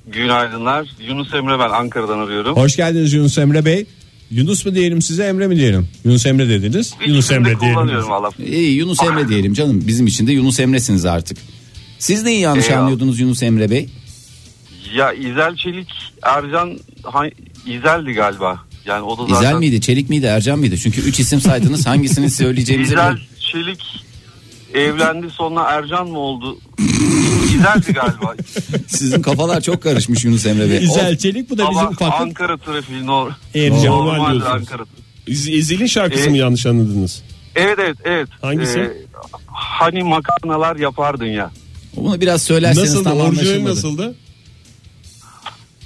[SPEAKER 5] Günaydınlar Yunus Emre ben Ankara'dan arıyorum.
[SPEAKER 2] Hoş geldiniz Yunus Emre Bey. Yunus mu diyelim size Emre mi diyelim? Yunus Emre dediniz. Yunus
[SPEAKER 5] İkisini de
[SPEAKER 2] Emre diyelim.
[SPEAKER 5] kullanıyorum valla.
[SPEAKER 4] İyi Ee, Yunus Emre diyelim canım. Bizim için de Yunus Emre'siniz artık. Siz neyi yanlış
[SPEAKER 5] Eyvallah.
[SPEAKER 4] anlıyordunuz Yunus Emre Bey?
[SPEAKER 5] Ya İzel Çelik Ercan Han- İzel'di galiba. Yani o da zaten.
[SPEAKER 4] İzel miydi, Çelik miydi, Ercan mıydı? Çünkü üç isim saydınız hangisini söyleyeceğimizi
[SPEAKER 5] İzel
[SPEAKER 4] bil-
[SPEAKER 5] Çelik evlendi sonra Ercan mı oldu? İzel'di galiba.
[SPEAKER 4] Sizin kafalar çok karışmış Yunus Emre Bey.
[SPEAKER 2] İzel
[SPEAKER 4] Of,
[SPEAKER 2] Çelik bu da bizim
[SPEAKER 5] Ama
[SPEAKER 2] ufaklık.
[SPEAKER 5] Ankara trafiği nor-
[SPEAKER 2] Ercan
[SPEAKER 3] var
[SPEAKER 5] normaldir
[SPEAKER 3] diyorsunuz.
[SPEAKER 5] Ankara.
[SPEAKER 3] Ez- Ezil'in şarkısı
[SPEAKER 5] Ee,
[SPEAKER 3] mı yanlış anladınız?
[SPEAKER 5] Evet evet evet.
[SPEAKER 3] Hangisi?
[SPEAKER 5] Ee, hani makarnalar yapardın ya.
[SPEAKER 4] Bunu biraz söylerseniz
[SPEAKER 3] Nasıl
[SPEAKER 4] tam
[SPEAKER 3] orijinali
[SPEAKER 4] anlaşılmadı.
[SPEAKER 3] nasıldı?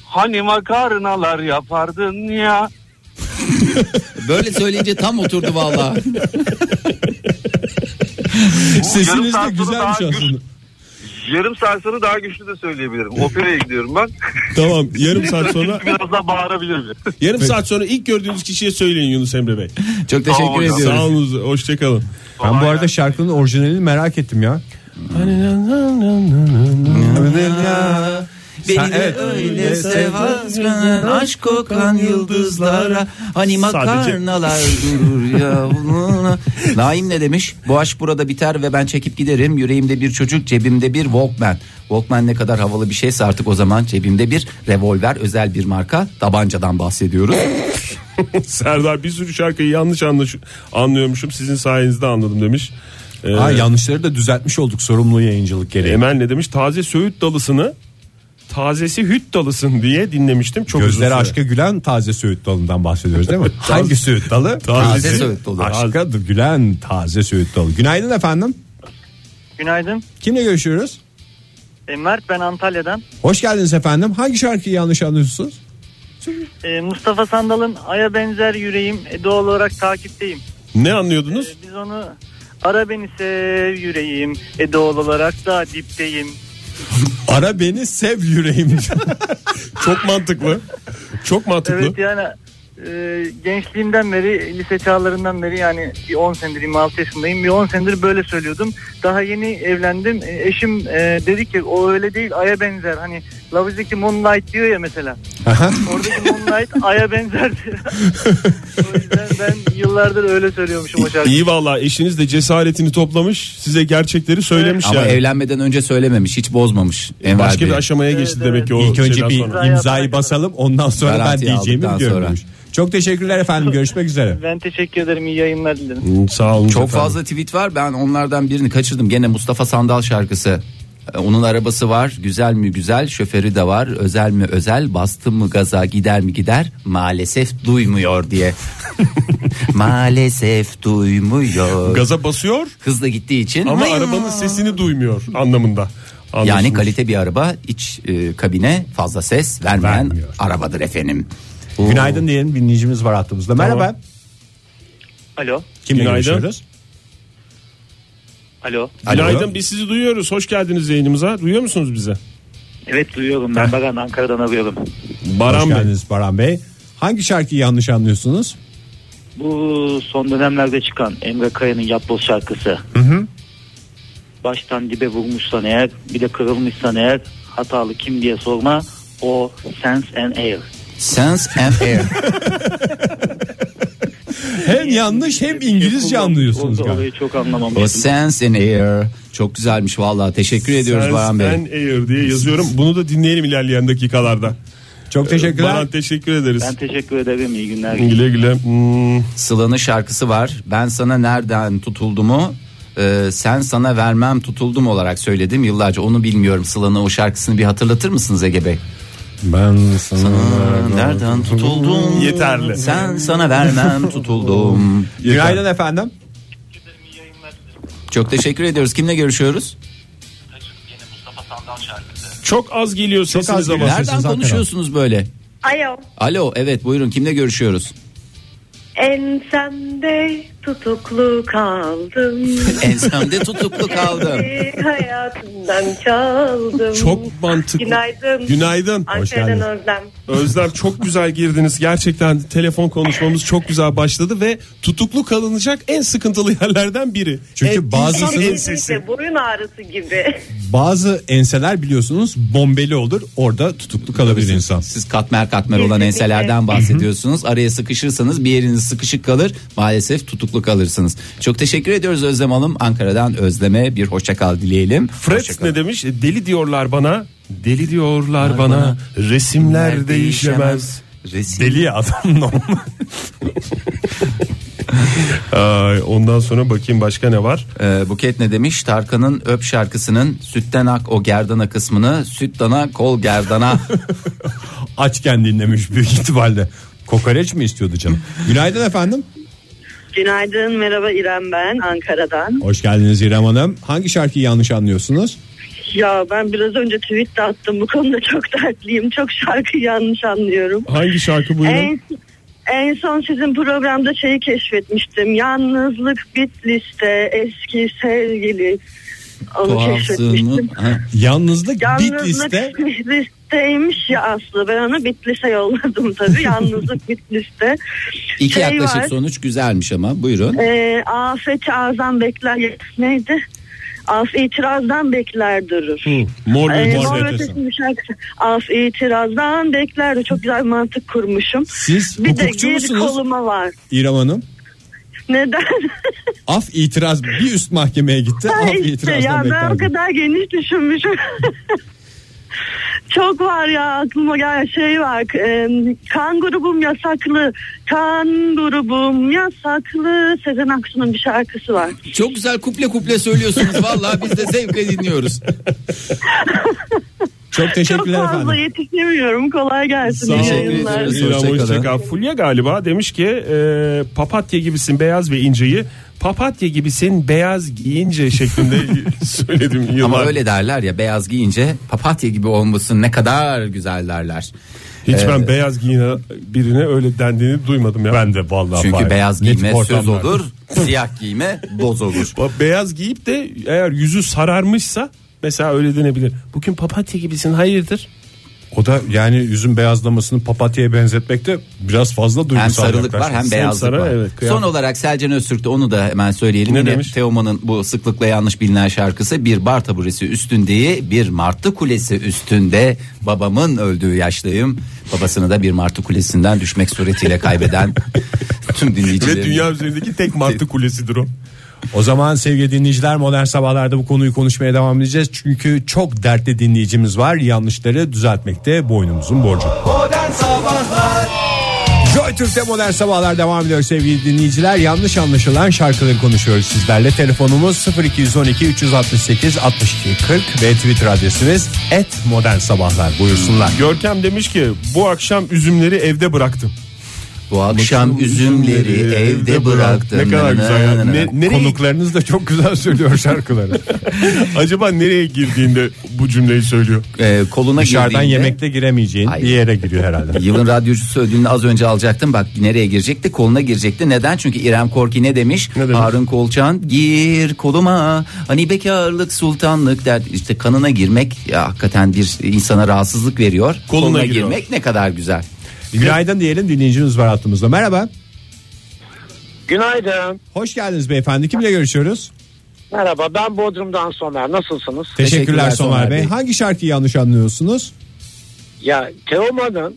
[SPEAKER 5] Hani makarnalar yapardın ya.
[SPEAKER 4] Böyle söyleyince tam oturdu valla.
[SPEAKER 5] Bu yarım
[SPEAKER 2] Sesiniz
[SPEAKER 5] saat
[SPEAKER 2] de
[SPEAKER 5] sonra daha
[SPEAKER 2] güzelmiş
[SPEAKER 5] güç-
[SPEAKER 2] aslında.
[SPEAKER 5] Yarım saat sonra daha güçlü de söyleyebilirim. Operaya gidiyorum ben.
[SPEAKER 3] Tamam yarım saat sonra
[SPEAKER 5] Biraz daha bağırabilirim.
[SPEAKER 3] yarım saat sonra ilk gördüğünüz kişiye söyleyin Yunus Emre Bey.
[SPEAKER 4] Çok
[SPEAKER 5] Sağ
[SPEAKER 4] teşekkür
[SPEAKER 5] olun.
[SPEAKER 4] ediyoruz.
[SPEAKER 3] Sağ olunuz hoşçakalın.
[SPEAKER 2] Ben bu arada şarkının orijinalini merak ettim ya.
[SPEAKER 4] Beni
[SPEAKER 2] Sen- evet.
[SPEAKER 4] öyle
[SPEAKER 2] Evet.
[SPEAKER 4] sevazgın aşk kokan yıldızlara hani makarnalar durur ya. Naim ne demiş? Bu aşk burada biter ve ben çekip giderim. Yüreğimde bir çocuk cebimde bir Walkman. Walkman ne kadar havalı bir şeyse artık o zaman cebimde bir revolver özel bir marka tabancadan bahsediyoruz.
[SPEAKER 3] Serdar bir sürü şarkıyı yanlış anlaş- anlıyormuşum sizin sayenizde anladım demiş. Ee,
[SPEAKER 2] Ha, yanlışları da düzeltmiş olduk sorumlu yayıncılık gereği.
[SPEAKER 3] Emel ne demiş? Taze söğüt dalısını tazesi hüt dalısın diye dinlemiştim. Çok uzun
[SPEAKER 2] Gözleri
[SPEAKER 3] süre.
[SPEAKER 2] aşka gülen taze söğüt dalından bahsediyoruz değil mi? Hangi söğüt dalı?
[SPEAKER 4] Taze söğüt dalı.
[SPEAKER 2] Aşka gülen taze söğüt dalı. Günaydın efendim.
[SPEAKER 7] Günaydın.
[SPEAKER 2] Kimle görüşüyoruz?
[SPEAKER 7] E, Mert ben Antalya'dan.
[SPEAKER 2] Hoş geldiniz efendim. Hangi şarkıyı yanlış anlıyorsunuz?
[SPEAKER 7] E, Mustafa Sandal'ın Ay'a benzer yüreğim e, doğal olarak takipteyim.
[SPEAKER 3] Ne
[SPEAKER 7] E,
[SPEAKER 3] anlıyordunuz?
[SPEAKER 7] biz onu ara beni sev yüreğim e, doğal olarak da dipteyim.
[SPEAKER 2] Ara beni sev yüreğim.
[SPEAKER 3] Çok mantıklı. Çok mantıklı.
[SPEAKER 7] Evet yani e, gençliğimden beri lise çağlarından beri yani bir 10 senedir 26 yaşındayım. Bir 10 senedir böyle söylüyordum. Daha yeni evlendim. E, eşim e, dedi ki o öyle değil aya benzer. Hani Love is like the Moonlight diyor ya mesela. Oradaki Moonlight aya benzer diyor. o yüzden ben yıllardır öyle söylüyormuşum o şarkıyı.
[SPEAKER 3] İyi valla eşiniz de cesaretini toplamış size gerçekleri söylemiş
[SPEAKER 4] Ama
[SPEAKER 3] yani. E,
[SPEAKER 4] evlenmeden önce söylememiş hiç bozmamış. Enver
[SPEAKER 3] Başka bir
[SPEAKER 4] Bey.
[SPEAKER 3] aşamaya geçti
[SPEAKER 7] Evet,
[SPEAKER 3] demek ki o
[SPEAKER 2] İlk önce
[SPEAKER 3] şeyden
[SPEAKER 2] bir
[SPEAKER 3] sonra.
[SPEAKER 2] imzayı basalım ondan sonra ben
[SPEAKER 4] Garantiye
[SPEAKER 2] diyeceğimi
[SPEAKER 4] aldıktan
[SPEAKER 2] biliyorum. demiş. Çok teşekkürler efendim görüşmek üzere.
[SPEAKER 7] Ben teşekkür ederim. iyi yayınlar dilerim.
[SPEAKER 3] Hmm, Sağ olun.
[SPEAKER 4] Çok
[SPEAKER 3] efendim.
[SPEAKER 4] fazla tweet var. Ben onlardan birini kaçırdım. Gene Mustafa Sandal şarkısı. Ee, Onun arabası var. Güzel mi güzel. Şoförü de var. Özel mi özel. Bastım mı gaza gider mi gider. Maalesef duymuyor diye. Maalesef duymuyor.
[SPEAKER 3] Gaza basıyor
[SPEAKER 4] Hızla gittiği için.
[SPEAKER 3] ama arabanın sesini duymuyor anlamında.
[SPEAKER 4] Yani
[SPEAKER 3] Anlaşılmış.
[SPEAKER 4] kalite bir araba. iç e, kabine fazla ses vermeyen
[SPEAKER 2] Vermiyor.
[SPEAKER 4] arabadır efendim.
[SPEAKER 2] Günaydın diyelim dinleyicimiz var hattımızda. Merhaba.
[SPEAKER 7] Alo.
[SPEAKER 2] Kimle
[SPEAKER 3] Günaydın.
[SPEAKER 2] görüşüyoruz?
[SPEAKER 7] Alo.
[SPEAKER 3] Günaydın biz sizi duyuyoruz. Hoş geldiniz yayınımıza. Duyuyor musunuz bizi?
[SPEAKER 7] Evet duyuyorum. Ben Baran Ankara'dan arıyorum.
[SPEAKER 3] Baran
[SPEAKER 2] Hoş
[SPEAKER 3] Bey.
[SPEAKER 2] geldiniz Baran Bey. Hangi şarkıyı yanlış anlıyorsunuz?
[SPEAKER 7] Bu son dönemlerde çıkan Emre Kaya'nın Yapboz şarkısı. Baştan dibe vurmuşsan eğer bir de kırılmışsan eğer hatalı kim diye sorma o Sense and Air.
[SPEAKER 4] Sense and Air.
[SPEAKER 2] Hem yanlış hem İngilizce anlıyorsunuz
[SPEAKER 7] Orada
[SPEAKER 2] galiba.
[SPEAKER 7] olayı çok anlamam.
[SPEAKER 4] o Sense and Air. Çok güzelmiş vallahi. Teşekkür ediyoruz
[SPEAKER 3] Sense
[SPEAKER 4] Baran Bey.
[SPEAKER 3] and Air diye yazıyorum. Bunu da dinleyelim ilerleyen dakikalarda.
[SPEAKER 2] Çok teşekkürler.
[SPEAKER 3] Baran teşekkür ederiz.
[SPEAKER 7] Ben teşekkür ederim. İyi günler.
[SPEAKER 3] Güle güle. Hmm,
[SPEAKER 4] Sıla'nın şarkısı var. Ben sana nereden tutuldumu e, sen sana vermem tutuldum olarak söyledim yıllarca. Onu bilmiyorum. Sıla'nın o şarkısını bir hatırlatır mısınız Ege Bey?
[SPEAKER 2] Ben sana...
[SPEAKER 4] Nereden tutuldum?
[SPEAKER 3] Yeterli.
[SPEAKER 4] Sen sana vermem tutuldum.
[SPEAKER 2] Günaydın efendim.
[SPEAKER 4] Çok teşekkür ediyoruz. Kimle görüşüyoruz?
[SPEAKER 3] Çok az geliyor sesiniz ama.
[SPEAKER 2] geliyor.
[SPEAKER 4] Nereden
[SPEAKER 2] Sesiniz
[SPEAKER 4] konuşuyorsunuz böyle?
[SPEAKER 9] Alo.
[SPEAKER 4] Alo evet buyurun kimle görüşüyoruz?
[SPEAKER 9] Ensemde tutuklu kaldım.
[SPEAKER 4] Ensemde tutuklu kaldım.
[SPEAKER 9] Hayatından çaldım.
[SPEAKER 3] Çok mantıklı.
[SPEAKER 9] Günaydın.
[SPEAKER 3] Günaydın.
[SPEAKER 9] Ankara'dan Özlem.
[SPEAKER 3] Özlem çok güzel girdiniz. Gerçekten telefon konuşmamız çok güzel başladı ve tutuklu kalınacak en sıkıntılı yerlerden biri. E,
[SPEAKER 2] Çünkü
[SPEAKER 3] En-
[SPEAKER 2] bazısı-
[SPEAKER 3] insan
[SPEAKER 9] Kesinlikle
[SPEAKER 3] ensesi.
[SPEAKER 9] boyun ağrısı gibi.
[SPEAKER 2] Bazı enseler biliyorsunuz bombeli olur. Orada tutuklu kalabilir insan.
[SPEAKER 4] Siz katmer katmer olan
[SPEAKER 9] Kesinlikle.
[SPEAKER 4] enselerden bahsediyorsunuz. Araya sıkışırsanız bir yeriniz sıkışık kalır. Maalesef tutuklu kalırsınız. Çok teşekkür ediyoruz Özlem Hanım. Ankara'dan Özlem'e bir hoşça kal dileyelim. Hoşça
[SPEAKER 3] Fred
[SPEAKER 4] kal.
[SPEAKER 3] ne demiş? E, Deli diyorlar bana. Deli diyorlar bana. Resimler değişemez.
[SPEAKER 4] Resim.
[SPEAKER 3] Deli adam normal. Ay, ondan sonra bakayım başka ne var?
[SPEAKER 4] Ee, Buket ne demiş? Tarkan'ın Öp şarkısının sütten ak o gerdana kısmını süt dana kol gerdana.
[SPEAKER 2] Açken dinlemiş büyük ihtimalle. Kokoreç mi istiyordu canım? Günaydın efendim.
[SPEAKER 9] Günaydın merhaba İrem ben Ankara'dan.
[SPEAKER 2] Hoş geldiniz İrem Hanım. Hangi şarkıyı yanlış anlıyorsunuz?
[SPEAKER 9] Ya ben biraz önce tweet de attım bu konuda çok dertliyim. Çok şarkı yanlış anlıyorum.
[SPEAKER 3] Hangi şarkı buyurun?
[SPEAKER 9] En, en son sizin programda şeyi keşfetmiştim. Yalnızlık Bitlis'te eski sevgili. Onu keşfetmiştim.
[SPEAKER 4] Tuhafsın. Ha.
[SPEAKER 2] Yalnızlık, Bitlis'te
[SPEAKER 9] Yalnızlık Bitlis'teymiş ya Aslı. Ben onu Bitlis'e yolladım tabii. Yalnızlık Bitlis'te.
[SPEAKER 4] İki
[SPEAKER 9] Şey
[SPEAKER 4] yaklaşık
[SPEAKER 9] var.
[SPEAKER 4] sonuç güzelmiş ama buyurun.
[SPEAKER 9] Ee, Afet Azam Bekler neydi? As itirazdan bekler durur.
[SPEAKER 3] Mor ve
[SPEAKER 9] Ee,
[SPEAKER 3] ötesi.
[SPEAKER 9] Mor ve Ötesi'nin şarkısı. As itirazdan bekler durur. Çok güzel bir mantık kurmuşum.
[SPEAKER 2] Siz
[SPEAKER 9] Bir de
[SPEAKER 2] hukukçu
[SPEAKER 9] geri
[SPEAKER 2] musunuz
[SPEAKER 9] koluma var.
[SPEAKER 2] İrem Hanım?
[SPEAKER 9] Neden?
[SPEAKER 2] Af itiraz bir üst mahkemeye gitti.
[SPEAKER 9] Ha
[SPEAKER 2] Af
[SPEAKER 9] işte şey, ya
[SPEAKER 2] itirazdan
[SPEAKER 9] ben o
[SPEAKER 2] beklerdi.
[SPEAKER 9] kadar geniş düşünmüşüm. Çok var ya aklıma gelen şey var. E, kan grubum yasaklı. Kan grubum yasaklı. Sezen Aksu'nun bir şarkısı var.
[SPEAKER 4] Çok güzel kuple kuple söylüyorsunuz. Vallahi biz de zevkle dinliyoruz.
[SPEAKER 2] Çok
[SPEAKER 9] Çok
[SPEAKER 2] teşekkürler
[SPEAKER 9] fazla
[SPEAKER 2] efendim.
[SPEAKER 9] yetişemiyorum. Kolay gelsin.
[SPEAKER 4] Sağ
[SPEAKER 9] iyi
[SPEAKER 4] olun.
[SPEAKER 9] yayınlar.
[SPEAKER 4] Teşekkür ederiz.
[SPEAKER 3] İrem
[SPEAKER 4] Hoşçakalın.
[SPEAKER 3] hoşçakal. Fulya galiba demiş ki e, papatya gibisin beyaz ve inceyi. Papatya gibisin beyaz giyince şeklinde söyledim yıllar.
[SPEAKER 4] Ama öyle derler ya beyaz giyince papatya gibi olmuşsun ne kadar güzel derler. Ee,
[SPEAKER 3] Hiç ben beyaz giyinen birine öyle dendiğini duymadım ya. Ben de vallahi.
[SPEAKER 4] Çünkü beyaz giyme söz
[SPEAKER 3] ortamlarda.
[SPEAKER 4] olur, siyah giyme boz olur.
[SPEAKER 3] Beyaz giyip de eğer yüzü sararmışsa mesela öyle denebilir. Bugün papatya gibisin hayırdır?
[SPEAKER 2] O da yani yüzün beyazlamasını papatya'ya benzetmekte biraz fazla duygusal
[SPEAKER 4] Hem sarılık var hem
[SPEAKER 2] yaklaşmış.
[SPEAKER 4] beyazlık
[SPEAKER 3] sarı,
[SPEAKER 4] var.
[SPEAKER 3] evet, kıyafet.
[SPEAKER 4] Son olarak Selcan Öztürk'te onu da hemen söyleyelim.
[SPEAKER 3] Ne
[SPEAKER 4] Yine
[SPEAKER 3] demiş?
[SPEAKER 4] Teoman'ın bu sıklıkla yanlış bilinen şarkısı bir bar taburesi üstündeyi bir martı kulesi üstünde babamın öldüğü yaştayım. Babasını da bir martı kulesinden düşmek suretiyle kaybeden tüm dinleyicilerimiz.
[SPEAKER 3] Ve dünya üzerindeki tek martı kulesidir o.
[SPEAKER 2] O zaman sevgili dinleyiciler modern sabahlarda bu konuyu konuşmaya devam edeceğiz. Çünkü çok dertli dinleyicimiz var. Yanlışları düzeltmekte boynumuzun borcu.
[SPEAKER 1] Modern Sabahlar
[SPEAKER 2] Joy Türk'te modern sabahlar devam ediyor sevgili dinleyiciler. Yanlış anlaşılan şarkıları konuşuyoruz sizlerle. Telefonumuz 0212 368 62 40 ve Twitter adresimiz et modern sabahlar buyursunlar.
[SPEAKER 3] Görkem demiş ki bu akşam üzümleri evde bıraktım.
[SPEAKER 4] Bu akşam üzümleri evde bıraktım.
[SPEAKER 3] Ne kadar güzel ya. Ne- nereye-
[SPEAKER 2] Konuklarınız da çok güzel söylüyor şarkıları.
[SPEAKER 3] Acaba nereye girdiğinde bu cümleyi söylüyor?
[SPEAKER 4] Ee, koluna
[SPEAKER 2] Dışarıdan
[SPEAKER 4] girdiğinde-
[SPEAKER 2] yemekte giremeyeceğin
[SPEAKER 4] Hayır.
[SPEAKER 2] bir yere giriyor herhalde.
[SPEAKER 4] Yılın radyocusu ödülünü az önce alacaktım. Bak nereye girecekti? Koluna girecekti. Neden? Çünkü İrem Korki ne demiş?
[SPEAKER 3] demiş?
[SPEAKER 4] Harun Kolçan gir koluma. Hani bekarlık sultanlık der. İşte kanına girmek ya hakikaten bir insana rahatsızlık veriyor.
[SPEAKER 3] Koluna
[SPEAKER 4] Koluna,
[SPEAKER 3] giriyor.
[SPEAKER 4] girmek ne kadar güzel.
[SPEAKER 2] Günaydın diyelim dinleyicimiz var hattımızda. Merhaba.
[SPEAKER 11] Günaydın.
[SPEAKER 2] Hoş geldiniz beyefendi. Kimle görüşüyoruz?
[SPEAKER 11] Merhaba ben Bodrum'dan Somer. Nasılsınız?
[SPEAKER 2] Teşekkürler,
[SPEAKER 4] Teşekkürler
[SPEAKER 2] Somer,
[SPEAKER 4] Somer
[SPEAKER 2] Bey.
[SPEAKER 4] Bey.
[SPEAKER 2] Hangi şarkıyı yanlış anlıyorsunuz?
[SPEAKER 11] Ya Teoman'ın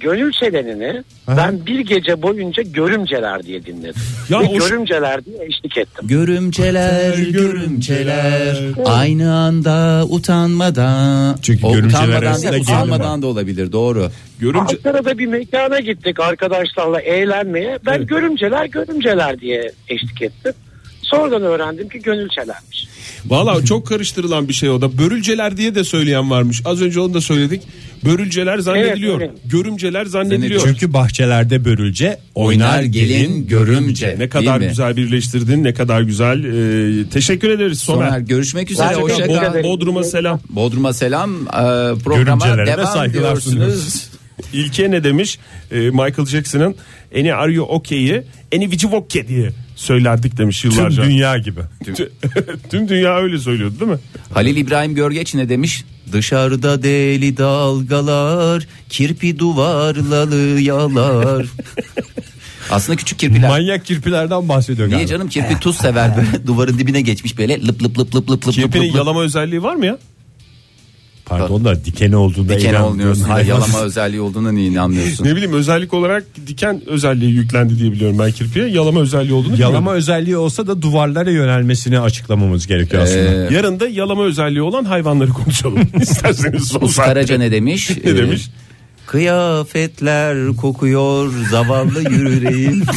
[SPEAKER 11] Gönül Selenini
[SPEAKER 2] Aha.
[SPEAKER 11] ben bir gece boyunca Görümceler diye dinledim.
[SPEAKER 3] Ya
[SPEAKER 11] Ve
[SPEAKER 3] o-
[SPEAKER 11] Görümceler diye eşlik ettim.
[SPEAKER 4] Görümceler, görümceler. Aynı anda utanmadan.
[SPEAKER 2] Çünkü görümceler
[SPEAKER 4] utanmadan,
[SPEAKER 2] arasında
[SPEAKER 4] değil,
[SPEAKER 2] gerilim
[SPEAKER 4] utanmadan da olabilir. Doğru.
[SPEAKER 3] Görümce
[SPEAKER 11] Ankara'da bir mekana gittik arkadaşlarla eğlenmeye. Ben Görümceler Görümceler diye eşlik ettim. Sonradan öğrendim ki Gönülçelermiş.
[SPEAKER 3] Valla çok karıştırılan bir şey o da. Börülceler diye de söyleyen varmış. Az önce onu da söyledik. Börülceler zannediliyor.
[SPEAKER 11] Evet, evet.
[SPEAKER 3] Görümceler zannediliyor.
[SPEAKER 4] Zannediliyor.
[SPEAKER 2] Çünkü bahçelerde börülce oynar
[SPEAKER 4] Oynar
[SPEAKER 2] gelin
[SPEAKER 4] gelin görümce.
[SPEAKER 3] Ne kadar
[SPEAKER 4] Değil mi?
[SPEAKER 3] güzel birleştirdin, ne kadar güzel. Ee, teşekkür ederiz Somer.
[SPEAKER 4] Somer görüşmek üzere.
[SPEAKER 11] Hoşça
[SPEAKER 4] Hoşça
[SPEAKER 11] kal.
[SPEAKER 4] kal.
[SPEAKER 3] Bo- Bodrum'a selam.
[SPEAKER 4] Bodrum'a selam. Ee, programa
[SPEAKER 2] Görümcelere de
[SPEAKER 4] devam
[SPEAKER 2] saygılar
[SPEAKER 4] diyorsunuz.
[SPEAKER 2] sunuyoruz.
[SPEAKER 3] İlke ne demiş? Ee, Michael Jackson'ın Any Are You Okay'i Any Vicivokke diye söylerdik demiş
[SPEAKER 2] tüm
[SPEAKER 3] yıllarca.
[SPEAKER 2] dünya gibi.
[SPEAKER 3] Tüm dünya öyle söylüyordu değil mi?
[SPEAKER 4] Halil İbrahim Görgeç ne demiş? Dışarıda deli dalgalar, kirpi duvarları yalar. Aslında küçük kirpiler.
[SPEAKER 2] Manyak kirpilerden bahsediyor
[SPEAKER 4] Niye
[SPEAKER 2] galiba.
[SPEAKER 4] canım kirpi tuz sever böyle duvarın dibine geçmiş böyle lıp lıp lıp lıp lıp lıp lıp
[SPEAKER 3] Kirpinin
[SPEAKER 4] lıp lıp.
[SPEAKER 3] yalama özelliği var mı ya?
[SPEAKER 2] Pardon da dikeni olduğunda
[SPEAKER 4] Diken
[SPEAKER 2] eğlendiğin
[SPEAKER 4] olmuyorsun da
[SPEAKER 2] hayvan.
[SPEAKER 4] yalama özelliği olduğuna niye inanmıyorsun?
[SPEAKER 3] Ne bileyim özellik olarak diken özelliği yüklendi diye biliyorum ben kirpiye. Yalama özelliği olduğunu
[SPEAKER 2] Yalama özelliği olsa da duvarlara yönelmesini açıklamamız
[SPEAKER 4] Ee,
[SPEAKER 2] gerekiyor aslında.
[SPEAKER 3] bilmiyorum. Yarın da yalama özelliği olan hayvanları konuşalım isterseniz son
[SPEAKER 4] Usta
[SPEAKER 3] saatte.
[SPEAKER 4] Karaca ne demiş?
[SPEAKER 3] Ne demiş?
[SPEAKER 4] Ee, Kıyafetler kokuyor zavallı yüreğim.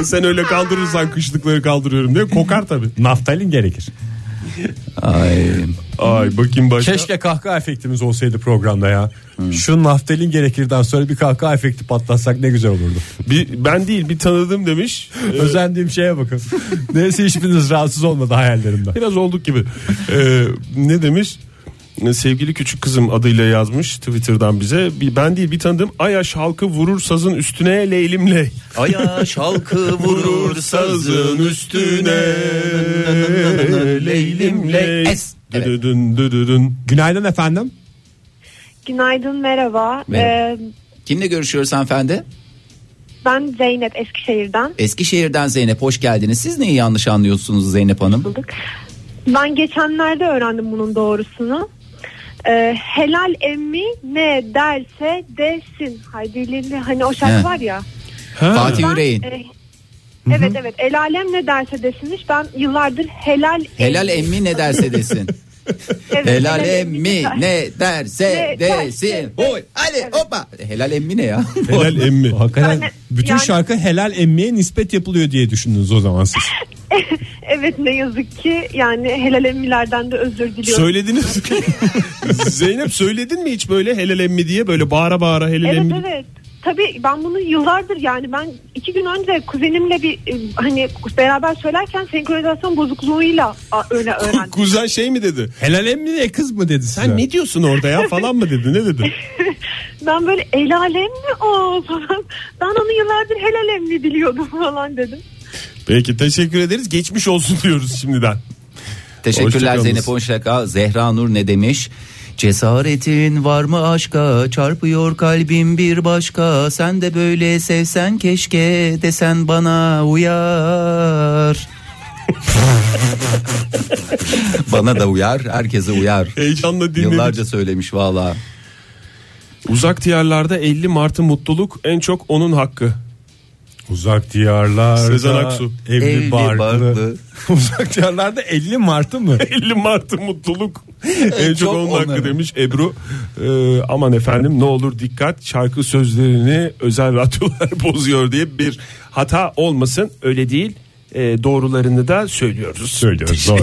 [SPEAKER 3] E Sen öyle kaldırırsan kışlıkları kaldırıyorum diye kokar tabii.
[SPEAKER 2] Naftalin gerekir.
[SPEAKER 4] Ay.
[SPEAKER 3] Ay bakayım başka.
[SPEAKER 2] Keşke kahkaha efektimiz olsaydı programda ya.
[SPEAKER 4] Hmm.
[SPEAKER 2] Şu naftalin gerekirden sonra bir kahkaha efekti patlatsak ne güzel olurdu.
[SPEAKER 3] Bir, ben değil bir tanıdığım demiş.
[SPEAKER 2] Özendiğim şeye bakın. Neyse hiçbiriniz rahatsız olmadı hayallerimden.
[SPEAKER 3] Biraz olduk gibi. Ee, ne demiş? Sevgili küçük kızım adıyla yazmış Twitter'dan bize. Bir, ben değil bir tanıdığım Ayaş halkı vurur sazın üstüne leylim ley.
[SPEAKER 4] Aya şalkı vurur sazın üstüne Leylim ley Es Evet.
[SPEAKER 3] Düdüdün düdüdün.
[SPEAKER 2] Günaydın efendim.
[SPEAKER 9] Günaydın merhaba.
[SPEAKER 4] Merhaba. Kimle görüşüyoruz hanımefendi?
[SPEAKER 12] Ee, Ben Zeynep Eskişehir'den.
[SPEAKER 4] Eskişehir'den Zeynep hoş geldiniz. Siz neyi yanlış anlıyorsunuz Zeynep Hanım?
[SPEAKER 12] Ben geçenlerde öğrendim bunun doğrusunu. Ee, helal emmi ne derse desin. Haydi Lili, hani o şarkı
[SPEAKER 4] He.
[SPEAKER 12] var ya.
[SPEAKER 4] Fatih
[SPEAKER 12] Ben,
[SPEAKER 4] Yüreğin.
[SPEAKER 12] e, evet evet. El alem ne derse desinmiş. Ben yıllardır helal
[SPEAKER 4] Helal emmi ne derse desin.
[SPEAKER 12] Evet,
[SPEAKER 4] Helal
[SPEAKER 12] emmi
[SPEAKER 4] emmi ne derse
[SPEAKER 12] Ne
[SPEAKER 4] desin. Oy, hadi hoppa. Helal emmi ne ya?
[SPEAKER 3] Helal emmi.
[SPEAKER 2] Hakikaten
[SPEAKER 12] Yani-
[SPEAKER 2] bütün
[SPEAKER 12] yani-
[SPEAKER 2] şarkı helal emmiye nispet yapılıyor diye düşündünüz o zaman siz.
[SPEAKER 12] evet ne yazık ki yani helal emmilerden de özür diliyorum.
[SPEAKER 3] Söylediniz. Zeynep söyledin mi hiç böyle helal emmi diye böyle bağıra bağıra helal
[SPEAKER 12] Evet
[SPEAKER 3] emmi.
[SPEAKER 12] evet. Tabii ben bunu yıllardır yani ben iki gün önce kuzenimle bir e, hani beraber söylerken senkronizasyon bozukluğuyla a, öyle öğrendim.
[SPEAKER 3] Kuzen şey mi dedi?
[SPEAKER 2] Helal emmi ne kız mı dedi size?
[SPEAKER 3] Sen ne diyorsun orada ya falan mı dedi? Ne dedi?
[SPEAKER 12] ben böyle el alem mi o falan. Ben onu yıllardır helal emmi biliyordum falan dedim.
[SPEAKER 3] Peki teşekkür ederiz. Geçmiş olsun diyoruz şimdiden.
[SPEAKER 4] Teşekkürler
[SPEAKER 3] Hoşçakalınız.
[SPEAKER 4] Zeynep Hoşaka. Zehra Nur ne demiş? Cesaretin var mı aşka çarpıyor kalbim bir başka sen de böyle sevsen keşke desen bana uyar. bana da uyar herkese uyar.
[SPEAKER 3] Heyecanla dinledik.
[SPEAKER 4] Yıllarca söylemiş valla.
[SPEAKER 3] Uzak diyarlarda 50 Mart'ı mutluluk en çok onun hakkı.
[SPEAKER 2] Uzak diyarlarda
[SPEAKER 3] Sezen Aksu.
[SPEAKER 2] Evli,
[SPEAKER 4] Evli
[SPEAKER 2] barklı.
[SPEAKER 4] barklı.
[SPEAKER 2] Uzak diyarlarda 50 Mart'ı mı?
[SPEAKER 3] 50 Mart'ı mutluluk en çok
[SPEAKER 4] çok
[SPEAKER 3] onun
[SPEAKER 4] onların.
[SPEAKER 3] hakkı demiş Ebru. Ee, aman efendim ne olur dikkat şarkı sözlerini özel radyolar bozuyor diye bir hata olmasın öyle değil. Ee, doğrularını da söylüyoruz. Söylüyoruz
[SPEAKER 2] doğru.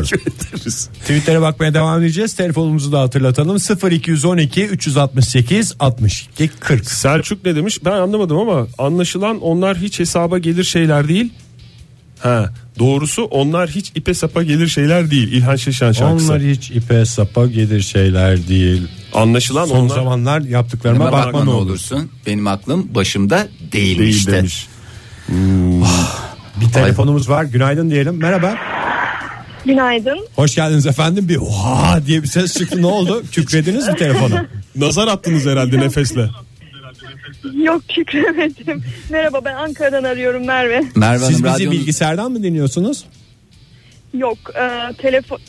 [SPEAKER 3] ederiz.
[SPEAKER 2] Tweetlere bakmaya devam edeceğiz. Telefonumuzu da hatırlatalım. 0212 368 62 40.
[SPEAKER 3] Selçuk ne demiş ben anlamadım ama anlaşılan onlar hiç hesaba gelir şeyler değil. Ha, doğrusu onlar hiç ipe sapa gelir şeyler değil. İlhan Şeşen şarkısı.
[SPEAKER 2] Onlar hiç ipe sapa gelir şeyler değil.
[SPEAKER 3] Anlaşılan
[SPEAKER 2] Son
[SPEAKER 3] onlar
[SPEAKER 2] zamanlar yaptıklarıma
[SPEAKER 4] Ama
[SPEAKER 2] bakma,
[SPEAKER 4] bakma ne
[SPEAKER 2] ne olur.
[SPEAKER 4] olursun benim aklım başımda değilmiş
[SPEAKER 3] değil
[SPEAKER 4] işte.
[SPEAKER 3] demiş.
[SPEAKER 4] Hmm.
[SPEAKER 2] Ah, Bir telefonumuz var. Günaydın diyelim. Merhaba.
[SPEAKER 12] Günaydın.
[SPEAKER 2] Hoş geldiniz efendim. Bir oha diye bir ses çıktı. Ne oldu? Kükrediniz mi telefona?
[SPEAKER 3] Nazar attınız herhalde nefesle.
[SPEAKER 12] Yok şükremedim. Merhaba ben Ankara'dan arıyorum Merve.
[SPEAKER 4] Merve
[SPEAKER 2] Siz
[SPEAKER 4] Hanım
[SPEAKER 2] bizi
[SPEAKER 4] radyonuz-
[SPEAKER 2] bilgisayardan mı dinliyorsunuz?
[SPEAKER 12] Yok e, telefon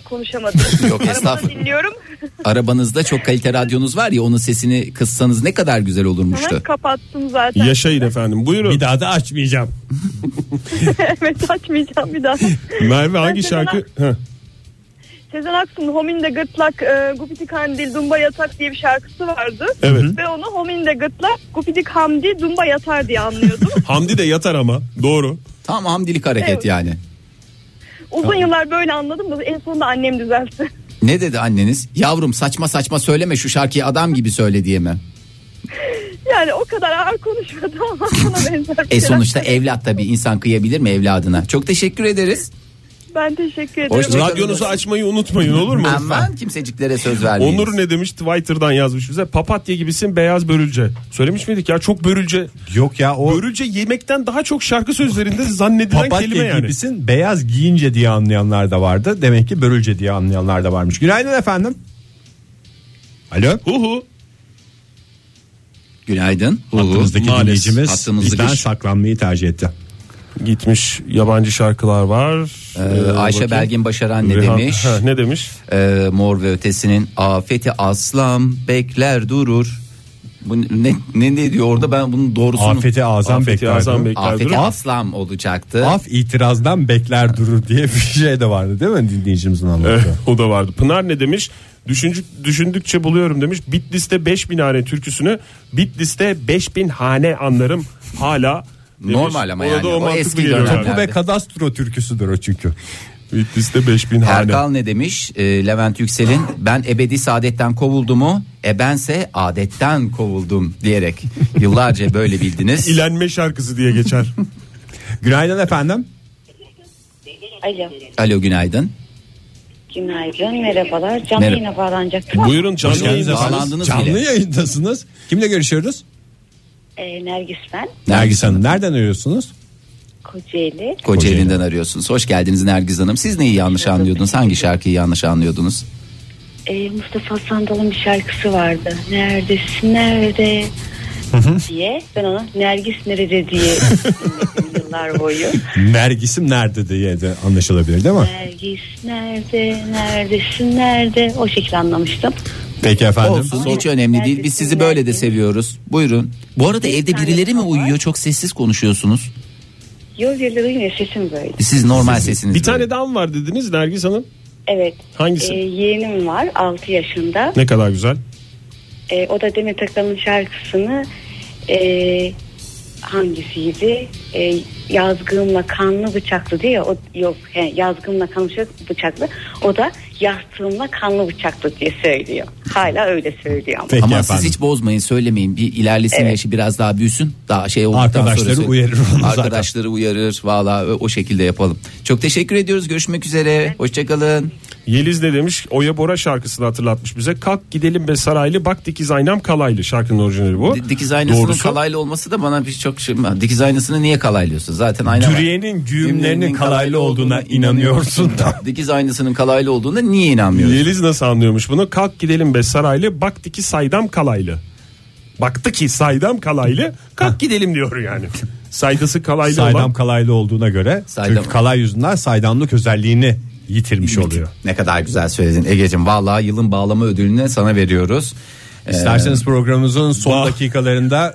[SPEAKER 12] konuşamadım.
[SPEAKER 4] Yok, estağfurullah. Arabadan
[SPEAKER 12] dinliyorum.
[SPEAKER 4] arabanızda çok kalite radyonuz var ya onun sesini kıssanız ne kadar güzel olurmuştu.
[SPEAKER 12] Kapattım zaten.
[SPEAKER 3] Yaşayın efendim. Buyurun.
[SPEAKER 2] Bir daha da açmayacağım.
[SPEAKER 12] evet açmayacağım bir daha.
[SPEAKER 3] Merve hangi
[SPEAKER 12] Ben Sezen
[SPEAKER 3] şarkı? Heh.
[SPEAKER 12] Sezen Aksu'nun Hominde Gırtlak e, Gupidi Kandil Dumba Yatak diye bir şarkısı vardı.
[SPEAKER 3] Evet.
[SPEAKER 12] Ve onu Hominde Gırtlak Gupidi Kamdi Dumba Yatar diye anlıyordum.
[SPEAKER 3] Hamdi de yatar ama. Doğru.
[SPEAKER 4] Tam hamdilik hareket
[SPEAKER 12] Evet.
[SPEAKER 4] yani.
[SPEAKER 12] Uzun yıllar böyle anladım da en sonunda annem düzeltti.
[SPEAKER 4] Ne dedi anneniz? Yavrum saçma saçma söyleme şu şarkıyı adam gibi söyle diye mi?
[SPEAKER 12] Yani o kadar ağır konuşmadı ama ona benzer bir
[SPEAKER 4] E
[SPEAKER 12] şeyler.
[SPEAKER 4] sonuçta evlat tabii insan kıyabilir mi evladına? Çok teşekkür ederiz.
[SPEAKER 12] Ben teşekkür ederim.
[SPEAKER 4] Hoşça-
[SPEAKER 3] Radyonuzu açmayı unutmayın olur mu?
[SPEAKER 4] Aman kimseciklere söz vermeyin.
[SPEAKER 3] Onur ne demiş Twitter'dan yazmış bize papatya gibisin beyaz börülce. Söylemiş miydik ya çok börülce.
[SPEAKER 2] Yok ya o
[SPEAKER 3] Börülce yemekten daha çok şarkı sözlerinde zannedilen kelime
[SPEAKER 2] papatya
[SPEAKER 3] yani.
[SPEAKER 2] gibisin beyaz giyince diye anlayanlar da vardı. Demek ki börülce diye anlayanlar da varmış. Günaydın efendim. Alo.
[SPEAKER 3] Huhu.
[SPEAKER 4] Günaydın.
[SPEAKER 2] Hattımızdaki
[SPEAKER 4] Maalesef.
[SPEAKER 2] dinleyicimiz
[SPEAKER 4] Hattımızı
[SPEAKER 2] bizden
[SPEAKER 4] geç.
[SPEAKER 2] saklanmayı tercih etti.
[SPEAKER 3] Gitmiş yabancı şarkılar var.
[SPEAKER 4] Ee, Ayşe Belgin Başaran ne
[SPEAKER 3] Rihanna-
[SPEAKER 4] demiş?
[SPEAKER 3] Ha, ne demiş?
[SPEAKER 4] Ee, Mor ve Ötesi'nin afeti aslam bekler durur. Bu ne, ne, ne diyor orada ben bunun doğrusunu...
[SPEAKER 2] Afeti azam
[SPEAKER 3] Afeti
[SPEAKER 2] bekler.
[SPEAKER 3] Azam
[SPEAKER 2] durur.
[SPEAKER 3] bekler.
[SPEAKER 4] Afeti
[SPEAKER 3] durur.
[SPEAKER 4] aslam olacaktı.
[SPEAKER 2] Af itirazdan bekler durur diye bir şey de vardı değil mi dinleyicimizin
[SPEAKER 3] Evet,
[SPEAKER 2] anlattığı?
[SPEAKER 3] o da vardı. Pınar ne demiş? Düşüncük, düşündükçe buluyorum demiş. Bitlis'te 5000 hane türküsünü Bitlis'te 5000 hane anlarım hala demiş.
[SPEAKER 4] Normal ama
[SPEAKER 3] Ona da
[SPEAKER 4] yani, o
[SPEAKER 3] mantıklı
[SPEAKER 4] eski
[SPEAKER 3] geliyor
[SPEAKER 4] görünen.
[SPEAKER 3] yani.
[SPEAKER 2] Bu
[SPEAKER 4] Nerede?
[SPEAKER 2] ve kadastro türküsüdür o çünkü.
[SPEAKER 3] Bitlis'te 5000 hane.
[SPEAKER 4] Erkal ne demiş? Ee, Levent Yüksel'in ben ebedi saadetten kovuldum o. E bense adetten kovuldum diyerek yıllarca böyle bildiniz.
[SPEAKER 3] İlenme şarkısı diye geçer.
[SPEAKER 2] Günaydın efendim.
[SPEAKER 13] Alo.
[SPEAKER 4] Alo günaydın.
[SPEAKER 13] Günaydın. Merhabalar. Canlı
[SPEAKER 4] Merhaba.
[SPEAKER 13] yine bağlanacaktım.
[SPEAKER 3] Buyurun canlı
[SPEAKER 2] Hoş geldiniz
[SPEAKER 3] yayında.
[SPEAKER 2] efendim.
[SPEAKER 4] Bağlandınız
[SPEAKER 2] Canlı
[SPEAKER 4] bile.
[SPEAKER 2] yayındasınız. Kimle görüşüyoruz?
[SPEAKER 13] Ee, Nergis ben.
[SPEAKER 2] Nergis Hanım. Nereden arıyorsunuz?
[SPEAKER 13] Kocaeli.
[SPEAKER 4] Kocaeli'nden arıyorsunuz. Hoş geldiniz Nergiz Hanım. Siz neyi yanlış anlıyordunuz? Hangi şarkıyı yanlış anlıyordunuz?
[SPEAKER 13] Ee, Mustafa Sandal'ın bir şarkısı vardı. Neredesin nerede? diye ben ona Nergis nerede diye yıllar boyu.
[SPEAKER 2] Nergis'im nerede diye de anlaşılabilir değil mi?
[SPEAKER 13] Nergis nerede neredesin nerede o şekilde anlamıştım.
[SPEAKER 2] Peki efendim.
[SPEAKER 4] Olsun hiç önemli değil. Biz sizi böyle de seviyoruz. Buyurun. Bu arada evde birileri mi uyuyor? Çok sessiz konuşuyorsunuz.
[SPEAKER 13] Yol yerleri yine sesim böyle.
[SPEAKER 4] Siz normal sesiniz.
[SPEAKER 3] Bir tane daha mı var dediniz Nergis Hanım?
[SPEAKER 13] Evet.
[SPEAKER 3] Hangisi?
[SPEAKER 13] Ee, yeğenim var 6 yaşında.
[SPEAKER 3] Ne kadar güzel.
[SPEAKER 13] Ee, o da Demet Akalın şarkısını e, hangisiydi? E, yazgımla kanlı bıçaklı diye o yok he, yazgımla kanlı bıçak- bıçaklı o da yastığımla kanlı bıçaklı diye söylüyor. Hala öyle söylüyor ama.
[SPEAKER 4] Ama siz hiç bozmayın söylemeyin. Bir ilerlesin yaşı biraz daha büyüsün. Daha şey olduktan
[SPEAKER 2] Arkadaşları
[SPEAKER 4] sonra-
[SPEAKER 2] uyarır onu zaten.
[SPEAKER 4] Arkadaşları uyarır. Valla o şekilde yapalım. Çok teşekkür ediyoruz. Görüşmek üzere. E, Hoşçakalın.
[SPEAKER 3] Yeliz ne demiş? Oya Bora şarkısını hatırlatmış bize. Kalk gidelim be saraylı bak dikiz aynam kalaylı. Şarkının orijinali bu.
[SPEAKER 4] Dikiz aynasının
[SPEAKER 3] Doğrusu.
[SPEAKER 4] kalaylı olması da bana bir çok şey. Dikiz aynasını niye kalaylıyorsun? Zaten ayna var.
[SPEAKER 2] Türiye'nin güğümlerinin
[SPEAKER 4] Düğümlerinin
[SPEAKER 2] kalaylı olduğuna inanıyorsun da.
[SPEAKER 4] Dikiz aynasının kalaylı olduğunda niye inanmıyorsun?
[SPEAKER 3] Yeliz nasıl anlıyormuş bunu? Kalk gidelim be saraylı baktı ki saydam kalaylı. Baktı ki saydam kalaylı kalk gidelim diyor yani. Saygısı kalaylı
[SPEAKER 2] Saydam
[SPEAKER 3] olan.
[SPEAKER 2] kalaylı olduğuna göre
[SPEAKER 4] Saydam.
[SPEAKER 2] çünkü kalay yüzünden saydamlık özelliğini yitirmiş oluyor.
[SPEAKER 4] Ne kadar güzel söyledin Ege'cim. Vallahi yılın bağlama ödülünü sana veriyoruz. Ee,
[SPEAKER 2] İsterseniz programımızın son dakikalarında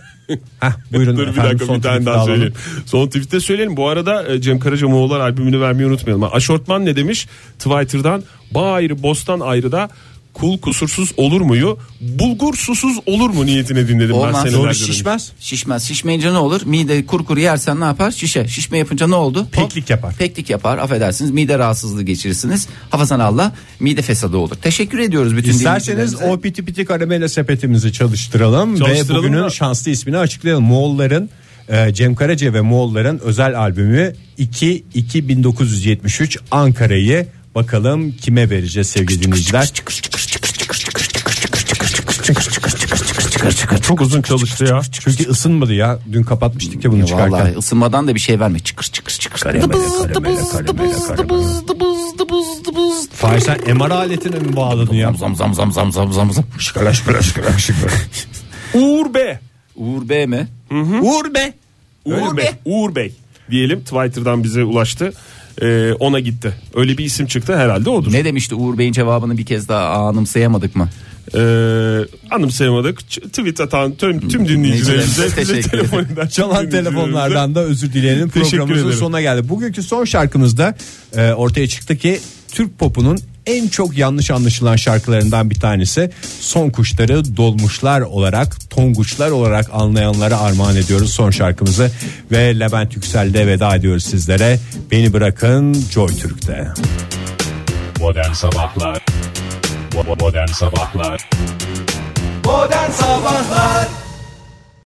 [SPEAKER 2] Heh, buyurun
[SPEAKER 3] Dur bir
[SPEAKER 2] efendim,
[SPEAKER 3] dakika
[SPEAKER 2] son
[SPEAKER 3] bir tane
[SPEAKER 2] tweet'i
[SPEAKER 3] daha
[SPEAKER 2] alalım.
[SPEAKER 3] söyleyeyim. Son tweet'te söyleyelim. Bu arada e, Cem Karaca Moğollar albümünü vermeyi unutmayalım. Ha, Aşortman ne demiş? Twitter'dan bağ ayrı bostan ayrı da kul kusursuz olur muyu? Bulgur susuz olur mu niyetine dinledim
[SPEAKER 4] Olmaz.
[SPEAKER 3] ben
[SPEAKER 4] Doğru,
[SPEAKER 3] senelerdir.
[SPEAKER 2] Şişmez.
[SPEAKER 4] Şişmez. Şişmeyince ne olur? Mide kuru kuru yersen ne yapar? Şişe. Şişme yapınca ne oldu? Hop.
[SPEAKER 2] Peklik yapar.
[SPEAKER 4] Peklik yapar. Affedersiniz. Mide rahatsızlığı geçirirsiniz. Hafazan Allah mide fesadı olur. Teşekkür ediyoruz bütün
[SPEAKER 2] İsterseniz
[SPEAKER 4] dinleyicilerimize.
[SPEAKER 2] o piti piti karamela sepetimizi çalıştıralım,
[SPEAKER 3] Çalıştıralım
[SPEAKER 2] ve bugünün
[SPEAKER 3] da-
[SPEAKER 2] şanslı ismini açıklayalım. Moğolların e, Cem Karaca ve Moğolların özel albümü 2 2 1973 Ankara'yı bakalım kime vereceğiz sevgili dinleyiciler. Çok uzun çalıştı ya. Çünkü ısınmadı ya. Dün kapatmıştık ya bunu çıkarken.
[SPEAKER 4] Vallahi ısınmadan da bir şey verme. Çıkır çıkır çıkır.
[SPEAKER 2] Fahir sen MR aletine mi bağladın ya?
[SPEAKER 4] Zam zam zam zam zam zam zam.
[SPEAKER 3] Uğur B.
[SPEAKER 4] Uğur B mi?
[SPEAKER 2] Uğur be.
[SPEAKER 3] Uğur Bey. Uğur Bey diyelim Twitter'dan bize ulaştı. Ee, ona gitti. Öyle bir isim çıktı herhalde odur.
[SPEAKER 4] Ne demişti Uğur Bey'in cevabını bir kez daha anımsayamadık mı?
[SPEAKER 3] Ee, anımsayamadık. Ç- Tweet atan tüm, tüm dinleyicilerimize
[SPEAKER 4] Dinleyicilerimize
[SPEAKER 3] bize
[SPEAKER 4] teşekkür ederim.
[SPEAKER 3] telefon eden
[SPEAKER 2] Çalan
[SPEAKER 3] tüm dinleyicilerimize-
[SPEAKER 2] telefonlardan da özür dileyelim.
[SPEAKER 3] Teşekkür
[SPEAKER 2] Programımızın
[SPEAKER 3] ederim.
[SPEAKER 2] sonuna geldi. Bugünkü son şarkımızda e, ortaya çıktı ki Türk popunun en çok yanlış anlaşılan şarkılarından bir tanesi. Son kuşları dolmuşlar olarak, tonguçlar olarak anlayanlara armağan ediyoruz son şarkımızı. Ve Levent Yüksel'de veda ediyoruz sizlere. Beni bırakın Joy Türk'te.
[SPEAKER 5] Modern Sabahlar Bo- bo- Modern Sabahlar
[SPEAKER 6] Modern Sabahlar